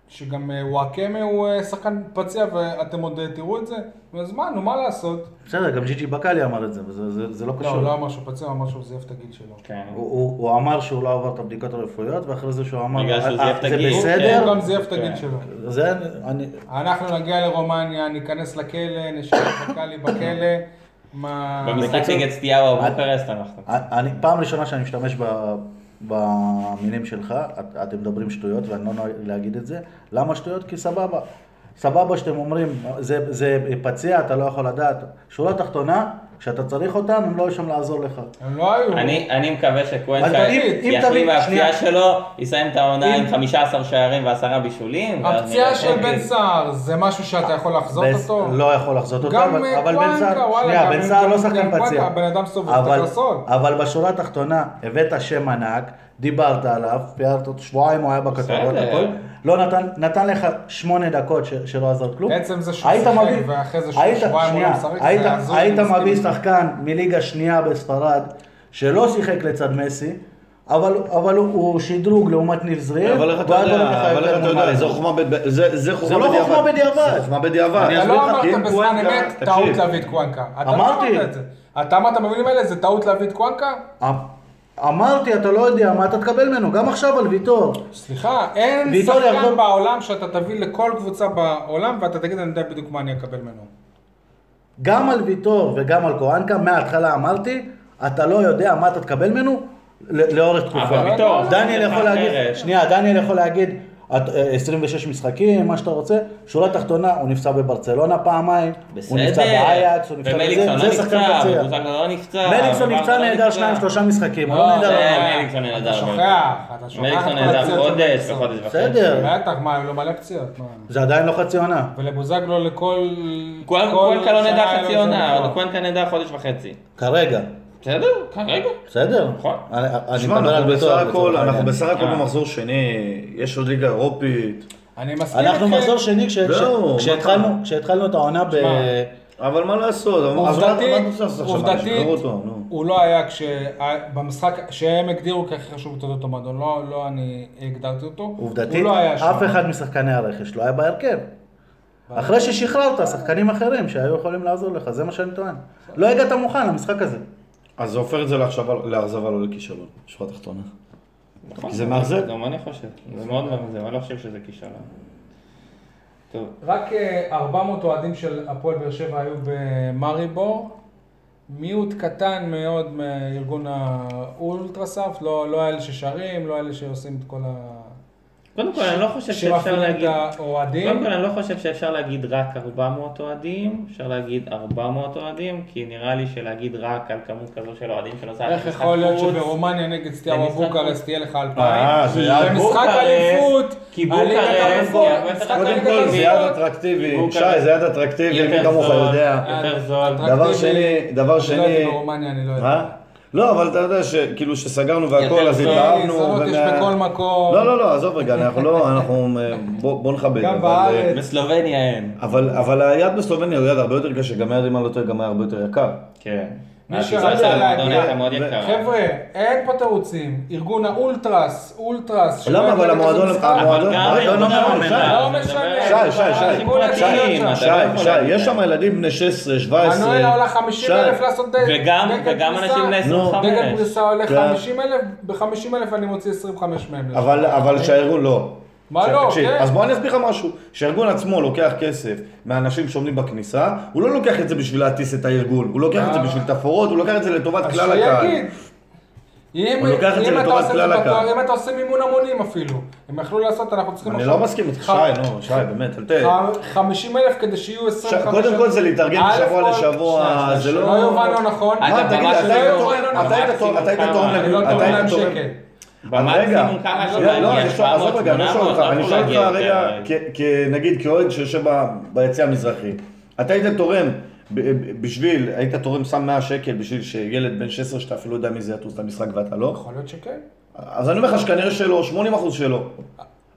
Speaker 2: שגם אה, וואקמה הוא אה, שחקן פציע ואתם עוד אה, תראו את זה? אז מה, נו, מה לעשות?
Speaker 6: בסדר, גם ג'יג'י בקאלי אמר את זה, וזה זה- זה לא
Speaker 2: לא, הוא לא
Speaker 6: קשור.
Speaker 2: אמר שהוא פציע, הוא אמר שהוא זייף את הגיל שלו.
Speaker 4: כן.
Speaker 6: הוא- הוא הוא אמר שהוא לא עבר את הבדיקות הרפואיות, ואחרי זה שהוא אמר,
Speaker 4: בגלל שהוא
Speaker 6: "אה,
Speaker 4: זייף
Speaker 6: אה,
Speaker 4: את
Speaker 6: זה
Speaker 4: הגיל".
Speaker 6: בסדר?
Speaker 2: הוא גם זייף את הגיל
Speaker 4: כן.
Speaker 2: שלו.
Speaker 6: זה, אני,
Speaker 2: אנחנו נגיע לרומניה, ניכנס לכלא, נשאר את בקאלי בכלא. מה...
Speaker 4: במשחק נגד סטיהו אבוקרסט אנחנו.
Speaker 6: אני, פעם ראשונה שאני משתמש ב, במילים שלך, את, אתם מדברים שטויות ואני לא נוהג להגיד את זה. למה שטויות? כי סבבה. סבבה שאתם אומרים, זה, זה פציע, אתה לא יכול לדעת. שורה תחתונה, כשאתה צריך אותם, הם לא היו שם לעזור לך.
Speaker 2: הם לא היו.
Speaker 4: אני, אני מקווה שקוונקה
Speaker 6: אז אם- אם תביא-
Speaker 4: יחלים
Speaker 6: שנייה.
Speaker 4: מהפציעה שלו, יסיים את העונה
Speaker 2: אם-
Speaker 4: עם 15 שערים ועשרה בישולים. ואז
Speaker 2: הפציעה
Speaker 4: נראה. אוקיי.
Speaker 2: של בן סער זה משהו שאתה יכול לחזות
Speaker 6: בס-
Speaker 2: אותו?
Speaker 6: לא יכול לחזות אותו,
Speaker 2: גם,
Speaker 6: אבל,
Speaker 2: אה,
Speaker 6: אבל בן
Speaker 2: קוואנקה,
Speaker 6: סער,
Speaker 2: וואלה,
Speaker 6: שנייה,
Speaker 2: גם
Speaker 6: בן
Speaker 2: אם-
Speaker 6: סער לא
Speaker 2: גם
Speaker 6: שחקן
Speaker 2: קוואנקה,
Speaker 6: פציע.
Speaker 2: הבן אדם סובב את
Speaker 6: אבל-
Speaker 2: הקרסול.
Speaker 6: אבל בשורה התחתונה, הבאת שם ענק, דיברת עליו, פיארת אותו שבועיים, הוא היה בכתבות,
Speaker 4: בסדר.
Speaker 6: הכל. לא נתן, נתן לך שמונה דקות ש, שלא עזר כלום.
Speaker 2: בעצם זה שהוא
Speaker 6: היית
Speaker 2: שיחק,
Speaker 6: מביא-
Speaker 2: ואחרי זה
Speaker 6: היית-
Speaker 2: שבועיים הוא לא
Speaker 6: שנייה,
Speaker 2: משחק,
Speaker 6: היית-
Speaker 2: זה הזוי,
Speaker 6: היית
Speaker 2: אני מסכים
Speaker 6: מביא
Speaker 2: איתך.
Speaker 6: שחקן מליגה שנייה בספרד, שלא שיחק לצד מסי, אבל, אבל הוא, הוא שדרוג לעומת ניב זריאן,
Speaker 3: אבל איך אתה
Speaker 6: והיה דולר
Speaker 3: יודע,
Speaker 6: לך
Speaker 3: אבל
Speaker 6: יותר
Speaker 3: איך אתה
Speaker 6: מומלץ.
Speaker 3: יודע, זו חוכמה בדיעבד. זה
Speaker 6: זה לא חוכמה בדיעבד.
Speaker 3: זה חוכמה בדיעבד.
Speaker 2: אתה
Speaker 3: אסביר לך,
Speaker 2: לא אמרת
Speaker 3: כי אם
Speaker 2: בזמן
Speaker 3: קוואנקה-
Speaker 2: אמת
Speaker 3: תקשיב,
Speaker 2: טעות להביא את קוואנקה. אתה לא
Speaker 6: אמרתי.
Speaker 2: אמרת את זה. אתה אמרת במילים האלה, זה טעות להביא את קוואנקה?
Speaker 6: אמ- אמרתי, אתה לא יודע מה אתה תקבל ממנו, גם עכשיו על ויטור.
Speaker 2: סליחה, אין
Speaker 6: ויטור יחזור-
Speaker 2: שחקן בעולם שאתה תביא לכל קבוצה בעולם ואתה תגיד, אני יודע בדיוק מה אני אקבל ממנו.
Speaker 6: גם על ויטור וגם על קורנקה, מההתחלה אמרתי, אתה לא יודע מה אתה תקבל ממנו ל- לאורך תקופה.
Speaker 4: אבל ויטור,
Speaker 6: דניאל
Speaker 4: זה
Speaker 6: יכול
Speaker 4: אחרת.
Speaker 6: להגיד, שנייה, דניאל יכול להגיד, את- אה, 26 משחקים, מה שאתה רוצה, שורה תחתונה, הוא נפצע בברצלונה פעמיים, הוא נפצע באייקס, הוא נפצע
Speaker 4: ומליקסון לא
Speaker 6: בזה, זה שחקן
Speaker 4: נפצע,
Speaker 6: פציע.
Speaker 4: ובוזגלו לא נפצע.
Speaker 6: מליקסון
Speaker 4: וברדה
Speaker 6: נפצע
Speaker 4: לא
Speaker 6: נהדר שניים שלושה משחקים, הוא
Speaker 2: לא,
Speaker 6: לא נהדר.
Speaker 2: זה-
Speaker 6: לא.
Speaker 4: כן, מליקסון נהדר.
Speaker 2: אתה שוכח, אתה שוכח
Speaker 4: מליקסון
Speaker 2: את כל
Speaker 4: נהדר
Speaker 2: הפציעות של
Speaker 4: חודש,
Speaker 2: מליקסון.
Speaker 4: וחודש וחצי.
Speaker 6: בסדר.
Speaker 2: בטח, מה, היו לו מלא פציעות. מה.
Speaker 6: זה עדיין לא חצי עונה.
Speaker 2: ולבוזגלו לכל...
Speaker 4: קוואנקה
Speaker 2: כל
Speaker 4: קוואנקה לא
Speaker 2: שנה
Speaker 4: נהדר
Speaker 2: היה לו
Speaker 4: חצי
Speaker 2: איזה
Speaker 4: עונה,
Speaker 2: מקרה.
Speaker 4: אבל קוואנקה נהדר חודש וחצי.
Speaker 6: כרגע,
Speaker 4: בסדר, כרגע.
Speaker 6: בסדר?
Speaker 4: נכון.
Speaker 6: אני- אני
Speaker 3: תשמע,
Speaker 6: מדבר על
Speaker 3: אנחנו בסך
Speaker 6: ויטור.
Speaker 3: הכל,
Speaker 6: לצורך
Speaker 3: אנחנו
Speaker 6: העניין.
Speaker 3: בסך הכל
Speaker 4: אה.
Speaker 3: במחזור שני, יש עוד ליגה אירופית,
Speaker 2: אני מסכים
Speaker 6: אנחנו מחזור שני, כש- כש-
Speaker 3: כן. לא, מה
Speaker 6: כשהתחלנו-
Speaker 3: אתה?
Speaker 6: כשהתחלנו את העונה ב...
Speaker 2: תשמע,
Speaker 3: אבל מה לעשות, אבל- אז מה-
Speaker 2: עובדתית,
Speaker 3: מה אתה רוצה לעשות עכשיו? מה,
Speaker 2: עובדתית,
Speaker 3: לשחרר אותו, נו.
Speaker 2: הוא לא היה כש... במשחק שהם הגדירו כהכי חשוב בתולדות המועדון, לא לא אני הגדרתי אותו. הוא
Speaker 6: עובדתית,
Speaker 2: לא היה
Speaker 6: אף
Speaker 2: שם.
Speaker 6: אחד משחקני הרכש לא היה בהרכב. אחרי ששחררת שחקנים אחרים שהיו יכולים לעזור לך, זה מה שאני טוען. לא הגעת מוכן למשחק הזה.
Speaker 3: אז זה הופך את זה להחשבה- לאכזבה לא לכישלון, שורה תחתונה.
Speaker 4: נכון.
Speaker 3: זה מאכזב.
Speaker 4: גם אני חושב. זה מאוד מאכזב, אני לא חושב שזה כישלון. טוב.
Speaker 2: רק אה, 400 אוהדים של הפועל באר שבע היו במאריבור. מיעוט קטן מאוד מארגון האולטרסאפ, לא לא אלה ששרים, לא אלה שעושים את כל ה...
Speaker 4: קודם כל, אני לא חושב שאפשר
Speaker 2: שמפעילים את
Speaker 4: להגיד... קודם
Speaker 2: האוהדים.
Speaker 4: כל, אני לא חושב שאפשר להגיד רק 400 אוהדים, אפשר להגיד 400 אוהדים, כי נראה לי שלהגיד רק על כמות כזו של אוהדים שנוסעת
Speaker 2: איך יכול להיות שברומניה נגד סטיארו
Speaker 4: במשחק
Speaker 2: בוקרסט
Speaker 4: חוץ.
Speaker 2: תהיה לך
Speaker 3: אה,
Speaker 2: אלפיים?
Speaker 3: זה יעד
Speaker 2: במשחק
Speaker 4: בוקרשט,
Speaker 2: אליפות,
Speaker 4: כי
Speaker 2: הליגת
Speaker 4: בוקרשט,
Speaker 2: האלופות,
Speaker 4: היא הרבה
Speaker 2: משחק
Speaker 4: יותר
Speaker 3: קודם
Speaker 2: הליגת
Speaker 3: כל זה יעד
Speaker 2: האלופות.
Speaker 3: אטרקטיבי,
Speaker 4: הוא
Speaker 3: שי,
Speaker 4: כרגע-
Speaker 3: זה יעד אטרקטיבי, מי
Speaker 4: יותר
Speaker 3: כמוך
Speaker 4: זול,
Speaker 3: יודע.
Speaker 4: יותר זול.
Speaker 2: אה, אטרקטיבי.
Speaker 3: דבר שני, דבר
Speaker 2: אני לא
Speaker 3: שני,
Speaker 2: הייתי ברומניה, אני לא יודע.
Speaker 3: אה? לא, אבל אתה יודע שכאילו שסגרנו והכל,
Speaker 4: יותר
Speaker 3: אז
Speaker 4: זול,
Speaker 3: התאהבנו.
Speaker 2: זולות אה, יש
Speaker 3: ומה-
Speaker 2: בכל מקום.
Speaker 3: לא, לא, לא, עזוב רגע, אנחנו לא, אנחנו, אה, בוא בוא נכבד.
Speaker 2: גם
Speaker 3: אבל,
Speaker 2: בארץ.
Speaker 3: אה,
Speaker 4: בסלובניה אין.
Speaker 3: אבל, אבל היד בסלובניה הוא יד הרבה יותר קשה, גם היד אם אני לא טועה, גם היה הרבה יותר יקר.
Speaker 4: כן.
Speaker 2: מי
Speaker 4: הטיסה
Speaker 2: שרצה
Speaker 4: של המועדון
Speaker 2: להגיע-
Speaker 4: הייתה מאוד
Speaker 3: ו-
Speaker 4: יקרה.
Speaker 2: חבר'ה, אין פה תירוצים. ארגון האולטרס, אולטרס. שלא
Speaker 3: למה? אבל
Speaker 2: יגיע
Speaker 3: המועדון-
Speaker 2: לכזה משחק.
Speaker 3: המועדון-
Speaker 4: אבל גם
Speaker 3: המועדון
Speaker 4: ארגון
Speaker 3: לא
Speaker 4: המממן,
Speaker 3: שי.
Speaker 2: לא
Speaker 4: אתה
Speaker 2: משנה.
Speaker 4: מדבר-
Speaker 3: שי, שי, שי.
Speaker 2: ארגון
Speaker 4: שי,
Speaker 2: הציונות שם.
Speaker 4: אתה
Speaker 3: שי,
Speaker 4: לא יכול
Speaker 3: שי,
Speaker 4: להגיד
Speaker 3: יש
Speaker 4: להם.
Speaker 3: שם ילדים בני 16, 17.
Speaker 2: מנואל עלה 50 אלף
Speaker 3: שי,
Speaker 2: לעשות
Speaker 4: וגם- וגם אנשים בני 25.
Speaker 2: דגל פריסה עולה
Speaker 3: כן.
Speaker 2: 50 אלף, ב-50 אלף אני מוציא 25 מהם. לשם.
Speaker 3: אבל, אבל שהארגון לא.
Speaker 2: אה. מה
Speaker 3: ש-
Speaker 2: לא?
Speaker 3: תקשיב,
Speaker 2: כן.
Speaker 3: אז בוא אני אסביר לך משהו. שהארגון עצמו לוקח כסף מהאנשים שעומדים בכניסה, הוא לא לוקח את זה בשביל להטיס את הארגון, הוא לוקח את זה בשביל תפאורות, הוא לוקח את זה לטובת
Speaker 2: אה. אז
Speaker 3: כלל
Speaker 2: שיגיד.
Speaker 3: הקהל.
Speaker 2: אם,
Speaker 3: הוא לוקח את זה
Speaker 2: אם, אתה
Speaker 3: לטובת
Speaker 2: עושה
Speaker 3: כלל
Speaker 2: את זה
Speaker 3: הקהל.
Speaker 2: בתואר, אם אתה עושה מימון המונים אפילו, הם יכלו לעשות, אנחנו צריכים
Speaker 3: אני לא מסכים איתך,
Speaker 2: אה.
Speaker 3: שי, נו, שי, באמת, אל ת...
Speaker 2: 50 אלף כדי שיהיו 25
Speaker 3: קודם כל זה להתארגן
Speaker 2: אלף
Speaker 3: משבוע
Speaker 2: כל-
Speaker 3: לשבוע,
Speaker 2: שנייה, שנייה,
Speaker 3: זה
Speaker 2: שלא
Speaker 3: לא-
Speaker 2: יובן לא נכון.
Speaker 4: אגב,
Speaker 3: מה,
Speaker 4: אתה
Speaker 3: תגיד,
Speaker 4: ממש
Speaker 3: אתה
Speaker 4: לא
Speaker 3: היית
Speaker 4: יורד,
Speaker 3: תורם-
Speaker 4: לא,
Speaker 3: אתה היית תורם- אתה היית
Speaker 4: מקסימום
Speaker 3: תורם
Speaker 4: כמה,
Speaker 2: אני לא
Speaker 3: אתה
Speaker 2: תורם
Speaker 3: היית
Speaker 2: להם
Speaker 3: תורם-
Speaker 2: שקל.
Speaker 4: במקסימום כמה אפשר
Speaker 3: שנייה, לא,
Speaker 4: להגיע?
Speaker 3: אני שואל, עזוב
Speaker 4: 700,
Speaker 3: רגע, אני לא שואל אותך,
Speaker 4: 800,
Speaker 3: אני שואל אותך
Speaker 4: לא יכול להגיע
Speaker 3: רגע,
Speaker 4: יותר.
Speaker 3: כ- כנגיד כאוהד שיושב ב- ביציע המזרחי, אתה היית תורם ב- ב- בשביל, היית תורם שם 100 שקל בשביל שילד בן 16 שאתה אפילו לא יודע מי זה יטוס למשחק ואתה לא?
Speaker 2: יכול להיות שכן.
Speaker 3: אז אני אומר לך שכנראה שלא, 80% שלא.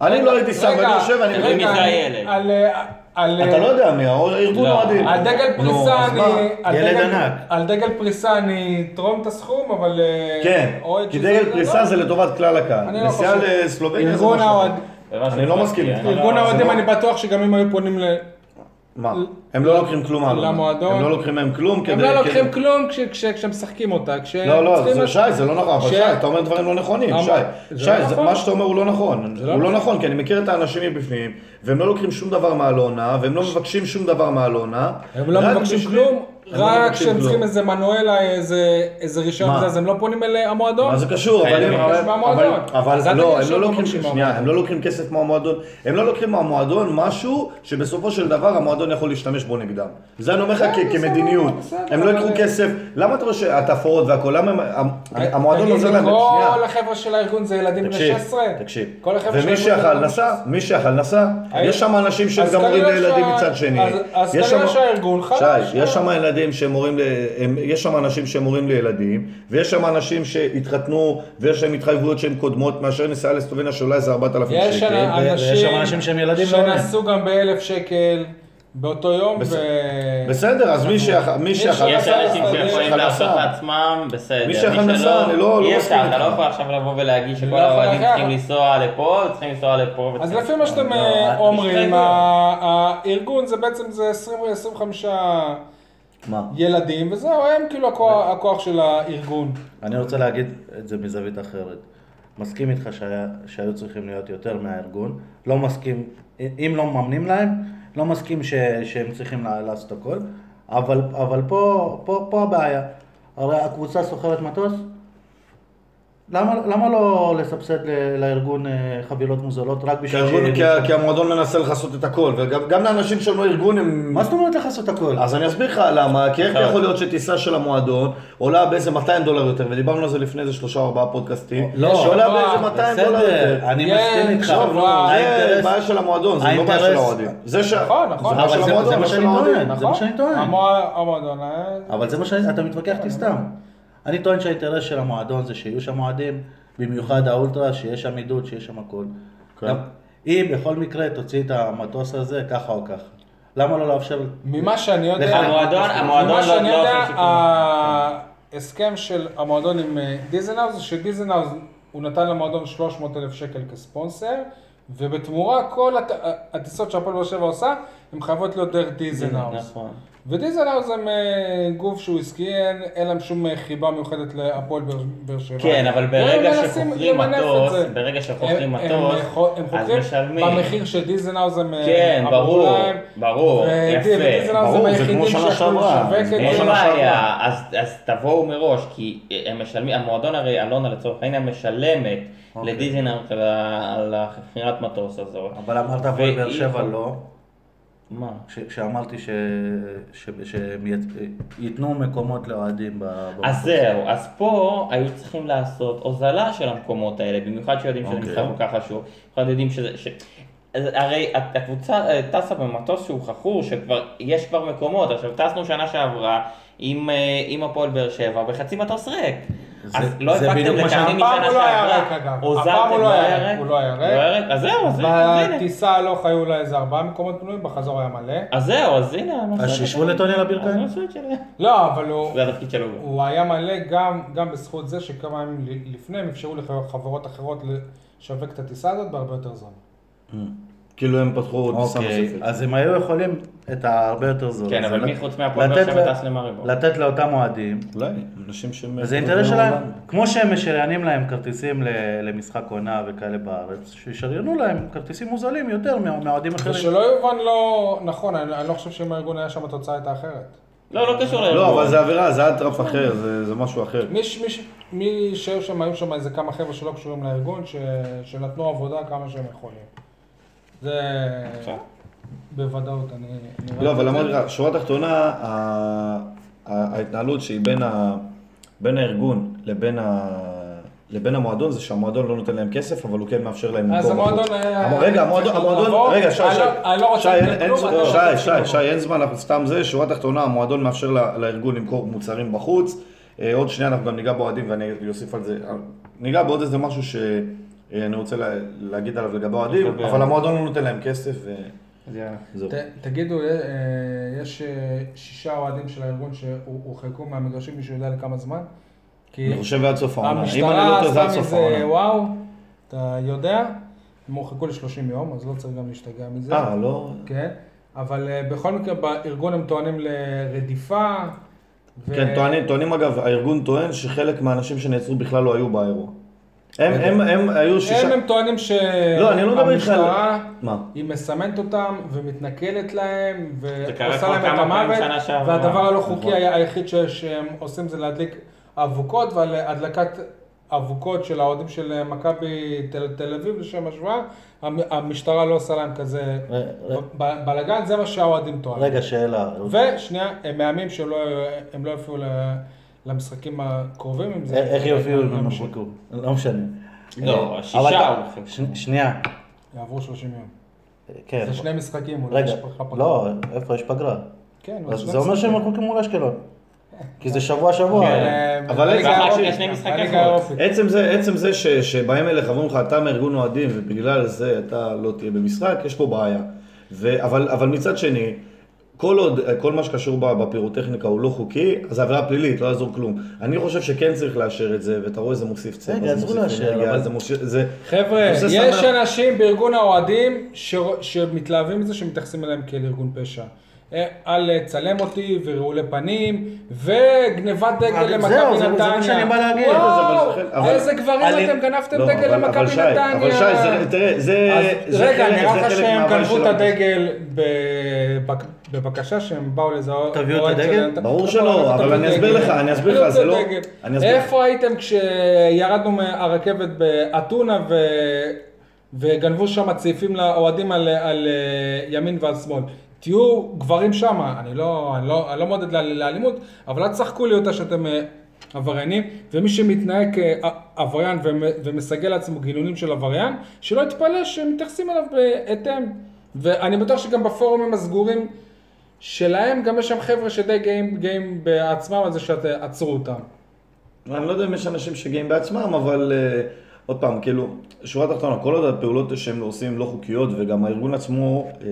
Speaker 3: אני לא הייתי שם,
Speaker 2: רגע,
Speaker 3: ואני יושב, אני...
Speaker 2: רגע,
Speaker 4: מבין מי זה
Speaker 2: אני-
Speaker 4: הילד.
Speaker 2: על, אה, על,
Speaker 3: אתה
Speaker 2: אה,
Speaker 3: לא יודע מי, הארגון
Speaker 4: לא.
Speaker 3: אוהדים.
Speaker 2: על דגל
Speaker 3: נו,
Speaker 2: פריסה
Speaker 3: אז
Speaker 2: אני...
Speaker 3: מה?
Speaker 2: על
Speaker 6: ילד
Speaker 2: דגל-
Speaker 6: ענק.
Speaker 2: על דגל פריסה אני אתרום את הסכום, אבל... אה,
Speaker 3: כן,
Speaker 2: אוהד
Speaker 3: כי
Speaker 2: שזה-
Speaker 3: דגל
Speaker 2: לא,
Speaker 3: פריסה
Speaker 2: לא.
Speaker 3: זה לטובת כלל
Speaker 2: אני
Speaker 3: הקהל.
Speaker 2: לא
Speaker 3: נסיעה
Speaker 2: חושב.
Speaker 3: לסלובניה זה
Speaker 2: ארגון
Speaker 3: משהו אחר.
Speaker 2: האוהד-
Speaker 3: אני לא מסכים איתך.
Speaker 2: ארגון
Speaker 3: לא,
Speaker 2: האוהדים,
Speaker 3: זה לא-
Speaker 2: אני בטוח שגם אם היו פונים ל...
Speaker 3: מה? הם לא לוקחים כלום מהלום.
Speaker 2: למועדון.
Speaker 3: הם לא לוקחים מהם כלום כדי...
Speaker 2: הם לא לוקחים
Speaker 3: כדי-
Speaker 2: כלום כש- כש- כשמשחקים אותה, כשהם
Speaker 3: לא, לא,
Speaker 2: צריכים-
Speaker 3: זה- שי, זה לא נכון, אבל
Speaker 2: ש-
Speaker 3: שי, אתה אומר דברים לא נכונים,
Speaker 2: אמר-
Speaker 3: שי.
Speaker 2: זה
Speaker 3: שי,
Speaker 2: לא
Speaker 3: זה-
Speaker 2: נכון.
Speaker 3: מה שאתה אומר הוא לא נכון.
Speaker 2: לא
Speaker 3: הוא לא נכון, כי אני מכיר את האנשים מבפנים, והם לא לוקחים שום דבר מהלונה, והם לא מבקשים שום דבר מהלונה.
Speaker 2: הם לא
Speaker 3: רק
Speaker 2: מבקשים
Speaker 3: בשביל-
Speaker 2: כלום,
Speaker 3: הם לא
Speaker 2: רק
Speaker 3: מבקשים
Speaker 2: כשהם
Speaker 3: כלום.
Speaker 2: צריכים איזה מנואלה, איזה איזה רישיון,
Speaker 3: מה?
Speaker 2: וזה, אז הם לא פונים אל המועדון.
Speaker 3: מה זה קשור? אבל
Speaker 4: חייבים
Speaker 3: הם-
Speaker 2: לבקש
Speaker 3: אבל-
Speaker 2: מהמועדון.
Speaker 3: אבל
Speaker 2: אז אל
Speaker 3: לא,
Speaker 2: תגיד
Speaker 3: הם
Speaker 2: שהם
Speaker 3: לא
Speaker 2: לא
Speaker 3: לוקחים,
Speaker 2: מבקשים
Speaker 3: שנייה,
Speaker 2: מהמועדון.
Speaker 3: הם לא לוקחים כסף מהמועדון. הם לא לוקחים מהמועדון משהו שבסופו של דבר המועדון יכול להשתמש בו נגדם. זה אני אומר לך כ- כמדיניות.
Speaker 2: כן, בסדר,
Speaker 3: הם לא
Speaker 2: אבל- אה,
Speaker 3: ייקחו כסף, למה אתה חושב, התפאורות והכל, למה הם- המ- המועדון עוזר להם,
Speaker 2: תגיד לי,
Speaker 3: שנייה.
Speaker 2: כל החבר'ה של הארגון זה ילדים בני
Speaker 3: תקשיב,
Speaker 2: 16?
Speaker 3: תקשיב.
Speaker 2: כל החבר'ה של
Speaker 3: ומי
Speaker 2: הארגון זה
Speaker 3: שיכל
Speaker 2: ילדים
Speaker 3: נסע, מי שיכל נסע,
Speaker 2: היי.
Speaker 3: יש שם אנשים
Speaker 2: אז
Speaker 3: שהם גם הורים
Speaker 2: כנראה
Speaker 3: לילדים
Speaker 2: שה-
Speaker 3: מצד שני.
Speaker 2: אז- אז
Speaker 3: יש
Speaker 2: כנראה
Speaker 3: שם-
Speaker 2: שהארגון חלש,
Speaker 3: שי, יש
Speaker 2: לא?
Speaker 3: שם ילדים שהם הורים, ל... הם... יש שם אנשים שהם הורים לילדים, ויש שם אנשים שהתחתנו, ויש להם התחייבויות שהן קודמות, מאשר נסיעה לסטובניה שעולה איזה 4,000 שקל.
Speaker 2: יש שנה-
Speaker 6: ו- ויש
Speaker 2: אנשים
Speaker 6: שם אנשים שהם ילדים לא עולים.
Speaker 2: שנסעו גם באלף שקל באותו יום.
Speaker 3: בס-
Speaker 2: ו-
Speaker 3: בסדר, אז מי שיכ- מי
Speaker 2: יש
Speaker 3: שיכול...
Speaker 4: יש
Speaker 2: נסע,
Speaker 4: אנשים
Speaker 2: נסע,
Speaker 4: שיכולים
Speaker 2: נסע.
Speaker 4: לעשות לעצמם, בסדר.
Speaker 3: מי שיכול נסע,
Speaker 4: שלא,
Speaker 3: אני לא- לא
Speaker 4: אי
Speaker 3: מסכים
Speaker 4: אפשר, אתה
Speaker 3: איתך.
Speaker 4: לא יכול עכשיו לבוא ולהגיד
Speaker 2: אני
Speaker 4: שכל
Speaker 2: לא יכול
Speaker 4: האוהדים
Speaker 2: לקחת.
Speaker 4: צריכים לנסוע לפה, צריכים לנסוע לפה.
Speaker 2: אז
Speaker 4: וצריכים
Speaker 2: לפי מה
Speaker 4: לנסוע-
Speaker 2: שאתם
Speaker 4: לא,
Speaker 2: אה,
Speaker 4: אל
Speaker 2: אומרים,
Speaker 4: תשתגעו.
Speaker 2: ה- הארגון זה בעצם זה 20-25
Speaker 3: מה?
Speaker 2: ילדים, וזהו, הם כאילו הכוח- הכוח של הארגון.
Speaker 6: אני רוצה להגיד את זה מזווית אחרת. מסכים איתך שהיה, שהיו צריכים להיות יותר מהארגון, לא מסכים, אם לא מממנים להם, לא מסכים ש, שהם צריכים לע- לעשות הכל, אבל, אבל פה, פה, פה הבעיה. הרי הקבוצה שוכרת מטוס, למה, למה לא לסבסד ל- לארגון אה, חבילות מוזלות רק
Speaker 3: כי
Speaker 6: בשביל...
Speaker 3: הארגון-
Speaker 6: ש-
Speaker 3: כי ה- כי המועדון מנסה לכסות את הכל, וגם גם לאנשים שהם לא ארגון הם...
Speaker 6: מה זאת אומרת לך לעשות הכל?
Speaker 3: אז אני אסביר לך למה, כי
Speaker 6: כן.
Speaker 3: איך יכול להיות שטיסה של המועדון עולה באיזה 200 דולר יותר, ודיברנו על זה לפני איזה שלושה ארבעה פודקאסטים,
Speaker 6: לא,
Speaker 3: שעולה
Speaker 2: אבל-
Speaker 3: באיזה 200 דולר יותר.
Speaker 6: בסדר, אני
Speaker 2: יש,
Speaker 6: מסכים איתך.
Speaker 2: טוב,
Speaker 6: אבל
Speaker 2: לא,
Speaker 3: זה
Speaker 6: האינטרס-
Speaker 3: בעיה של המועדון, זה לא בעיה של
Speaker 6: האינטרס-
Speaker 3: האוהדים. זה ש...
Speaker 2: נכון, נכון.
Speaker 3: זה בעיה
Speaker 6: אבל
Speaker 3: של
Speaker 6: זה- זה
Speaker 3: המועדון,
Speaker 6: מה
Speaker 3: לא של
Speaker 6: שאני
Speaker 3: האוהדים.
Speaker 6: טוען. נכון? זה מה שאני טוען.
Speaker 2: המוע- המועדון, אה,
Speaker 6: אבל זה מה שאני, אתה מתווכח איתי סתם. אני טוען שהאינטרס של המועדון זה שיהיו שם אוהדים, במיוחד האולטרה, שיש שם עידוד, שיש שם הכל. גם אם בכל מקרה תוציא את המטוס הזה ככה או ככה. למה לא לאפשר...
Speaker 2: ממה שאני יודע,
Speaker 6: לך,
Speaker 4: המועדון- המועדון
Speaker 2: ממה
Speaker 4: לא-
Speaker 2: שאני
Speaker 4: לא
Speaker 2: יודע,
Speaker 4: עושה שיקום.
Speaker 2: ההסכם של המועדון עם אה, דיזנהאוז, שדיזנהאוז הוא נתן למועדון 300 אלף שקל כספונסר, ובתמורה כל הט- הטיסות שהפועל באר שבע עושה, הן חייבות להיות דרך דיזנהאוז.
Speaker 4: נכון.
Speaker 2: ודיזנהאוז הם אה, גוף שהוא עסקי, אין אין להם שום אה, חיבה מיוחדת להפועל באר- באר שבע.
Speaker 4: כן, אבל
Speaker 2: והם
Speaker 4: ברגע
Speaker 2: מנסים
Speaker 4: שחוכרים
Speaker 2: למנף את
Speaker 4: מטוס,
Speaker 2: זה.
Speaker 4: ברגע
Speaker 2: הם- הם,
Speaker 4: שחוכרים מטוס,
Speaker 2: אה, חו- הם
Speaker 4: אז
Speaker 2: חוקרים
Speaker 4: משלמים.
Speaker 2: במחיר שדיזנהאוז הם אה,
Speaker 4: כן,
Speaker 2: אמרו
Speaker 4: ברור,
Speaker 2: להם.
Speaker 4: ברור,
Speaker 2: ו-
Speaker 4: יפה.
Speaker 2: ודיזנהאוז הם
Speaker 3: ברור, זה כמו
Speaker 2: היחידים
Speaker 3: שנה
Speaker 2: שיכולו
Speaker 3: שעברה.
Speaker 2: לשווק
Speaker 3: כמו
Speaker 2: את
Speaker 4: אין
Speaker 2: כן, זה.
Speaker 3: שנה
Speaker 4: בעיה, אז, אז תבואו מראש, כי הם משלמים, המועדון הרי, אלונה לצורך העניין משלמת לדיזינארט על, ה- על החכירת מטוס הזאת.
Speaker 6: אבל אמרת הפועל באר
Speaker 4: ואי-
Speaker 6: שבע לא,
Speaker 4: מה?
Speaker 6: כש- כשאמרתי ש- ש- שהם יצ- ייתנו מקומות לאוהדים ב-
Speaker 4: אז
Speaker 6: במטוס.
Speaker 4: זהו, אז פה היו צריכים לעשות הוזלה של המקומות האלה, במיוחד שיודעים שזה
Speaker 6: אוקיי.
Speaker 4: משחק כל כך חשוב, במיוחד יודעים שזה... ש... אז הרי הקבוצה אה, טסה במטוס שהוא חכור, שכבר, יש כבר מקומות, עכשיו טסנו שנה שעברה עם, אה, עם הפועל באר שבע בחצי מטוס ריק.
Speaker 6: זה-
Speaker 4: אז לא
Speaker 6: זה
Speaker 4: הפקתם
Speaker 6: בדיוק מה
Speaker 4: לקרני
Speaker 2: שהפעם
Speaker 4: משנה
Speaker 2: הוא לא היה
Speaker 4: שעברה,
Speaker 2: ריק, אגב.
Speaker 4: הוזלתם,
Speaker 2: הפעם הוא לא
Speaker 4: לא
Speaker 2: היה
Speaker 4: היה
Speaker 2: ריק,
Speaker 4: ריק,
Speaker 2: הוא לא היה ריק.
Speaker 4: אז זהו, אז הנה.
Speaker 2: בטיסה הלוך היו לא לה איזה ארבעה מקומות פנויים, בחזור היה מלא.
Speaker 4: אז זהו, אז הנה. מה
Speaker 6: אז
Speaker 4: שעשית.
Speaker 6: שישבו לטוני על
Speaker 4: אז
Speaker 6: הברכיים.
Speaker 4: מה שעשית שלהם.
Speaker 2: לא, אבל הוא...
Speaker 4: זה התפקיד שלו. גם.
Speaker 2: הוא היה מלא גם, גם בזכות זה שכמה ימים ל- לפני הם אפשרו לחברות אחרות לשווק את הטיסה הזאת בהרבה יותר זמן.
Speaker 3: כאילו הם פתחו טיסה
Speaker 6: אוקיי,
Speaker 3: נוספת.
Speaker 6: אז הם היו יכולים את ההרבה יותר זול.
Speaker 4: כן,
Speaker 6: הזה,
Speaker 4: אבל
Speaker 6: לת-
Speaker 4: מי חוץ מהפועל באר
Speaker 6: לתת
Speaker 4: שבע
Speaker 6: ל-
Speaker 4: טס למריבור?
Speaker 6: לתת לאותם אוהדים,
Speaker 3: אולי, אנשים שהם...
Speaker 6: זה אינטרס שלהם, כמו שהם משריינים להם כרטיסים ל- למשחק עונה וכאלה בארץ, שישריינו להם כרטיסים מוזלים יותר מה- מהאוהדים אחרים.
Speaker 2: ושלא יובן לא נכון, אני, אני לא חושב שאם הארגון היה שם התוצאה הייתה אחרת.
Speaker 4: לא, לא קשור לארגון.
Speaker 3: לא, אבל זה עבירה, זה אטרף אחר, זה- זה משהו אחר.
Speaker 2: מי, ש- מי, ש- מי שהיו שם, היו שם איזה כמה חבר'ה שלא קשורים לארגון, ש, שנתנו עבודה כמה שהם יכולים. זה בוודאות, אני... אני ראיתי
Speaker 3: לא,
Speaker 2: את
Speaker 3: אבל
Speaker 2: זה.
Speaker 3: אמרתי לך, שורה תחתונה, ה- ה- ההתנהלות שהיא בין, ה... בין הארגון לבין, ה... לבין המועדון, זה שהמועדון לא נותן להם כסף, אבל הוא כן מאפשר להם
Speaker 2: אז
Speaker 3: מקום
Speaker 2: המועדון אה,
Speaker 3: בחוץ.
Speaker 2: היה-
Speaker 3: אבל רגע, המועדון,
Speaker 2: צריך
Speaker 3: המועדון,
Speaker 2: לבוא.
Speaker 3: רגע, שי,
Speaker 2: אני
Speaker 3: שי,
Speaker 2: לא- אני לא רוצה
Speaker 3: שי, אין-
Speaker 2: לתת
Speaker 3: אין-
Speaker 2: כלום, אני לא רוצה
Speaker 3: שי,
Speaker 2: לתת כלום.
Speaker 3: שי, שי, אין זמן, אנחנו סתם זה, שורה תחתונה, המועדון מאפשר ל- לארגון למכור מוצרים בחוץ. אה, עוד שנייה אנחנו גם ניגע באוהדים ואני אוסיף על זה. אה, ניגע בעוד איזה משהו שאני רוצה לה- להגיד עליו לגבי האוהדים,
Speaker 4: נדבר.
Speaker 3: אבל המועדון לא נותן להם כסף. ו-
Speaker 4: אז יאללה.
Speaker 3: זהו.
Speaker 2: ת- תגידו, אה, אה, יש אה, שישה אוהדים של הארגון שהורחקו מהמגרשים, מישהו יודע לכמה זמן? כי
Speaker 3: אני חושב עד סוף העונה. אם אני
Speaker 2: המשטרה
Speaker 3: לא טועה זה עד
Speaker 2: עשתה
Speaker 3: סוף
Speaker 2: מזה
Speaker 3: העונה.
Speaker 2: וואו, אתה יודע? הם הורחקו ל-30 יום, אז לא צריך גם להשתגע מזה.
Speaker 3: אה, לא?
Speaker 2: כן, אבל אה, בכל מקרה בארגון הם טוענים לרדיפה. ו-
Speaker 3: כן, טוענים, טוענים אגב, הארגון טוען שחלק מהאנשים שנעצרו בכלל לא היו באירוע. הם, הם, הם היו שישה...
Speaker 2: הם, הם טוענים
Speaker 3: לא, אני לא מדבר איתך על-
Speaker 2: שהמשטרה,
Speaker 3: מה?
Speaker 2: היא מסמנת אותם ומתנכלת להם,
Speaker 4: קרה
Speaker 2: ועושה
Speaker 4: כבר
Speaker 2: להם את
Speaker 4: כמה פעמים
Speaker 2: המוות,
Speaker 4: שנה שעברה. נכון.
Speaker 2: והדבר הלא חוקי היה- היחיד ש- שהם עושים זה להדליק אבוקות, ועל הדלקת אבוקות של האוהדים של מכבי תל- תל אביב, לשם השוואה, המ- המשטרה לא עושה להם כזה
Speaker 6: ר- ר-
Speaker 2: בלאגן, זה מה שהאוהדים טוענים.
Speaker 6: רגע, שאלה.
Speaker 2: ושנייה, הם מאיימים שהם לא, הם לא יופיעו ל- למשחקים הקרובים, אם
Speaker 6: א-
Speaker 2: זה...
Speaker 6: איך יופיעו אם הם
Speaker 2: ימשיך.
Speaker 6: הורחקו? לא משנה.
Speaker 4: לא,
Speaker 6: אה,
Speaker 4: שישה
Speaker 6: אבל אתה-
Speaker 4: הורחקו.
Speaker 6: ש- שנייה,
Speaker 2: יעברו 30 יום.
Speaker 6: כן.
Speaker 2: זה שני משחקים, אולי
Speaker 6: רגע,
Speaker 2: יש לך פגרה.
Speaker 6: לא, איפה יש פגרה?
Speaker 2: כן,
Speaker 5: אז
Speaker 2: בשלב
Speaker 5: זה אומר שהם
Speaker 2: זה-
Speaker 5: הלכו מול אשקלון. כי זה שבוע שבוע.
Speaker 2: כן,
Speaker 3: אבל
Speaker 2: בליגה
Speaker 3: איזה-
Speaker 2: האירופית,
Speaker 4: רק שני משחקי
Speaker 2: בליגה
Speaker 4: חוץ.
Speaker 2: האירופית.
Speaker 3: עצם זה, עצם זה ש, שבאים אליך ואומרים לך, אתה מארגון אוהדים ובגלל זה אתה לא תהיה במשחק, יש פה בעיה. ו, אבל, אבל מצד שני, כל עוד, כל מה שקשור ב- בפירוטכניקה הוא לא חוקי, אז זה עבירה פלילית, לא יעזור כלום. אני חושב שכן צריך לאשר את זה, ואתה רואה זה מוסיף צבע,
Speaker 5: רגע,
Speaker 3: זה
Speaker 5: עזבו
Speaker 3: מוסיף
Speaker 5: לאשר,
Speaker 3: אנרגיה,
Speaker 5: אבל-
Speaker 3: זה מוסיף... זה...
Speaker 2: חבר'ה,
Speaker 3: זה
Speaker 2: יש
Speaker 3: שמח.
Speaker 2: אנשים בארגון האוהדים ש- שמתלהבים מזה שמתייחסים אליהם כאל ארגון פשע. אה, על אה, צלם אותי ורעולי פנים וגניבת דגל
Speaker 5: אבל
Speaker 2: למכבי
Speaker 5: זהו,
Speaker 2: נתניה.
Speaker 5: זה- זה מה שאני בא להגיד.
Speaker 2: וואו,
Speaker 3: אבל- אבל-
Speaker 2: איזה גברים
Speaker 5: אני-
Speaker 2: אתם גנבתם
Speaker 3: לא,
Speaker 2: דגל
Speaker 3: אבל, אבל
Speaker 2: למכבי
Speaker 3: שי,
Speaker 2: נתניה.
Speaker 3: אבל שי, זה, תראה, זה...
Speaker 2: אז
Speaker 3: זה
Speaker 2: רגע,
Speaker 3: חלק-
Speaker 2: נראה
Speaker 3: זה
Speaker 2: לך
Speaker 3: חלק
Speaker 2: שהם
Speaker 3: מהבעיה
Speaker 2: גנבו את
Speaker 3: שלנו.
Speaker 2: הדגל בבק- בבקשה שהם באו לזהות.
Speaker 5: תביאו את
Speaker 2: אוהד
Speaker 5: הדגל?
Speaker 2: שלהם, ת-
Speaker 3: ברור
Speaker 2: אתה
Speaker 3: שלא,
Speaker 2: יכול לקחת
Speaker 3: אבל
Speaker 2: את
Speaker 3: אני
Speaker 2: הדגל.
Speaker 3: אסביר לך, אני אסביר
Speaker 2: תביאו
Speaker 3: לך, זה
Speaker 2: את
Speaker 3: לא-
Speaker 2: הדגל.
Speaker 3: אני אסביר לך.
Speaker 2: איפה הייתם כשירדנו מהרכבת באתונה ו... וגנבו שם צעיפים לאוהדים על, על אה, ימין ועל שמאל. תהיו גברים שם, אני לא, אני לא, אני לא מודד לאל- לאלימות, אבל אל תשחקו לי אותה שאתם אה, עבריינים, ומי שמתנהג אה, כעבריין ומסגל לעצמו גילונים של עבריין, שלא יתפלא שמתייחסים אליו בהתאם. ואני בטוח שגם בפורומים הסגורים שלהם, גם יש שם חבר'ה שדי גאים, גאים בעצמם על זה שעצרו אותם.
Speaker 3: אני לא יודע אם יש אנשים שגאים בעצמם, אבל אה, עוד פעם, כאילו, שורה תחתונה, כל עוד הפעולות שהם עושים לא חוקיות, וגם הארגון עצמו, אה,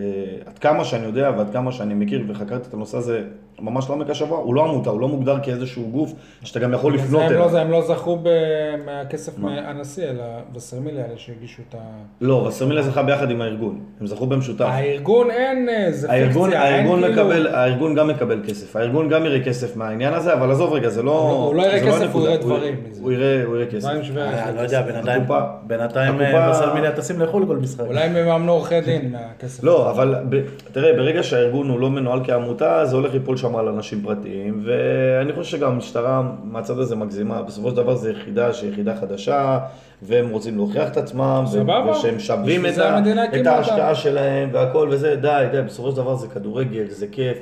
Speaker 3: עד כמה שאני יודע ועד כמה שאני מכיר וחקרתי את הנושא הזה ממש לעומק השבוע, הוא לא עמותה, הוא לא מוגדר כאיזשהו גוף שאתה גם יכול לפנות
Speaker 2: הם
Speaker 3: אליו.
Speaker 2: לא, הם לא זכו ב- מהכסף מהנשיא, אלא וסרמילי האלה שהגישו את ה...
Speaker 3: לא, וסרמילה זכה ביחד עם הארגון, הם זכו
Speaker 2: אה,
Speaker 3: במשותף.
Speaker 2: הארגון אין, אה, זה
Speaker 3: הארגון,
Speaker 2: פיקציה, אין
Speaker 3: הארגון,
Speaker 2: כאילו-
Speaker 3: מקבל, הארגון גם מקבל כסף, הארגון גם יראה כסף מהעניין הזה, אבל עזוב רגע, זה לא...
Speaker 2: הוא לא יראה
Speaker 3: זה לא
Speaker 2: כסף, הוא
Speaker 3: הנקודה.
Speaker 2: יראה דברים מזה.
Speaker 3: הוא יראה, הוא יראה כסף.
Speaker 2: מה עם שווה
Speaker 5: אה,
Speaker 2: ערך
Speaker 5: לא
Speaker 2: לכסף?
Speaker 5: יודע, בינתיים,
Speaker 3: הקופה-
Speaker 5: בינתיים
Speaker 3: הקופה-
Speaker 5: אה, בסרמיליה טסים לחו"ל כל משחק.
Speaker 2: אולי הם יממנו עורכי דין מהכסף.
Speaker 3: לא, אבל ב, תראה, ברגע שהארגון הוא לא מנוהל כעמותה, זה הולך ליפול שם על אנשים פרטיים, ואני חושב שגם המשטרה מהצד הזה מגזימה. בסופו של דבר זו יחידה שהיא יחידה חדשה, והם רוצים להוכיח את עצמם, ו-
Speaker 2: סבבה.
Speaker 3: ושהם שווים
Speaker 2: בשביל
Speaker 3: את,
Speaker 2: זה
Speaker 3: ה-
Speaker 2: המדינה הקימה
Speaker 3: את
Speaker 2: אותם.
Speaker 3: ההשקעה שלהם והכל וזה, די, די, בסופו של דבר זה כדורגל, זה כיף,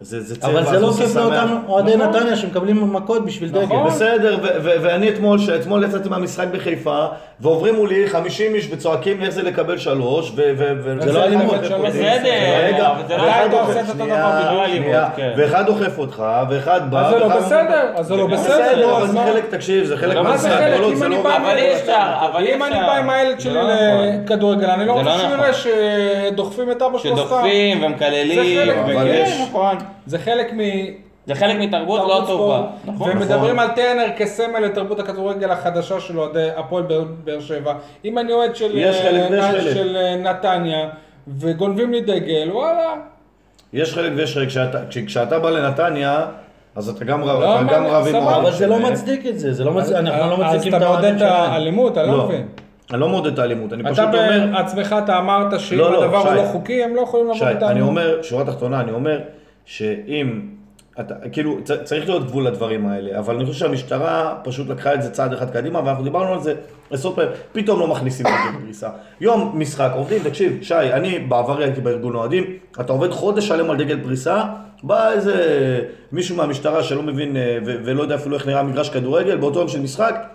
Speaker 3: זה, זה צבע,
Speaker 5: אבל זה לא
Speaker 3: עושה
Speaker 5: כיף
Speaker 3: שמח.
Speaker 5: לאותם אוהדי נתניה שמקבלים מכות בשביל דגל.
Speaker 2: נכון.
Speaker 3: בסדר, ו- ו- ואני אתמול, ש- אתמול יצאתי מהמשחק בחיפה, ועוברים מולי 50 איש וצועקים איך זה לקבל שלוש, ו... ו- ו-
Speaker 2: זה לקבל שלוש?
Speaker 4: בסדר,
Speaker 3: רגע,
Speaker 4: אבל זה לא-
Speaker 3: ואחד
Speaker 2: אתה עושה
Speaker 3: דוחף-
Speaker 2: את אותו
Speaker 3: שנייה,
Speaker 2: דבר
Speaker 4: בגלל אלימות,
Speaker 3: שנייה,
Speaker 4: כן.
Speaker 3: ואחד דוחף אותך, ואחד בא,
Speaker 2: אז זה לא
Speaker 3: ואחד-
Speaker 2: בסדר, אז זה לא בסדר,
Speaker 3: בסדר, אבל
Speaker 2: אז
Speaker 3: זה
Speaker 2: מה?
Speaker 3: חלק, תקשיב, זה חלק
Speaker 4: מה זה
Speaker 3: מהמשחק,
Speaker 4: חלק?
Speaker 3: כל עוד
Speaker 2: אם
Speaker 3: זה
Speaker 2: אני
Speaker 3: לא-
Speaker 2: בא-
Speaker 4: אבל אי אפשר, אבל אי
Speaker 2: אם
Speaker 4: אפשר.
Speaker 2: אני בא עם הילד שלי
Speaker 4: זה לא נכון.
Speaker 2: לכדורגל, אני לא
Speaker 4: זה
Speaker 2: רוצה
Speaker 4: לא
Speaker 2: שהוא
Speaker 4: נכון.
Speaker 2: יראה שדוחפים את אבא שלו סתם.
Speaker 4: שדוחפים
Speaker 2: זה
Speaker 4: ומקללים,
Speaker 2: חלק
Speaker 4: וכן,
Speaker 3: מהכיף.
Speaker 4: נכון.
Speaker 2: זה חלק מ...
Speaker 4: זה חלק מתרבות לא
Speaker 2: תרבות
Speaker 4: טובה.
Speaker 2: ספורט.
Speaker 4: נכון.
Speaker 2: ומדברים על טרנר כסמל לתרבות הכדורגל החדשה של אוהדי הפועל באר- באר שבע. אם אני אוהד של,
Speaker 3: יש חלק ויש
Speaker 2: אה,
Speaker 3: חלק.
Speaker 2: של אה, נתניה, וגונבים לי דגל, וואלה.
Speaker 3: יש חלק ויש חלק, כשאתה- כש- כשאתה בא לנתניה, אז אתה גם רב אתה
Speaker 2: מה-
Speaker 3: גם רב עם
Speaker 2: לא, סבבה.
Speaker 3: האוהדים
Speaker 5: אבל זה לא
Speaker 3: שלהם.
Speaker 5: מצדיק את זה, זה לא מצדיק, אנחנו לא
Speaker 2: אז
Speaker 5: מצדיקים
Speaker 2: אתה
Speaker 5: את
Speaker 2: מעודד
Speaker 5: האוהדים
Speaker 2: את
Speaker 5: שלהם.
Speaker 2: האלימות, אני לא
Speaker 3: לא,
Speaker 2: מבין.
Speaker 3: אני לא מעודד את האלימות, אני פשוט
Speaker 2: אתה
Speaker 3: אומר...
Speaker 2: בעצמך, אתה אמרת שאם
Speaker 3: לא, לא,
Speaker 2: הדבר הוא
Speaker 3: שי.
Speaker 2: לא חוקי, הם לא יכולים לבוא
Speaker 3: שי, אני
Speaker 2: בטענות.
Speaker 3: אומר, שורה תחתונה, אני אומר שאם, אתה, כאילו, צ, צריך להיות גבול לדברים האלה, אבל אני חושב שהמשטרה פשוט לקחה את זה צעד אחד קדימה, ואנחנו דיברנו על זה עשרות פעמים, פתאום לא מכניסים דגל פריסה. יום משחק, עובדים, תקשיב, שי, אני בעברי הייתי בארגון אוהדים, אתה עובד חודש שלם על דגל פריסה, בא איזה מישהו מהמשטרה שלא מבין אה, ו- ולא יודע אפילו איך נראה מגרש כדורגל, באותו יום של משחק,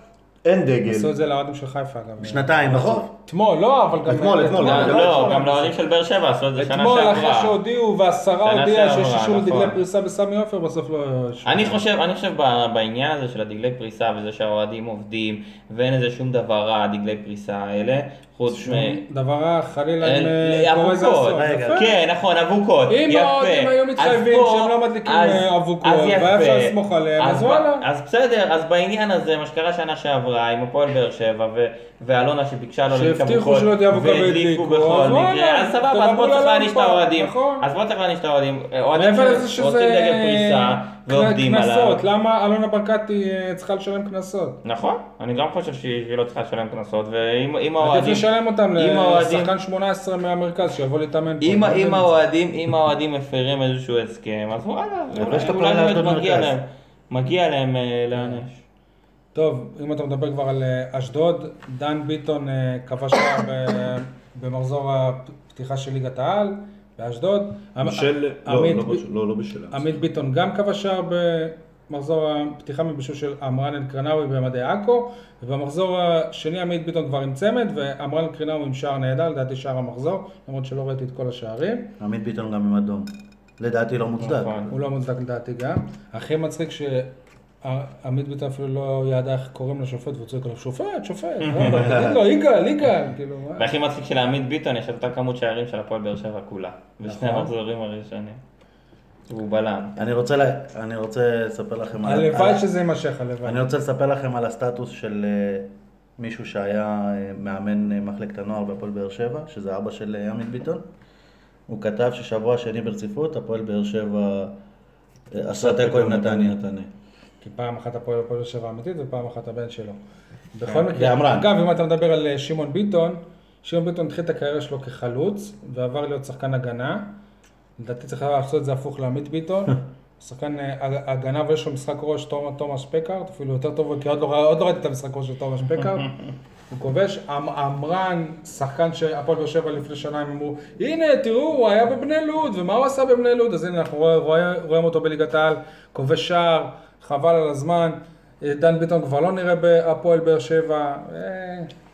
Speaker 3: אין
Speaker 2: עשו
Speaker 3: דגל.
Speaker 2: את זה לאוהדים של חיפה גם.
Speaker 5: שנתיים,
Speaker 3: נכון?
Speaker 2: אתמול, לא, אבל גם...
Speaker 3: אתמול, אתמול,
Speaker 4: גם-
Speaker 3: זה
Speaker 4: לא, גם לאוהדים של באר שבע עשו את זה שנה
Speaker 2: אתמול אחרי
Speaker 4: שעברה.
Speaker 2: שהודיעו והשרה
Speaker 4: שנה
Speaker 2: הודיעה שיש
Speaker 4: שעברה,
Speaker 2: אישור לדגלי
Speaker 4: נכון.
Speaker 2: פריסה בסמי עופר, בסוף לא...
Speaker 4: אני חושב, אני חושב ב- בעניין הזה של הדגלי פריסה וזה שהאוהדים עובדים ואין איזה שום דבר רע, הדגלי פריסה האלה, חוץ מ...
Speaker 2: דבר רע, חלילה, אם אה, קורה איזה
Speaker 4: אבוקות,
Speaker 2: אסון.
Speaker 5: רגע.
Speaker 2: יפה.
Speaker 4: כן נכון אבוקות,
Speaker 2: אם
Speaker 4: יפה.
Speaker 2: האוהדים היו מתחייבים
Speaker 4: אז פה-
Speaker 2: שהם לא מדליקים,
Speaker 4: אז-
Speaker 2: אה, אבוקות,
Speaker 4: אז
Speaker 2: והיה
Speaker 4: יפה.
Speaker 2: אפשר לסמוך עליהם, אז
Speaker 4: ב-
Speaker 2: וואלה.
Speaker 4: אז בסדר, אז בעניין הזה, מה שקרה שנה שעברה עם הפועל באר שבע ו- ואלונה שביקשה לא להדליק
Speaker 2: שהבטיחו
Speaker 4: אבוקות,
Speaker 2: שלא תהיה אבוקה והדליקו,
Speaker 4: בכל
Speaker 2: אז וואלה,
Speaker 4: מקרה, אז סבבה, אז
Speaker 2: תדברו
Speaker 4: פה צריך
Speaker 2: לעולם
Speaker 4: להעניש את
Speaker 2: פעם,
Speaker 4: האוהדים,
Speaker 2: נכון.
Speaker 4: אז פה צריך להעניש את האוהדים, אוהדים
Speaker 2: מעבר לזה שזה
Speaker 4: שרוצים דגל פריסה
Speaker 2: קנ-
Speaker 4: ועובדים עליו.
Speaker 2: קנסות, לא- למה אלונה ברקת היא אה, צריכה לשלם קנסות?
Speaker 4: נכון, אני גם חושב שהיא שהיא לא צריכה לשלם קנסות, ואם אם
Speaker 2: עדיף
Speaker 4: האוהדים...
Speaker 2: לשלם אותם
Speaker 4: אם האוהדים-
Speaker 2: לשחקן 18 מהמרכז שיבוא להתאמן פה. אני
Speaker 4: אם
Speaker 2: לא מבין
Speaker 4: אם
Speaker 2: את זה.
Speaker 4: האוהדים, אם האוהדים מפרים איזשהו הסכם, אז וואלה, אולי-
Speaker 5: שאתה
Speaker 4: אולי
Speaker 5: פונה
Speaker 4: באמת
Speaker 5: לאשדוד
Speaker 4: מגיע
Speaker 5: מרכז. כן.
Speaker 4: להם, מגיע להם אה, להיענש.
Speaker 2: טוב, אם אתה מדבר כבר על אה, אשדוד, דן ביטון אה, כבש שער ב- במחזור הפתיחה של ליגת העל באשדוד.
Speaker 3: של... לא,
Speaker 2: עמית
Speaker 3: לא
Speaker 2: ב-
Speaker 3: בש- לא, לא בשלה.
Speaker 2: עמית ביטון גם כבש שער במחזור הפתיחה מבישול של עמרן אלקרנאווי במדי עכו, ובמחזור השני עמית ביטון כבר עם צמד, ועמרן אלקרנאווי עם שער נהדר, לדעתי שער המחזור, למרות שלא ראיתי את כל השערים.
Speaker 5: עמית ביטון גם עם אדום. לדעתי לא מוצדק.
Speaker 4: נכון.
Speaker 2: הוא לא מוצדק לדעתי גם. הכי מצחיק שעמית ביטן אפילו לא ידע איך קוראים לשופט והוא צועק עליו שופט, שופט, לא, תגיד לו יגאל, יגאל, כאילו מה?
Speaker 4: והכי מצחיק שלעמית ביטון יש את אותה כמות שערים של הפועל באר שבע כולה.
Speaker 5: נכון.
Speaker 4: בשני המחזורים הראשונים. והוא בלם.
Speaker 5: אני רוצה, לה... אני רוצה לספר לכם על...
Speaker 2: הלוואי
Speaker 5: על...
Speaker 2: שזה יימשך, הלוואי.
Speaker 5: אני רוצה לספר לכם על הסטטוס של אה, מישהו שהיה אה, מאמן אה, מחלקת הנוער בהפועל באר שבע, שזה אבא של אה, עמית ביטון. הוא כתב ששבוע שני ברציפות, הפועל באר שבע אה, עשה תיקו עם נתניה.
Speaker 2: כי פעם אחת הפועל הפועל באר שבע האמיתית ופעם אחת הבן שלו. בכל מקרה,
Speaker 5: ועמרן.
Speaker 2: אגב, אם אתה מדבר על אה, שמעון ביטון, שמעון ביטון התחיל את הקריירה שלו כחלוץ ועבר להיות שחקן הגנה. לדעתי צריך היה לעשות את זה הפוך לעמית ביטון. שחקן אה, הג- הגנה ויש לו משחק ראש תומ- תומש פקארט, אפילו יותר טוב, כי עוד לא, רא- עוד לא ראיתי את המשחק ראש של תומש פקארט. הוא כובש, עמ- עמרן, שחקן שהפועל באר שבע לפני שנה, הם אמרו, הנה, תראו, הוא היה בבני לוד, ומה הוא עשה בבני לוד? אז הנה, אנחנו רואה- רואה- רואים אותו בליגת העל, כובש שער, חבל על הזמן. אה, דן ביטון כבר לא נראה בהפועל באר שבע, אה,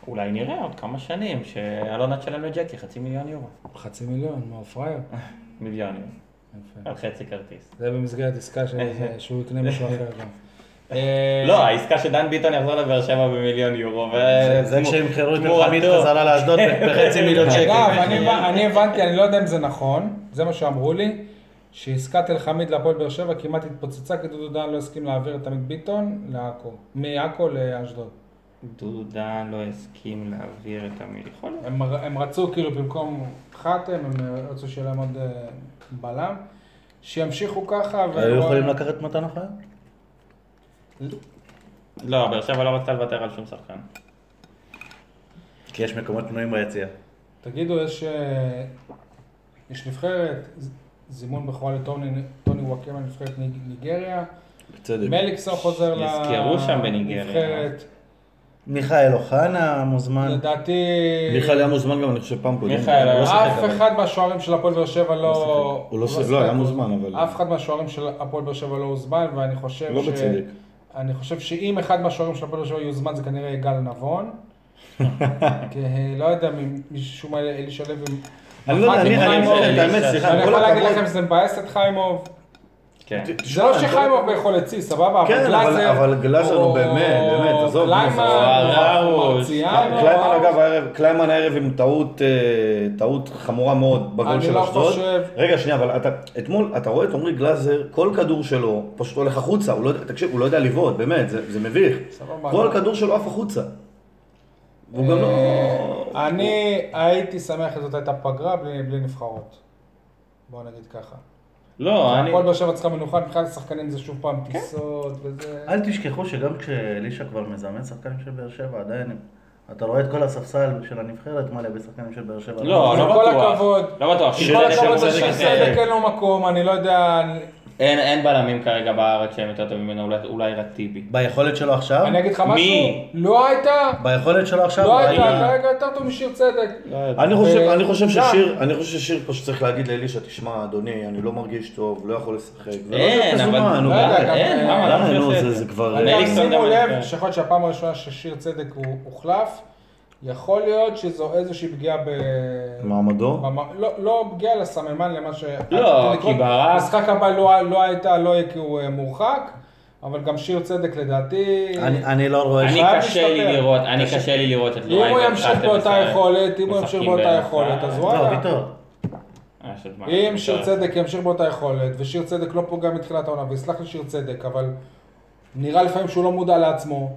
Speaker 4: אולי נראה עוד כמה שנים שאלונה תשלם לג'קי חצי מיליון יורו.
Speaker 2: חצי מיליון, מה הוא פראייר?
Speaker 4: מיליון יורו.
Speaker 2: יפה.
Speaker 4: על חצי כרטיס.
Speaker 2: זה במסגרת עסקה של זה, שהוא יקנה מישהו אחר גם.
Speaker 5: אה,
Speaker 4: לא, העסקה שדן ביטון יחזור לבאר שבע במיליון יורו. ו-
Speaker 5: זה כשהמכרו את
Speaker 4: תמורתו.
Speaker 5: מלחמית חזרה לאשדוד בחצי
Speaker 4: לא,
Speaker 5: מיליון
Speaker 2: אגב,
Speaker 5: שקל.
Speaker 4: אוקיי,
Speaker 2: אני הבנ- אני הבנתי, אני לא יודע אם זה נכון, זה מה שאמרו לי, שעסקת אלחמיד להפועל באר שבע כמעט התפוצצה כי דודו דן לא הסכים להעביר את עמית ביטון לעכו, מעכו לאשדוד.
Speaker 4: דודן לא הסכים להעביר את המיליון. יכול להיות.
Speaker 2: הם ר- הם רצו כאילו במקום חתם, הם רצו שיהיה להם עוד אה, בלם, שימשיכו ככה. אה, ו-
Speaker 5: היו יכולים לקחת את מתן החיים?
Speaker 4: לא, באר שבע לא רצתה לוותר על שום שחקן.
Speaker 2: כן.
Speaker 5: כי יש מקומות פנויים ביציאה.
Speaker 2: תגידו, יש, אה, יש נבחרת, ז- זימון בכורה לטוני טוני וואקמה, נבחרת ניג- ניגריה,
Speaker 3: בצדק.
Speaker 2: מליקסון חוזר
Speaker 4: יזכרו שם בניגריה.
Speaker 2: לנבחרת.
Speaker 5: מיכאל אוחנה מוזמן.
Speaker 2: לדעתי,
Speaker 3: מיכאל היה מוזמן גם, אני חושב, פעם קודמת.
Speaker 4: מיכאל אה, היה-
Speaker 3: הוא לא שיחק,
Speaker 2: אף
Speaker 3: אבל.
Speaker 2: אחד מהשוערים של הפועל באר שבע לא...
Speaker 3: הוא לא שיחק, לא, היה מוזמן, אבל...
Speaker 2: אף אחד מהשוערים של הפועל באר שבע לא הוזמן, ואני חושב
Speaker 3: לא בצדק.
Speaker 2: אני חושב שאם אחד מהשוערים של הפועל באר שבע יוזמן, זה כנראה יגאל נבון. כי אה, לא יודע, מ- משום מה אלישע לוי...
Speaker 3: אני לא יודע,
Speaker 2: מחק
Speaker 3: אני,
Speaker 2: עם
Speaker 3: אני,
Speaker 2: חיימוב.
Speaker 3: את האמת, סליחה,
Speaker 2: אני
Speaker 3: עם כל
Speaker 2: יכול להגיד לכם
Speaker 3: הכבוד.
Speaker 2: שזה מבאס את חיימוב.
Speaker 4: כן.
Speaker 2: זה לא שחיימוב יכול להוציא, סבבה,
Speaker 3: כן, אבל- אבל גלאזר הוא
Speaker 2: או-
Speaker 3: באמת, באמת, עזוב,
Speaker 2: קליימן,
Speaker 3: גלאזר.
Speaker 2: או
Speaker 4: וואו,
Speaker 2: מרציאנו,
Speaker 3: אה, קליימן
Speaker 2: וואו.
Speaker 3: אגב הערב, קליימן הערב עם טעות, אה, טעות חמורה מאוד בגול
Speaker 2: אני
Speaker 3: של
Speaker 2: לא
Speaker 3: אשדוד.
Speaker 2: חושב-
Speaker 3: רגע, שנייה, אבל אתה, אתמול, אתה רואה את עמרי גלאזר, כל כדור שלו פשוט הולך החוצה, הוא לא, יודע- תקשיב, הוא לא יודע לבעוט, באמת, זה, זה מביך.
Speaker 2: סבבה.
Speaker 3: כל כדור שלו עף החוצה. והוא גם לא...
Speaker 2: אה, אני הייתי שמח אם זאת הייתה פגרה בלי בלי נבחרות. בוא נגיד ככה.
Speaker 4: לא, אני...
Speaker 2: הפועל באר שבע צריכה מנוחה, מבחינת השחקנים זה שוב פעם
Speaker 3: כן.
Speaker 2: טיסות וזה.
Speaker 5: אל תשכחו שגם כשאלישע כבר מזמן שחקנים של באר שבע, עדיין הם- אתה רואה את כל הספסל של הנבחרת מלא בשחקנים של באר שבע.
Speaker 4: לא,
Speaker 2: עם
Speaker 4: לא
Speaker 2: כל
Speaker 4: בטוח.
Speaker 2: הכבוד.
Speaker 4: לא בטוח.
Speaker 2: עם כל הכבוד זה
Speaker 4: שזה-
Speaker 2: שסדק אין לו מקום, אני לא יודע, אני-
Speaker 4: אין אין בלמים כרגע בארץ שהם יותר טובים ממנו, אולי- אולי רק טיבי.
Speaker 3: לא,
Speaker 5: ביכולת שלו עכשיו?
Speaker 3: אה,
Speaker 2: אני אגיד לך משהו,
Speaker 4: מי?
Speaker 2: לא הייתה,
Speaker 5: ביכולת שלו עכשיו?
Speaker 2: לא
Speaker 5: ראית-
Speaker 2: הייתה, כרגע יותר טוב משיר צדק.
Speaker 3: אה. אני חושב,
Speaker 2: ו-
Speaker 3: אני חושב
Speaker 2: אה, גם.
Speaker 3: ששיר, אני חושב ששיר פשוט צריך להגיד לאלישע, תשמע, אדוני, אני לא מרגיש טוב, לא יכול לשחק. זה לא
Speaker 4: אין,
Speaker 3: מזומן,
Speaker 4: אבל...
Speaker 3: נו,
Speaker 2: לא יודע,
Speaker 3: די.
Speaker 2: גם-
Speaker 4: אין, למה? למה לא
Speaker 3: די,
Speaker 4: שהוא
Speaker 3: אה, נו,
Speaker 4: עושה
Speaker 3: זה-
Speaker 4: את
Speaker 3: זה כבר...
Speaker 2: אני גם
Speaker 4: מליקסון
Speaker 2: שימו
Speaker 4: גם
Speaker 2: לב
Speaker 4: נבחרת.
Speaker 2: שיכול להיות שהפעם הראשונה ששיר צדק הוא הוחלף, יכול להיות שזו איזושהי פגיעה ב...
Speaker 3: מעמדו?
Speaker 2: במ- לא- לא פגיעה אלא סממן למה ש...
Speaker 4: לא,
Speaker 2: לקרות.
Speaker 4: כי ברק-
Speaker 2: המשחק הבא לא- לא הייתה, לא יהיה כי הוא אה, מורחק, אבל גם שיר צדק לדעתי...
Speaker 5: אני- אני לא רואה...
Speaker 4: אני
Speaker 5: ש-
Speaker 2: חייב
Speaker 4: קשה לי
Speaker 2: להשתפר.
Speaker 4: לראות, אני קשה לי לראות את
Speaker 2: אם
Speaker 4: לואי
Speaker 2: הוא ימשיך
Speaker 4: ופרטה
Speaker 2: באותה
Speaker 4: משחק.
Speaker 2: יכולת, אם הוא ימשיך
Speaker 4: משחקים
Speaker 2: באותה
Speaker 4: ביחד.
Speaker 2: יכולת, אז
Speaker 5: לא,
Speaker 2: וואלה.
Speaker 5: ויטור.
Speaker 4: אה, יש עוד מה.
Speaker 2: אם שיר צדק ימשיך באותה יכולת, ושיר צדק לא פוגע מתחילת העונה, ויסלח לי שיר צדק, אבל נראה לפעמים שהוא לא מודע לעצמו,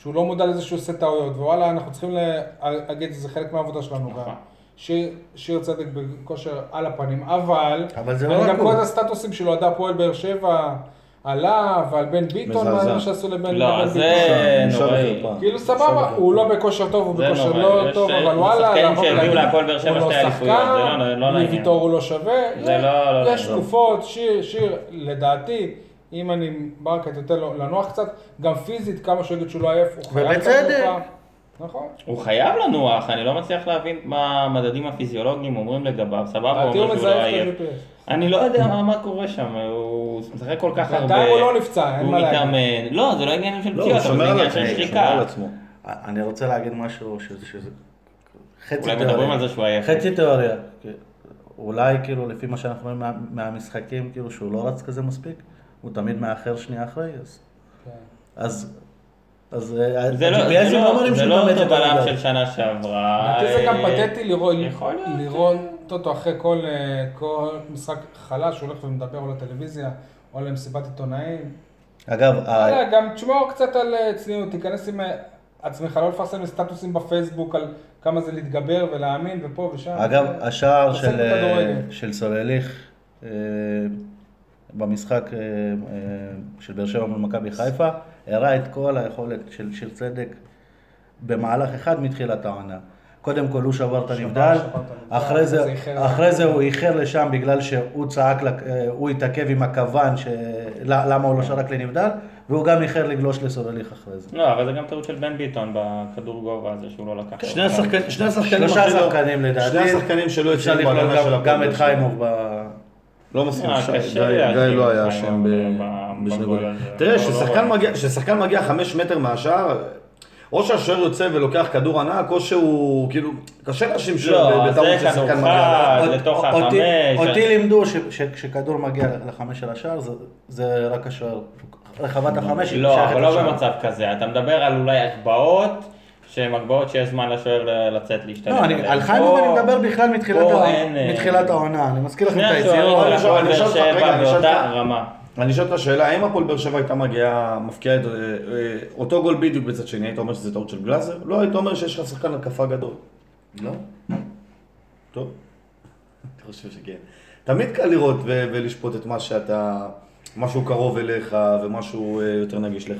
Speaker 2: שהוא לא מודע לזה שהוא עושה טעויות, ווואלה, אנחנו צריכים להגיד, זה חלק מהעבודה שלנו
Speaker 4: נכון.
Speaker 2: גם. שיר, שיר צדק בכושר על הפנים, אבל...
Speaker 5: אבל זה לא
Speaker 2: אני
Speaker 5: רק
Speaker 2: גם
Speaker 5: הוא.
Speaker 2: קורא את הסטטוסים שלו, עד הפועל באר שבע, עליו, על בן ביטון,
Speaker 3: מזעזע.
Speaker 2: מה שעשו לבן
Speaker 4: לא,
Speaker 2: לבן
Speaker 4: זה
Speaker 3: בושה
Speaker 4: נוראי.
Speaker 3: וחרפה.
Speaker 2: כאילו סבבה, הוא לא בכושר טוב, הוא
Speaker 4: זה
Speaker 2: בכושר
Speaker 4: נורא,
Speaker 2: לא
Speaker 4: יש-
Speaker 2: טוב,
Speaker 4: יש
Speaker 2: אבל וואלה,
Speaker 4: שחקנים
Speaker 2: לבוא
Speaker 4: שהביאו
Speaker 2: ולהגיד,
Speaker 4: להפועל באר שבע
Speaker 2: הוא לא
Speaker 4: שתי אליפויות, זה לא- לא
Speaker 2: שחקן,
Speaker 4: לעניין.
Speaker 2: ויטור הוא לא שווה,
Speaker 4: זה לא- לא
Speaker 2: יש
Speaker 4: לעניין.
Speaker 2: תקופות, שיר, שיר, לדעתי, אם אני ברקה תיתן לו לנוח קצת, גם פיזית, כמה שהוא יגיד שהוא לא עייף, הוא חייב... את
Speaker 5: ובצדק.
Speaker 2: התקופה. נכון.
Speaker 4: הוא חייב לנוח, אני לא מצליח להבין מה המדדים הפיזיולוגיים אומרים לגביו, סבבה, הוא
Speaker 2: לדעתי הוא
Speaker 4: אומר שהוא לא
Speaker 2: מזייף
Speaker 4: עייף.
Speaker 2: את ה-GPS.
Speaker 4: אני לא יודע מה- מה קורה שם, הוא משחק כל כך הרבה.
Speaker 2: בינתיים הוא לא נפצע, אין
Speaker 4: הוא
Speaker 2: מה להגיד.
Speaker 4: מתאמן. לא, זה לא עניינים של
Speaker 3: לא, הוא
Speaker 4: פציעות, אבל זה
Speaker 3: שומר על
Speaker 4: עניין
Speaker 3: עצמו,
Speaker 4: של
Speaker 3: הוא שומר
Speaker 4: שחיקה.
Speaker 3: על עצמו.
Speaker 5: אני רוצה להגיד משהו שזה... שזה- חצי
Speaker 4: אולי
Speaker 5: תיאוריה.
Speaker 4: מדברים על זה שהוא עייף.
Speaker 5: חצי תיאוריה.
Speaker 6: אולי כאילו לפי מה שאנחנו רואים מה, מהמשחקים, כאילו שהוא לא רץ כזה מספיק, הוא תמיד מאחר שנייה אחרי, אז... אז... אז...
Speaker 5: אה,
Speaker 4: זה לא-
Speaker 6: ה-GPS
Speaker 4: זה
Speaker 6: הם
Speaker 4: לא-
Speaker 6: אומרים
Speaker 4: זה
Speaker 6: שהוא
Speaker 4: לא
Speaker 6: מאמץ
Speaker 4: אותו
Speaker 6: את
Speaker 4: בלם
Speaker 6: הליגה.
Speaker 4: של שנה שעברה.
Speaker 2: לדעתי זה גם
Speaker 4: אה,
Speaker 2: פתטי לראות-
Speaker 4: יכול להיות. אה.
Speaker 2: לראות אותו אחרי כל, אה, כל משחק חלש, הוא הולך ומדבר או לטלוויזיה או למסיבת עיתונאים.
Speaker 5: לא-
Speaker 6: אגב,
Speaker 2: אתה
Speaker 6: ה-
Speaker 2: יודע, גם תשמור קצת על אה, צניעות, תיכנס עם אה, עצמך, לא לפרסם סטטוסים בפייסבוק על כמה זה להתגבר ולהאמין ופה ושם.
Speaker 6: אגב,
Speaker 2: אה,
Speaker 6: השער
Speaker 2: תעסק
Speaker 6: של,
Speaker 2: בכדורגל.
Speaker 6: של סולליך אה, במשחק אה, אה, של באר שבע מול מכבי חיפה, הראה את כל היכולת של שיר צדק במהלך אחד מתחילת העונה. קודם כל הוא שבר את הנבדל,
Speaker 2: שבר את הנבדל,
Speaker 6: אחרי זה,
Speaker 2: זה איחר.
Speaker 6: אחרי זה הוא איחר לשם בגלל שהוא צעק, לק- אה, הוא התעכב עם הכוון, ש- למה
Speaker 3: כן.
Speaker 6: הוא לא שרק לנבדל, והוא גם איחר לגלוש לסולליך אחרי זה.
Speaker 4: לא, אבל זה גם טעות של בן ביטון בכדור גובה הזה שהוא לא לקח.
Speaker 2: כן.
Speaker 3: שני השחקנים, שני השחקנים,
Speaker 6: שלושה
Speaker 3: הכי לא-
Speaker 6: שחקנים לדעתי,
Speaker 3: שני השחקנים שלא
Speaker 6: אפשר
Speaker 3: הצליחו
Speaker 6: לכלול
Speaker 3: בהגנה של
Speaker 6: גם-
Speaker 3: הפועל
Speaker 6: גם
Speaker 3: באר
Speaker 6: את
Speaker 3: שבע.
Speaker 6: חיימוב ב...
Speaker 3: לא מסכים,
Speaker 4: אה,
Speaker 3: שי-
Speaker 4: קשה
Speaker 3: גיא
Speaker 4: להאשים
Speaker 3: גיא לא היה
Speaker 4: את
Speaker 3: אשם
Speaker 4: חיים
Speaker 3: ב-
Speaker 4: ב-
Speaker 3: בשני
Speaker 4: בגול
Speaker 3: גולים.
Speaker 4: הזה.
Speaker 3: תראה,
Speaker 4: לא,
Speaker 3: כששחקן
Speaker 4: לא.
Speaker 3: מגיע- כששחקן מגיע חמש מטר מהשער, או שהשוער יוצא ולוקח כדור ענק, או שהוא, כאילו, קשה להאשים
Speaker 4: לא,
Speaker 3: שבטעות
Speaker 4: אה, זה
Speaker 3: ששחקן
Speaker 4: כדורחד,
Speaker 3: מגיע.
Speaker 6: אות-
Speaker 4: לתוך
Speaker 6: אותי-
Speaker 4: החמש.
Speaker 6: אותי לימדו ש- ש- כשכדור מגיע לחמש של השער, זה- זה רק השוער. רחבת החמש היא
Speaker 4: לא,
Speaker 6: שייכת
Speaker 4: אבל לא
Speaker 6: לשער.
Speaker 4: במצב כזה. אתה מדבר על אולי הגבהות, שהן הגבהות שיש זמן לשוער ל- לצאת להשתלם.
Speaker 6: לא, אני- על חיימוב אני מדבר בכלל לא מתחילת ה- מתחילת העונה, אני מזכיר לכם
Speaker 4: אה, שני
Speaker 6: את
Speaker 4: השוערים
Speaker 6: היציאות.
Speaker 4: של
Speaker 3: אני אשאל-
Speaker 4: הפועל
Speaker 3: אני
Speaker 4: באר
Speaker 3: אשאל אותך, רגע,
Speaker 4: שבע
Speaker 3: אני אשאל
Speaker 4: באותה
Speaker 3: אותך.
Speaker 4: רמה.
Speaker 3: אני שואל את השאלה, האם הפועל באר שבע הייתה מגיעה, מפקיעה את אה, אה, אותו גול בדיוק בצד שני, היית אומר שזה טעות של גלאזר? לא, היית אומר שיש לך שחקן התקפה גדול. לא? טוב. אני חושב שכן. תמיד קל לראות ו- ולשפוט את מה שאתה, משהו קרוב אליך ומשהו אה, יותר נגיש לך.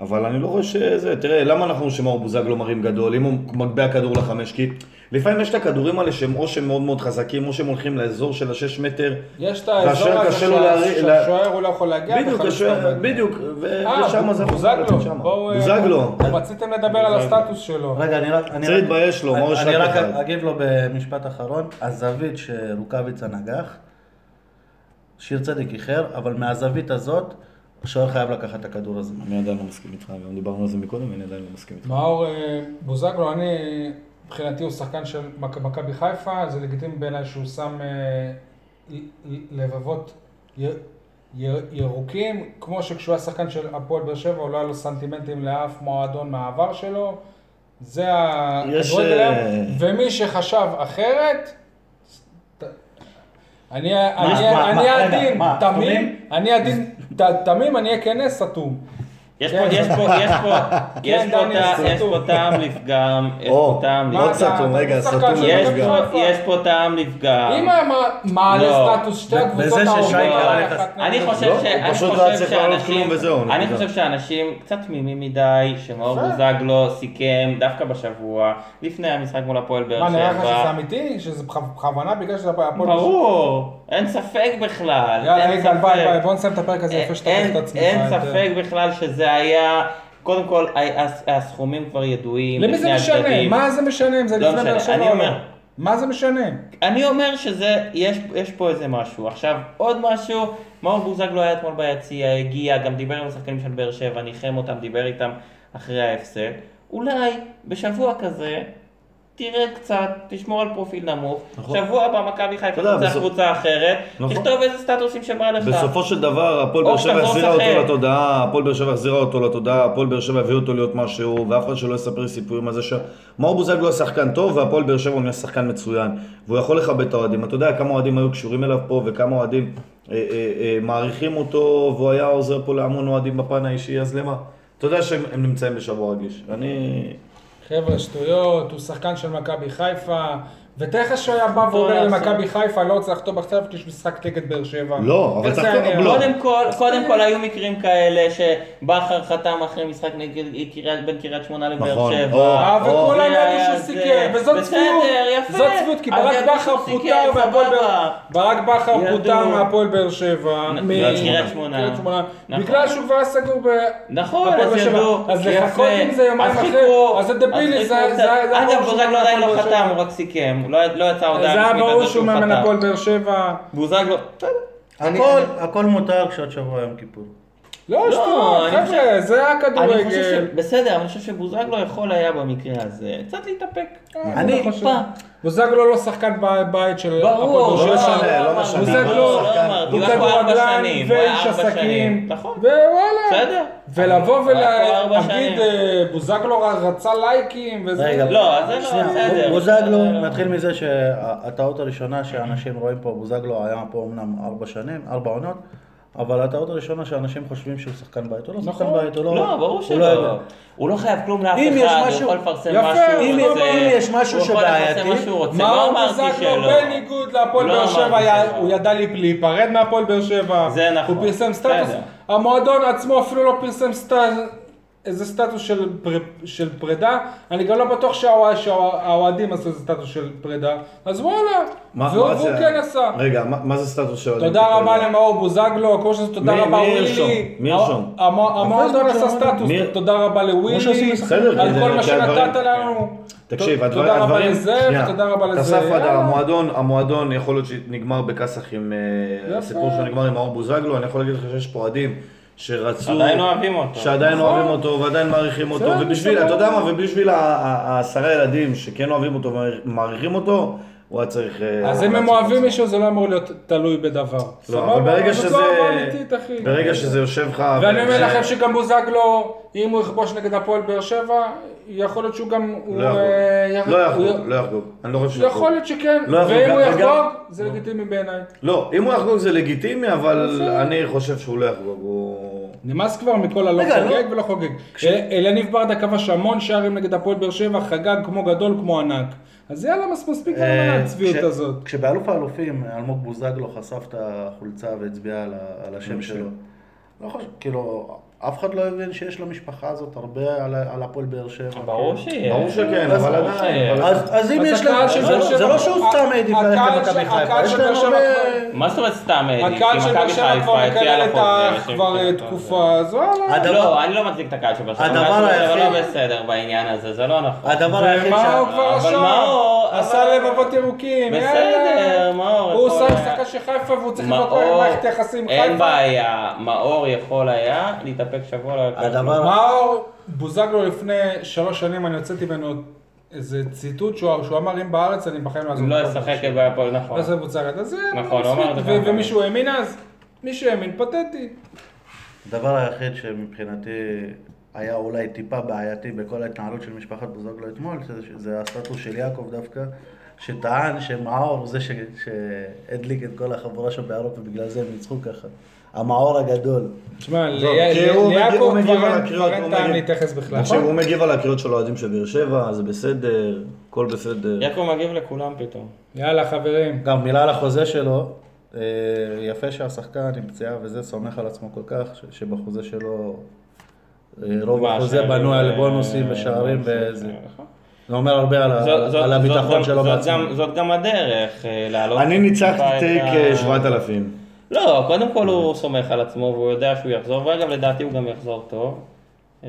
Speaker 3: אבל אני לא רואה שזה, תראה, למה אנחנו שמאור בוזגלו לא מרים גדול, אם הוא מגביה כדור לחמש, כי לפעמים יש את הכדורים האלה שהם או שהם מאוד מאוד חזקים, או שהם הולכים לאזור של השש מטר.
Speaker 2: יש את האזור
Speaker 3: והשוער
Speaker 2: הזה
Speaker 3: קשה לו להרי-
Speaker 2: שה- שהשוער הוא לא יכול להגיע.
Speaker 3: בדיוק,
Speaker 2: וחלוץ לא
Speaker 3: השוער,
Speaker 2: עובד.
Speaker 3: בדיוק, ו- ושם זה
Speaker 2: אה, בוזגלו,
Speaker 3: שמה.
Speaker 2: בואו... אה,
Speaker 3: בוזגלו,
Speaker 2: רציתם לדבר על הסטטוס שלו.
Speaker 6: רגע, אני רק... אני
Speaker 3: צריך
Speaker 6: רק-
Speaker 3: להתבייש לו, מה הוא
Speaker 6: אני-
Speaker 3: יש
Speaker 6: אני
Speaker 3: רק
Speaker 6: רק
Speaker 3: אחד?
Speaker 6: אגיב לו במשפט אחרון. הזווית שרוקאביצה נגח, שיר צדק איחר, אבל מהזווית הזאת, השוער חייב לקחת את הכדור הזה.
Speaker 3: אני עדיין לא מסכים איתך, גם דיברנו על זה מקודם, אני עדיין לא מסכים איתך.
Speaker 2: מאור אה, בוזגלו, אני, מבחינתי הוא שחקן של מכ- מכבי חיפה, זה לגיטימי בעיניי שהוא שם אה, ל- ל- לבבות יר- יר- ירוקים, כמו שכשהוא היה שחקן של הפועל באר שבע, הוא לא היה לו סנטימנטים לאף מועדון מהעבר שלו, זה ה-
Speaker 3: יש,
Speaker 2: הכדורגל
Speaker 3: אה,
Speaker 2: היום. ומי שחשב אחרת, ת- אני אני-
Speaker 6: מה,
Speaker 2: אני
Speaker 6: מה, רגע,
Speaker 2: עדין,
Speaker 6: מה,
Speaker 2: תמים,
Speaker 6: סתומים?
Speaker 2: אני עדין, ת- תמים, אני אהיה כנס סתום.
Speaker 4: יש פה,
Speaker 2: כן.
Speaker 4: יש פה, יש פה, יש פה
Speaker 2: דניאל,
Speaker 4: טע- יש
Speaker 2: סרטור.
Speaker 4: פה טעם לפגם, יש פה
Speaker 3: כן, או, לא
Speaker 4: טעם
Speaker 3: עוד
Speaker 2: מה
Speaker 4: לפגם.
Speaker 2: אתה-
Speaker 3: סתום, רגע,
Speaker 2: אתה שחקן
Speaker 3: סתום
Speaker 2: של
Speaker 4: יש
Speaker 2: מכבי
Speaker 3: לפגם.
Speaker 4: פה-
Speaker 2: חיפה.
Speaker 4: יש פה טעם לפגם.
Speaker 2: אם היה מע- מעלה
Speaker 4: אה, לא.
Speaker 2: סטטוס שתי
Speaker 6: ב-
Speaker 2: הקבוצות
Speaker 6: בזה ששי
Speaker 2: העולות,
Speaker 6: קרא
Speaker 2: אחת
Speaker 6: לך-
Speaker 2: נגד
Speaker 4: אני חושב
Speaker 3: לא,
Speaker 4: ש...
Speaker 3: הוא
Speaker 4: אני
Speaker 3: פשוט לא
Speaker 4: חושב
Speaker 3: היה צריך לעלות
Speaker 4: שאנשים-
Speaker 3: כלום וזהו,
Speaker 4: אני
Speaker 3: נקודה.
Speaker 4: חושב שאנשים קצת תמימים מדי, שמאור
Speaker 2: יפה.
Speaker 4: בוזגלו סיכם דווקא בשבוע, לפני המשחק מול הפועל באר
Speaker 2: מה, נראה לא, לך שזה
Speaker 4: שבע.
Speaker 2: אמיתי? שזה בכ- בכוונה בגלל שזה הפועל... באר שבע?
Speaker 4: ברור, אין ספק בכלל.
Speaker 2: יאללה,
Speaker 4: אין
Speaker 2: יגאל, ביי
Speaker 4: ספק. אה,
Speaker 2: ביי, בוא נסיים את הפרק הזה לפני שתקף את
Speaker 4: אין-
Speaker 2: עצמך.
Speaker 4: אין
Speaker 2: יותר.
Speaker 4: ספק בכלל שזה היה, קודם כל ה- הס- הסכומים כבר ידועים.
Speaker 2: למי זה
Speaker 4: לפני
Speaker 2: משנה?
Speaker 4: הצדדים.
Speaker 2: מה זה משנה אם זה
Speaker 4: לא
Speaker 2: לפני באר
Speaker 4: משנה,
Speaker 2: שבע
Speaker 4: אני
Speaker 2: או לא?
Speaker 4: אומר.
Speaker 2: מה זה משנה?
Speaker 4: אני אומר שזה, יש, יש פה איזה משהו. עכשיו, עוד משהו, מאור בוזגלו היה אתמול ביציע, הגיע, גם דיבר עם השחקנים של באר שבע, ניחם אותם, דיבר איתם אחרי ההפסד. אולי בשבוע כזה, תרד קצת, תשמור על פרופיל נמוך.
Speaker 3: נכון.
Speaker 4: שבוע הבא מכבי חיפה
Speaker 3: אתה יודע,
Speaker 4: תמצא
Speaker 3: בסופ-
Speaker 4: קבוצה אחרת,
Speaker 3: נכון.
Speaker 4: תכתוב איזה סטטוסים שבא לך.
Speaker 3: בסופו של דבר, הפועל
Speaker 4: או
Speaker 3: באר שבע
Speaker 4: שתחזור
Speaker 3: החזירה
Speaker 4: לשחק.
Speaker 3: אותו לתודעה, הפועל באר שבע החזירה אותו לתודעה, הפועל באר שבע הביאו אותו להיות משהו, ואף אחד שלא יספר לי סיפורים על זה ש... מאור בוזגלו היה שחקן טוב, והפועל באר שבע הוא נהיה שחקן מצוין, והוא יכול לכבד את האוהדים. אתה יודע כמה אוהדים היו קשורים אליו פה, וכמה אוהדים אה, אה, אה, מעריכים אותו, והוא היה עוזר פה להמון אוהדים בפן האישי, אז למה? אתה יודע שהם הם נמצאים בשבוע רגיש. אני...
Speaker 2: חבר'ה, שטויות, הוא שחקן של מכבי חיפה, ותאר לך שהוא היה בא ואומר
Speaker 4: לעשות.
Speaker 2: למכבי חיפה, לא רוצה לחתום עכשיו כי יש משחק נגד באר שבע.
Speaker 3: לא, אבל
Speaker 2: איך
Speaker 3: צריך
Speaker 2: זה
Speaker 3: לחתום,
Speaker 2: היה?
Speaker 3: לא.
Speaker 4: קודם כל, קודם כל היו מקרים כאלה שבכר חתם אחרי משחק נגד אה, קריית- בין קריית שמונה לבאר
Speaker 3: נכון,
Speaker 4: שבע.
Speaker 2: אה,
Speaker 3: או,
Speaker 2: וכולם
Speaker 4: זה
Speaker 2: ידעו
Speaker 4: היה
Speaker 2: שהוא
Speaker 4: זה.
Speaker 2: סיכם, וזאת
Speaker 4: בסדר,
Speaker 2: צביעות,
Speaker 4: יפה.
Speaker 2: זאת צביעות, כי
Speaker 4: אז
Speaker 2: ברק
Speaker 4: ידעו
Speaker 2: בכר
Speaker 4: שהוא
Speaker 2: פוטר
Speaker 4: סיכם,
Speaker 2: מהפועל
Speaker 4: סבבה.
Speaker 2: באר... ברק בכר
Speaker 4: ידעו.
Speaker 2: פוטר מהפועל באר שבע,
Speaker 4: נ-
Speaker 2: מ-
Speaker 4: קריית שמונה.
Speaker 2: קריית שמונה,
Speaker 4: נכון.
Speaker 2: בגלל שהוא כבר היה סגור ב...
Speaker 4: נכון,
Speaker 2: הפועל
Speaker 4: אז
Speaker 2: באר שבע.
Speaker 4: ידעו,
Speaker 2: אז
Speaker 4: יפה.
Speaker 2: לחכות עם זה יומיים
Speaker 4: אז
Speaker 2: אחרי,
Speaker 4: חיכו,
Speaker 2: אז זה דבילי,
Speaker 4: אז
Speaker 2: זה-
Speaker 4: חיכו
Speaker 2: זה-
Speaker 4: קצת.
Speaker 2: זה היה
Speaker 4: אגב,
Speaker 2: ברור שהוא
Speaker 4: בוזגלו עדיין
Speaker 2: מאמן
Speaker 4: לא
Speaker 2: הפועל
Speaker 4: חתם,
Speaker 2: שבע.
Speaker 4: הוא רק סיכם, לא לא יצאה
Speaker 2: זה
Speaker 4: הודעה
Speaker 2: היה
Speaker 4: רשמית
Speaker 2: ברור
Speaker 4: על זה
Speaker 2: שהוא
Speaker 4: שהוא
Speaker 2: מאמן
Speaker 4: חתם.
Speaker 2: הפועל באר שבע.
Speaker 4: בוזגלו,
Speaker 6: הכל- הכל מותר כשעוד שבוע יום כיפור.
Speaker 2: לא,
Speaker 4: לא,
Speaker 2: שטויות,
Speaker 4: אני
Speaker 2: חבר'ה, זה
Speaker 4: אני חושב
Speaker 2: הכדורגל.
Speaker 4: ש... בסדר, אני חושב שבוזגלו יכול היה במקרה הזה קצת להתאפק.
Speaker 2: אני לא
Speaker 4: טיפה.
Speaker 2: חושב. בוזגלו לא שחקן ב- בית של הפועל
Speaker 4: ברור,
Speaker 2: באר
Speaker 3: לא
Speaker 2: שבע.
Speaker 3: משנה, לא
Speaker 4: אמרתי,
Speaker 3: משנה.
Speaker 4: בוזגלו,
Speaker 2: הוא
Speaker 4: לא אמרתי,
Speaker 2: הוא
Speaker 4: הוא היה פה ארבע
Speaker 2: כדורגלן
Speaker 4: שנים, הוא היה
Speaker 2: ואיש
Speaker 4: ארבע שנים.
Speaker 2: עסקים,
Speaker 4: נכון,
Speaker 2: ווואלה.
Speaker 4: בסדר.
Speaker 2: ולבוא
Speaker 4: הוא היה פה ארבע
Speaker 2: ולהגיד,
Speaker 4: שנים.
Speaker 2: אה, בוזגלו רצה לייקים וזה.
Speaker 5: רגע,
Speaker 4: לא, אז זה לא,
Speaker 5: שנייה,
Speaker 4: בסדר.
Speaker 5: בוזגלו,
Speaker 4: בסדר.
Speaker 5: נתחיל מזה שהטעות הראשונה שאנשים רואים פה, בוזגלו היה פה אמנם ארבע שנים, ארבע עונות, אבל הטעות הראשונה שאנשים חושבים שהוא שחקן בית, הוא לא שחקן
Speaker 2: נכון.
Speaker 5: בית, הוא לא...
Speaker 4: לא, ברור
Speaker 5: הוא לא
Speaker 4: שלא.
Speaker 5: יודע.
Speaker 4: הוא לא חייב כלום לאף
Speaker 5: אם יש
Speaker 4: אחד, הוא
Speaker 5: משהו-
Speaker 4: יכול לפרסם
Speaker 2: יפה,
Speaker 4: מה שהוא
Speaker 2: אם-
Speaker 4: רוצה.
Speaker 5: אם יש משהו
Speaker 4: הוא יכול
Speaker 5: שבעייתי,
Speaker 4: לפרסם מה שהוא רוצה, לא
Speaker 2: מאור
Speaker 4: אמרתי
Speaker 2: בוזגלו
Speaker 4: שלא.
Speaker 2: בניגוד להפועל
Speaker 4: לא
Speaker 2: באר שבע,
Speaker 4: אמרתי
Speaker 2: היה-
Speaker 4: שלא.
Speaker 2: הוא ידע לי- להיפרד מהפועל באר שבע.
Speaker 4: זה נכון.
Speaker 2: הוא פרסם סטטוס.
Speaker 4: בסדר.
Speaker 2: המועדון עצמו אפילו לא פרסם סטטוס. איזה סטטוס של, פר, של פרידה, אני גם לא בטוח שהאוה- שהאוהדים עשו איזה סטטוס של פרידה, אז וואלה,
Speaker 3: מה-
Speaker 2: והוא
Speaker 3: מה
Speaker 2: והוא
Speaker 3: זה-
Speaker 2: כן עשה.
Speaker 3: רגע, מה מה זה סטטוס של... אוהדים?
Speaker 2: תודה רבה למאור בוזגלו, כמו שזה תודה
Speaker 3: מי-
Speaker 2: רבה
Speaker 3: מי ירשום?
Speaker 2: ווילי.
Speaker 3: מי ירשום?
Speaker 2: המ- המועדון עשה סטטוס,
Speaker 3: מי-
Speaker 2: תודה רבה לווילי,
Speaker 3: בסדר,
Speaker 2: על
Speaker 3: כי
Speaker 2: כל
Speaker 3: זה-
Speaker 2: מה
Speaker 3: כי הדברים-
Speaker 2: שנתת לנו.
Speaker 3: תקשיב,
Speaker 2: ת-
Speaker 3: הדבר-
Speaker 2: תודה רבה
Speaker 3: הדברים...
Speaker 2: לזה,
Speaker 3: שנייה.
Speaker 2: ותודה רבה לזה.
Speaker 3: תעשה הפרדה,
Speaker 2: יאללה.
Speaker 3: המועדון, המועדון יכול להיות שנגמר בכסח עם... אה,
Speaker 2: יפה.
Speaker 3: הסיפור שלו נגמר עם מאור בוזגלו, אני יכול להגיד לך שיש פה אוהדים שרצו...
Speaker 4: עדיין
Speaker 2: לא
Speaker 4: אוהבים אותו.
Speaker 3: שעדיין לא אוהבים אותו ועדיין מעריכים אותו,
Speaker 2: נכון. בסדר,
Speaker 3: ובשביל,
Speaker 2: בסדר.
Speaker 3: אתה יודע מה, ובשביל ה- ה- העשרה ילדים שכן אוהבים אותו ומעריכים אותו, הוא היה צריך... אה,
Speaker 2: אז אם
Speaker 3: לעשות
Speaker 2: הם
Speaker 3: את
Speaker 2: אוהבים
Speaker 3: זה.
Speaker 2: מישהו זה לא אמור להיות תלוי בדבר.
Speaker 3: לא, אבל ברגע שזה...
Speaker 2: זאת לא אהבה אמיתית, אחי.
Speaker 3: ברגע שזה יושב לך...
Speaker 2: ואני אומר
Speaker 3: וזה-
Speaker 2: לכם שגם בוזגלו, אם הוא יכבוש נגד הפועל באר שבע, יכול להיות שהוא גם... הוא,
Speaker 3: לא יחגוג.
Speaker 2: אה, יח-
Speaker 3: לא
Speaker 2: הוא-
Speaker 3: יחגוג, לא יחגוג. אני לא חושב שהוא
Speaker 2: יכול להיות שכן,
Speaker 3: לא יחגוג,
Speaker 2: ואם הוא
Speaker 3: וגם-
Speaker 2: יחגוג, זה לגיטימי בעיניי.
Speaker 3: לא, אם הוא יחגוג זה לגיטימי, אבל
Speaker 2: בסדר.
Speaker 3: אני חושב שהוא לא יחגוג. הוא...
Speaker 2: נמאס כבר מכל הלא
Speaker 5: רגע,
Speaker 2: חוגג
Speaker 5: לא.
Speaker 2: ולא חוגג. אה, אלניב ברדה כבש המון שערים נגד הפועל באר שבע, חגג כמו גדול, כמו ענק. אז יאללה, מס- מספיק עם
Speaker 5: אה, כש-
Speaker 2: הצביעות הזאת.
Speaker 5: כשבאלוף האלופים אלמוג בוזגלו חשף את החולצה והצביע על ה- על השם שלו. לא חושב, כאילו, אף אחד לא הבין שיש למשפחה הזאת הרבה על ה- על הפועל באר שבע.
Speaker 4: ברור
Speaker 5: כאילו.
Speaker 4: שיהיה.
Speaker 3: כן. ברור שכן, אבל
Speaker 4: ברור
Speaker 3: עדיין.
Speaker 4: ש-
Speaker 3: אבל-
Speaker 5: אז אז אם
Speaker 2: אז
Speaker 5: יש
Speaker 2: הקהל
Speaker 5: להם,
Speaker 2: של
Speaker 5: זה
Speaker 2: באר
Speaker 5: לא-
Speaker 2: שבע-
Speaker 5: זה לא שהוא סתם העדיף
Speaker 2: הקהל
Speaker 5: ללכת
Speaker 2: של-
Speaker 5: למכבי חיפה,
Speaker 2: הקהל
Speaker 5: יש
Speaker 2: של
Speaker 5: להם
Speaker 2: באר שבע
Speaker 5: הרבה...
Speaker 4: מה זאת אומרת סתם העדיף?
Speaker 2: הקהל
Speaker 4: אם
Speaker 2: של באר
Speaker 4: אה, מכבי
Speaker 2: שבע
Speaker 4: חיפה
Speaker 2: כבר
Speaker 4: יציאה
Speaker 2: מקלל את
Speaker 4: לחוזה,
Speaker 2: האח
Speaker 4: יש
Speaker 2: כבר
Speaker 4: לי-
Speaker 2: אה,
Speaker 4: כן.
Speaker 2: תקופה, אז וואלה.
Speaker 5: הדבר-
Speaker 4: לא, אני לא מצדיק את הקהל של באר שבע.
Speaker 5: הדבר
Speaker 4: הקהל של באר שבע
Speaker 5: היחיד-
Speaker 4: לא בסדר בעניין הזה, זה לא נכון.
Speaker 5: הדבר היחיד
Speaker 2: ומה הוא
Speaker 5: שה...
Speaker 2: כבר
Speaker 4: אבל
Speaker 2: עשה?
Speaker 4: מאור,
Speaker 2: עשה
Speaker 4: אבל-
Speaker 2: לבבות ירוקים.
Speaker 4: בסדר,
Speaker 2: יאללה.
Speaker 4: מאור,
Speaker 2: הוא
Speaker 4: יכול
Speaker 2: עושה
Speaker 4: היה-
Speaker 2: הפסקה של חיפה והוא צריך לבדוק
Speaker 4: מאור,
Speaker 2: מערכת יחסים עם
Speaker 4: אין
Speaker 2: חיפה.
Speaker 4: בעיה, מאור יכול היה להתאפק שבוע. לא לקח
Speaker 5: הדבר-
Speaker 4: לו.
Speaker 2: מאור בוזגלו לפני שלוש שנים, אני הוצאתי ממנו איזה ציטוט שהוא שהוא אמר, אם בארץ אני בחיים לא אעזוב.
Speaker 4: לא
Speaker 2: את הפועל
Speaker 4: ישחק
Speaker 2: באר שבע."
Speaker 4: בהפועל, נכון.
Speaker 2: לא ישחק בקבוצה אחרת. אז זה
Speaker 4: נכון, הוא אמר את זה
Speaker 2: מספיק.
Speaker 4: כמה
Speaker 2: ו-
Speaker 4: פעמים.
Speaker 2: ומישהו האמין אז? מישהו האמין, פתטי.
Speaker 5: הדבר היחיד שמבחינתי היה אולי טיפה בעייתי בכל ההתנהלות של משפחת בוזגלו אתמול, זה- זה הסטטוס של יעקב דווקא, שטען שמאור הוא זה ש- שהדליק את כל החבורה שם באירופה, בגלל זה הם ניצחו ככה. המאור הגדול.
Speaker 2: תשמע,
Speaker 3: טוב, כי הוא מגיב-
Speaker 2: ליעקב
Speaker 3: הוא מגיב
Speaker 2: כבר
Speaker 3: על
Speaker 2: אין-
Speaker 3: הקריאות,
Speaker 2: כבר אין
Speaker 3: הוא נכון.
Speaker 2: טעם
Speaker 3: מגיב-
Speaker 2: להתייחס בכלל.
Speaker 5: נכון.
Speaker 2: נכון.
Speaker 3: תקשיב, הוא מגיב על הקריאות של האוהדים של באר שבע, זה בסדר, הכל בסדר.
Speaker 4: יעקב מגיב לכולם פתאום.
Speaker 2: יאללה חברים.
Speaker 5: גם מילה על החוזה שלו, אה, יפה שהשחקן עם פציעה וזה, סומך על עצמו כל כך, ש- שבחוזה שלו, אה, רוב
Speaker 4: מה,
Speaker 5: החוזה
Speaker 4: שערים,
Speaker 5: בנוי על
Speaker 4: אה,
Speaker 5: בונוסים ושערים
Speaker 4: בונוסים,
Speaker 5: וזה.
Speaker 4: נכון.
Speaker 5: זה אומר הרבה על ה-
Speaker 4: זאת- זאת-
Speaker 5: על
Speaker 4: זאת גם-
Speaker 5: הביטחון שלו
Speaker 4: זאת
Speaker 5: בעצמו.
Speaker 4: גם- זאת גם הדרך אה, לעלות.
Speaker 3: אני ניצחתי
Speaker 4: טיפה את
Speaker 3: טייק
Speaker 4: ה-
Speaker 3: אה, 7,000.
Speaker 4: לא, קודם כל הוא סומך על עצמו והוא יודע שהוא יחזור, ואגב לדעתי הוא גם יחזור טוב. אה,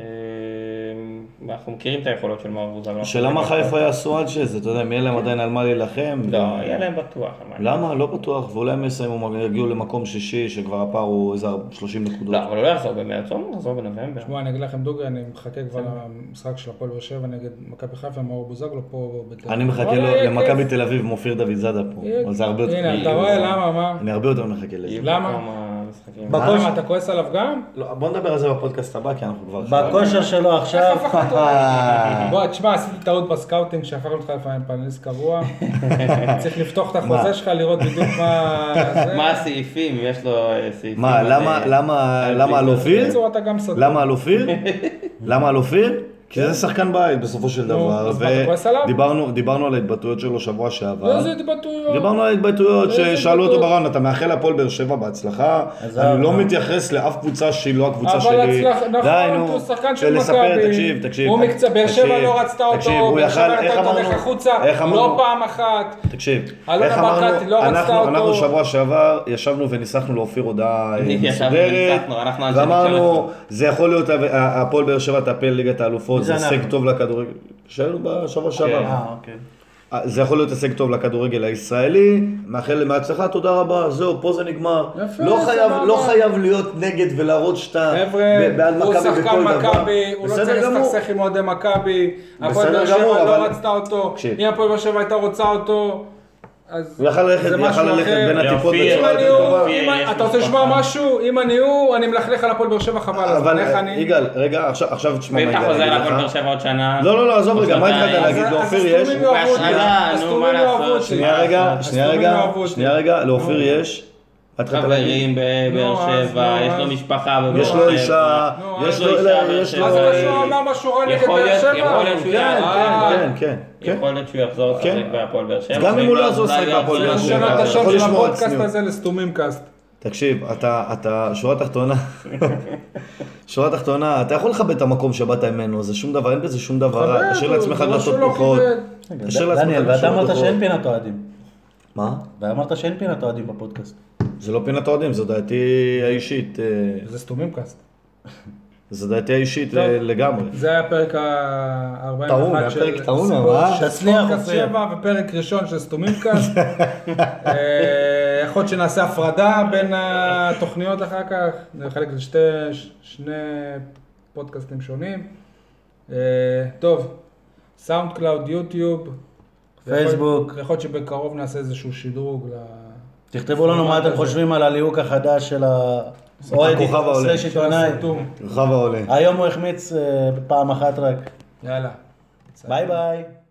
Speaker 4: אנחנו מכירים את היכולות של מאור בוזגלו.
Speaker 3: השאלה מה חיפה יעשו עד שזה, אתה יודע, אם יהיה להם עדיין על מה להילחם.
Speaker 4: לא,
Speaker 3: ו-
Speaker 4: יהיה להם בטוח. על מה.
Speaker 3: למה? לא בטוח, ואולי הם יסיימו, הם יגיעו למקום שישי, שכבר הפער הוא איזה 30 נקודות.
Speaker 4: לא, אבל הוא לא יחזור במרץ, הוא יחזור בנובמבר.
Speaker 2: תשמעו, אני אגיד לכם דוגרי, אני מחכה כבר למשחק של הפועל באר שבע נגד מכבי חיפה, מאור בוזגלו פה בתל
Speaker 3: אני מחכה
Speaker 2: וואלה,
Speaker 3: לו-
Speaker 2: יהיה
Speaker 3: למכבי
Speaker 2: כיף.
Speaker 3: תל אביב, מופיר דוד זאדה פה.
Speaker 2: יהיה-
Speaker 3: אבל זה הרבה יותר...
Speaker 2: הנה, אתה רואה למה, מה?
Speaker 3: אני הרבה יותר מחכה לזה.
Speaker 2: למה?
Speaker 4: כמה משחקים.
Speaker 2: למה, אתה כועס עליו גם?
Speaker 3: לא, בוא נדבר על זה בפודקאסט הבא, כי אנחנו כבר...
Speaker 5: בכושר שלו עכשיו,
Speaker 2: בוא, תשמע, עשיתי טעות בסקאוטינג שהפכנו אותך לפאנליסט קבוע. צריך לפתוח את החוזה
Speaker 3: מה?
Speaker 2: שלך, לראות בדיוק מה... זה.
Speaker 4: מה הסעיפים? יש לו אה, סעיפים.
Speaker 3: מה,
Speaker 4: על,
Speaker 3: למה,
Speaker 4: אה,
Speaker 3: למה,
Speaker 4: על
Speaker 3: למה על
Speaker 4: ביטון.
Speaker 3: אופיר?
Speaker 2: בקיצור, אתה גם סתום.
Speaker 3: למה על אופיר? למה על אופיר? כי זה שחקן בית בסופו של
Speaker 2: נו,
Speaker 3: דבר.
Speaker 2: אז מה, אתה כועס עליו? לא,
Speaker 3: ודיברנו דיברנו על ההתבטאויות שלו שבוע שעבר.
Speaker 2: איזה התבטאויות.
Speaker 3: דיברנו על ההתבטאויות
Speaker 2: איזה
Speaker 3: ששאלו אותו
Speaker 2: התבטאויות?
Speaker 3: ברעיון, אתה מאחל להפועל באר שבע בהצלחה,
Speaker 5: עזוב,
Speaker 3: אני לא
Speaker 5: נו.
Speaker 3: מתייחס לאף קבוצה שהיא לא הקבוצה שלי.
Speaker 2: אבל הצלח- נכון,
Speaker 3: די,
Speaker 2: כי
Speaker 3: נו.
Speaker 2: הוא שחקן של
Speaker 3: ולספר,
Speaker 2: מכבי.
Speaker 3: תקשיב, תקשיב.
Speaker 2: הוא מקצוע, באר שבע
Speaker 3: תקשיב,
Speaker 2: לא רצתה אותו,
Speaker 3: תקשיב, הוא
Speaker 2: באר
Speaker 3: יכל-
Speaker 2: שבע
Speaker 3: איך
Speaker 2: נתנה אותו
Speaker 3: אמרנו?
Speaker 2: דרך החוצה,
Speaker 3: איך
Speaker 2: לא
Speaker 3: אמרנו?
Speaker 2: פעם אחת.
Speaker 3: תקשיב,
Speaker 2: אלונה
Speaker 3: איך
Speaker 2: ברקת לא רצתה
Speaker 3: אמרנו, אנחנו,
Speaker 2: אותו.
Speaker 3: אנחנו שבוע שעבר ישבנו וניסחנו לאופיר הודעה אה,
Speaker 4: ישבנו
Speaker 3: מסודרת,
Speaker 4: וניסחנו, אנחנו אנשי
Speaker 3: ואמרנו,
Speaker 4: תקשורת.
Speaker 3: זה יכול להיות ה- ה- הפועל באר שבע תעפל ליגת האלופות, זה
Speaker 5: זה אנחנו.
Speaker 4: כן.
Speaker 3: הישג טוב לכדורגל, שהיינו בשבוע שעבר.
Speaker 5: אה, אוקיי.
Speaker 3: זה יכול להיות הישג טוב לכדורגל הישראלי, מאחל להם הצלחה, תודה רבה, זהו, פה זה נגמר.
Speaker 2: יפה,
Speaker 3: לא חייב-
Speaker 2: סבבה.
Speaker 3: לא חייב להיות נגד ולהראות שאתה
Speaker 2: חבר'ה,
Speaker 3: ב- בעד
Speaker 2: הוא
Speaker 3: מכבי
Speaker 2: שחקן
Speaker 3: בכל דבר.
Speaker 2: מכבי, הוא לא
Speaker 3: בסדר
Speaker 2: צריך
Speaker 3: גמור.
Speaker 2: להסתכסך עם אוהדי מכבי, הפועל
Speaker 3: בסדר
Speaker 2: באר שבע
Speaker 3: גמור,
Speaker 2: לא
Speaker 3: אבל-
Speaker 2: רצתה אותו,
Speaker 3: תקשיב.
Speaker 2: אם הפועל באר שבע הייתה רוצה אותו, אז
Speaker 3: הוא יכל ללכת,
Speaker 2: זה
Speaker 3: יכל
Speaker 2: משהו
Speaker 3: ללכת
Speaker 2: אחר.
Speaker 3: בין הטיפות
Speaker 4: יופי,
Speaker 3: בצורה
Speaker 2: אם אני
Speaker 3: יותר טובה.
Speaker 2: הוא,
Speaker 4: אופיר,
Speaker 2: אם
Speaker 4: יש
Speaker 2: אתה רוצה לשמוע
Speaker 4: משפחה.
Speaker 2: משהו, אם אני הוא, אני מלכלך על הפועל באר שבע חבל, אז
Speaker 3: אבל
Speaker 2: איך
Speaker 3: אה,
Speaker 2: אני...
Speaker 3: יגאל, רגע, עכשיו- עכשיו תשמע
Speaker 4: ואם
Speaker 3: מה
Speaker 4: אתה
Speaker 3: יגאל
Speaker 4: חוזר
Speaker 3: יגיד
Speaker 4: להפועל באר
Speaker 3: לך.
Speaker 4: שבע עוד שנה...
Speaker 3: לא, לא, לא, עזוב
Speaker 4: עוד
Speaker 3: רגע, מה
Speaker 4: שנתיים, אז-
Speaker 3: התחלת להגיד?
Speaker 2: אז- אז
Speaker 3: לאופיר יש?
Speaker 2: הסתומים יאהבו אותי,
Speaker 4: בהשאלה, נו,
Speaker 2: הסתומים
Speaker 4: מה
Speaker 2: יאהבו
Speaker 4: לעשות,
Speaker 2: אותי.
Speaker 3: שנייה רגע, שנייה
Speaker 2: הסתומים
Speaker 3: רגע,
Speaker 2: יאהבו אותי.
Speaker 3: שנייה רגע, לאופיר יש. מה התחלת להגיד?
Speaker 4: חברים בבאר
Speaker 2: נו, אז,
Speaker 4: שבע,
Speaker 2: נו,
Speaker 4: יש
Speaker 2: אז.
Speaker 4: לו משפחה בבאר שבע. לא,
Speaker 3: יש לו אישה,
Speaker 2: נו,
Speaker 3: יש
Speaker 2: אז-
Speaker 3: לו,
Speaker 4: אה,
Speaker 3: לא,
Speaker 4: אישה,
Speaker 3: יש
Speaker 4: אז
Speaker 3: לו...
Speaker 2: אז
Speaker 4: אה,
Speaker 2: מה שהוא אמר משהו רע נגד
Speaker 4: יכול
Speaker 2: באר
Speaker 4: להיות-
Speaker 2: שבע,
Speaker 4: יכול להיות שהוא
Speaker 2: כן,
Speaker 4: יעבור.
Speaker 2: אה,
Speaker 3: כן, כן, כן.
Speaker 4: יכול להיות שהוא יחזור
Speaker 3: כן.
Speaker 4: לשחק בהפועל באר שבע.
Speaker 3: גם אם הוא לא יחזור
Speaker 4: אולי
Speaker 3: לשחק בהפועל
Speaker 4: יחזור
Speaker 3: באר
Speaker 2: צריך
Speaker 3: שבע.
Speaker 2: לשנות את
Speaker 3: אתה
Speaker 2: השם
Speaker 3: יכול
Speaker 2: של
Speaker 3: לשמוע את
Speaker 2: הפודקאסט
Speaker 3: צניעות.
Speaker 2: הזה לסתומים קאסט.
Speaker 3: תקשיב, אתה, אתה, שורה תחתונה, שורה תחתונה, אתה יכול לכבד את המקום שבאת ממנו, זה שום דבר, אין בזה שום דבר רע,
Speaker 2: כבד,
Speaker 3: תשאיר
Speaker 2: הוא-
Speaker 3: לעצמך
Speaker 2: זה לא
Speaker 3: דלתות
Speaker 2: שהוא לא
Speaker 3: פתוחות.
Speaker 2: כיבד.
Speaker 3: תשאיר לעצמך
Speaker 6: דניאל, ואתה
Speaker 3: דלתות
Speaker 6: אמרת
Speaker 3: פתוחות.
Speaker 6: שאין פינת אוהדים.
Speaker 3: מה?
Speaker 6: ואמרת שאין פינת אוהדים בפודקאסט.
Speaker 3: זה לא פינת אוהדים, זו דעתי האישית, אה,
Speaker 2: זה סתומים קאסט.
Speaker 3: זו דעתי האישית
Speaker 2: טוב.
Speaker 3: אה, לגמרי.
Speaker 2: זה היה הפרק
Speaker 3: טעון,
Speaker 2: ה-41
Speaker 3: היה
Speaker 2: של
Speaker 3: פרק טעון,
Speaker 2: ספורט-
Speaker 3: אבל, אה?
Speaker 2: של
Speaker 6: תצליח,
Speaker 2: ספורטקאסט
Speaker 6: אופיר.
Speaker 2: 7 ופרק ראשון של סתומימקאסט. אה, יכול להיות שנעשה הפרדה בין התוכניות אחר כך, נחלק לשתי, ש- שני פודקאסטים שונים. אה, טוב, סאונד קלאוד, יוטיוב.
Speaker 6: פייסבוק.
Speaker 2: יכול- יכול להיות שבקרוב נעשה איזשהו שדרוג ל...
Speaker 6: תכתבו לנו מה אתם חושבים על הליהוק החדש של האוהד
Speaker 3: הכוכב העולה.
Speaker 6: סלש עיתונאי.
Speaker 2: הסתום.
Speaker 3: רחב העולה.
Speaker 6: היום הוא החמיץ אה, פעם אחת רק.
Speaker 2: יאללה.
Speaker 6: ביי ביי.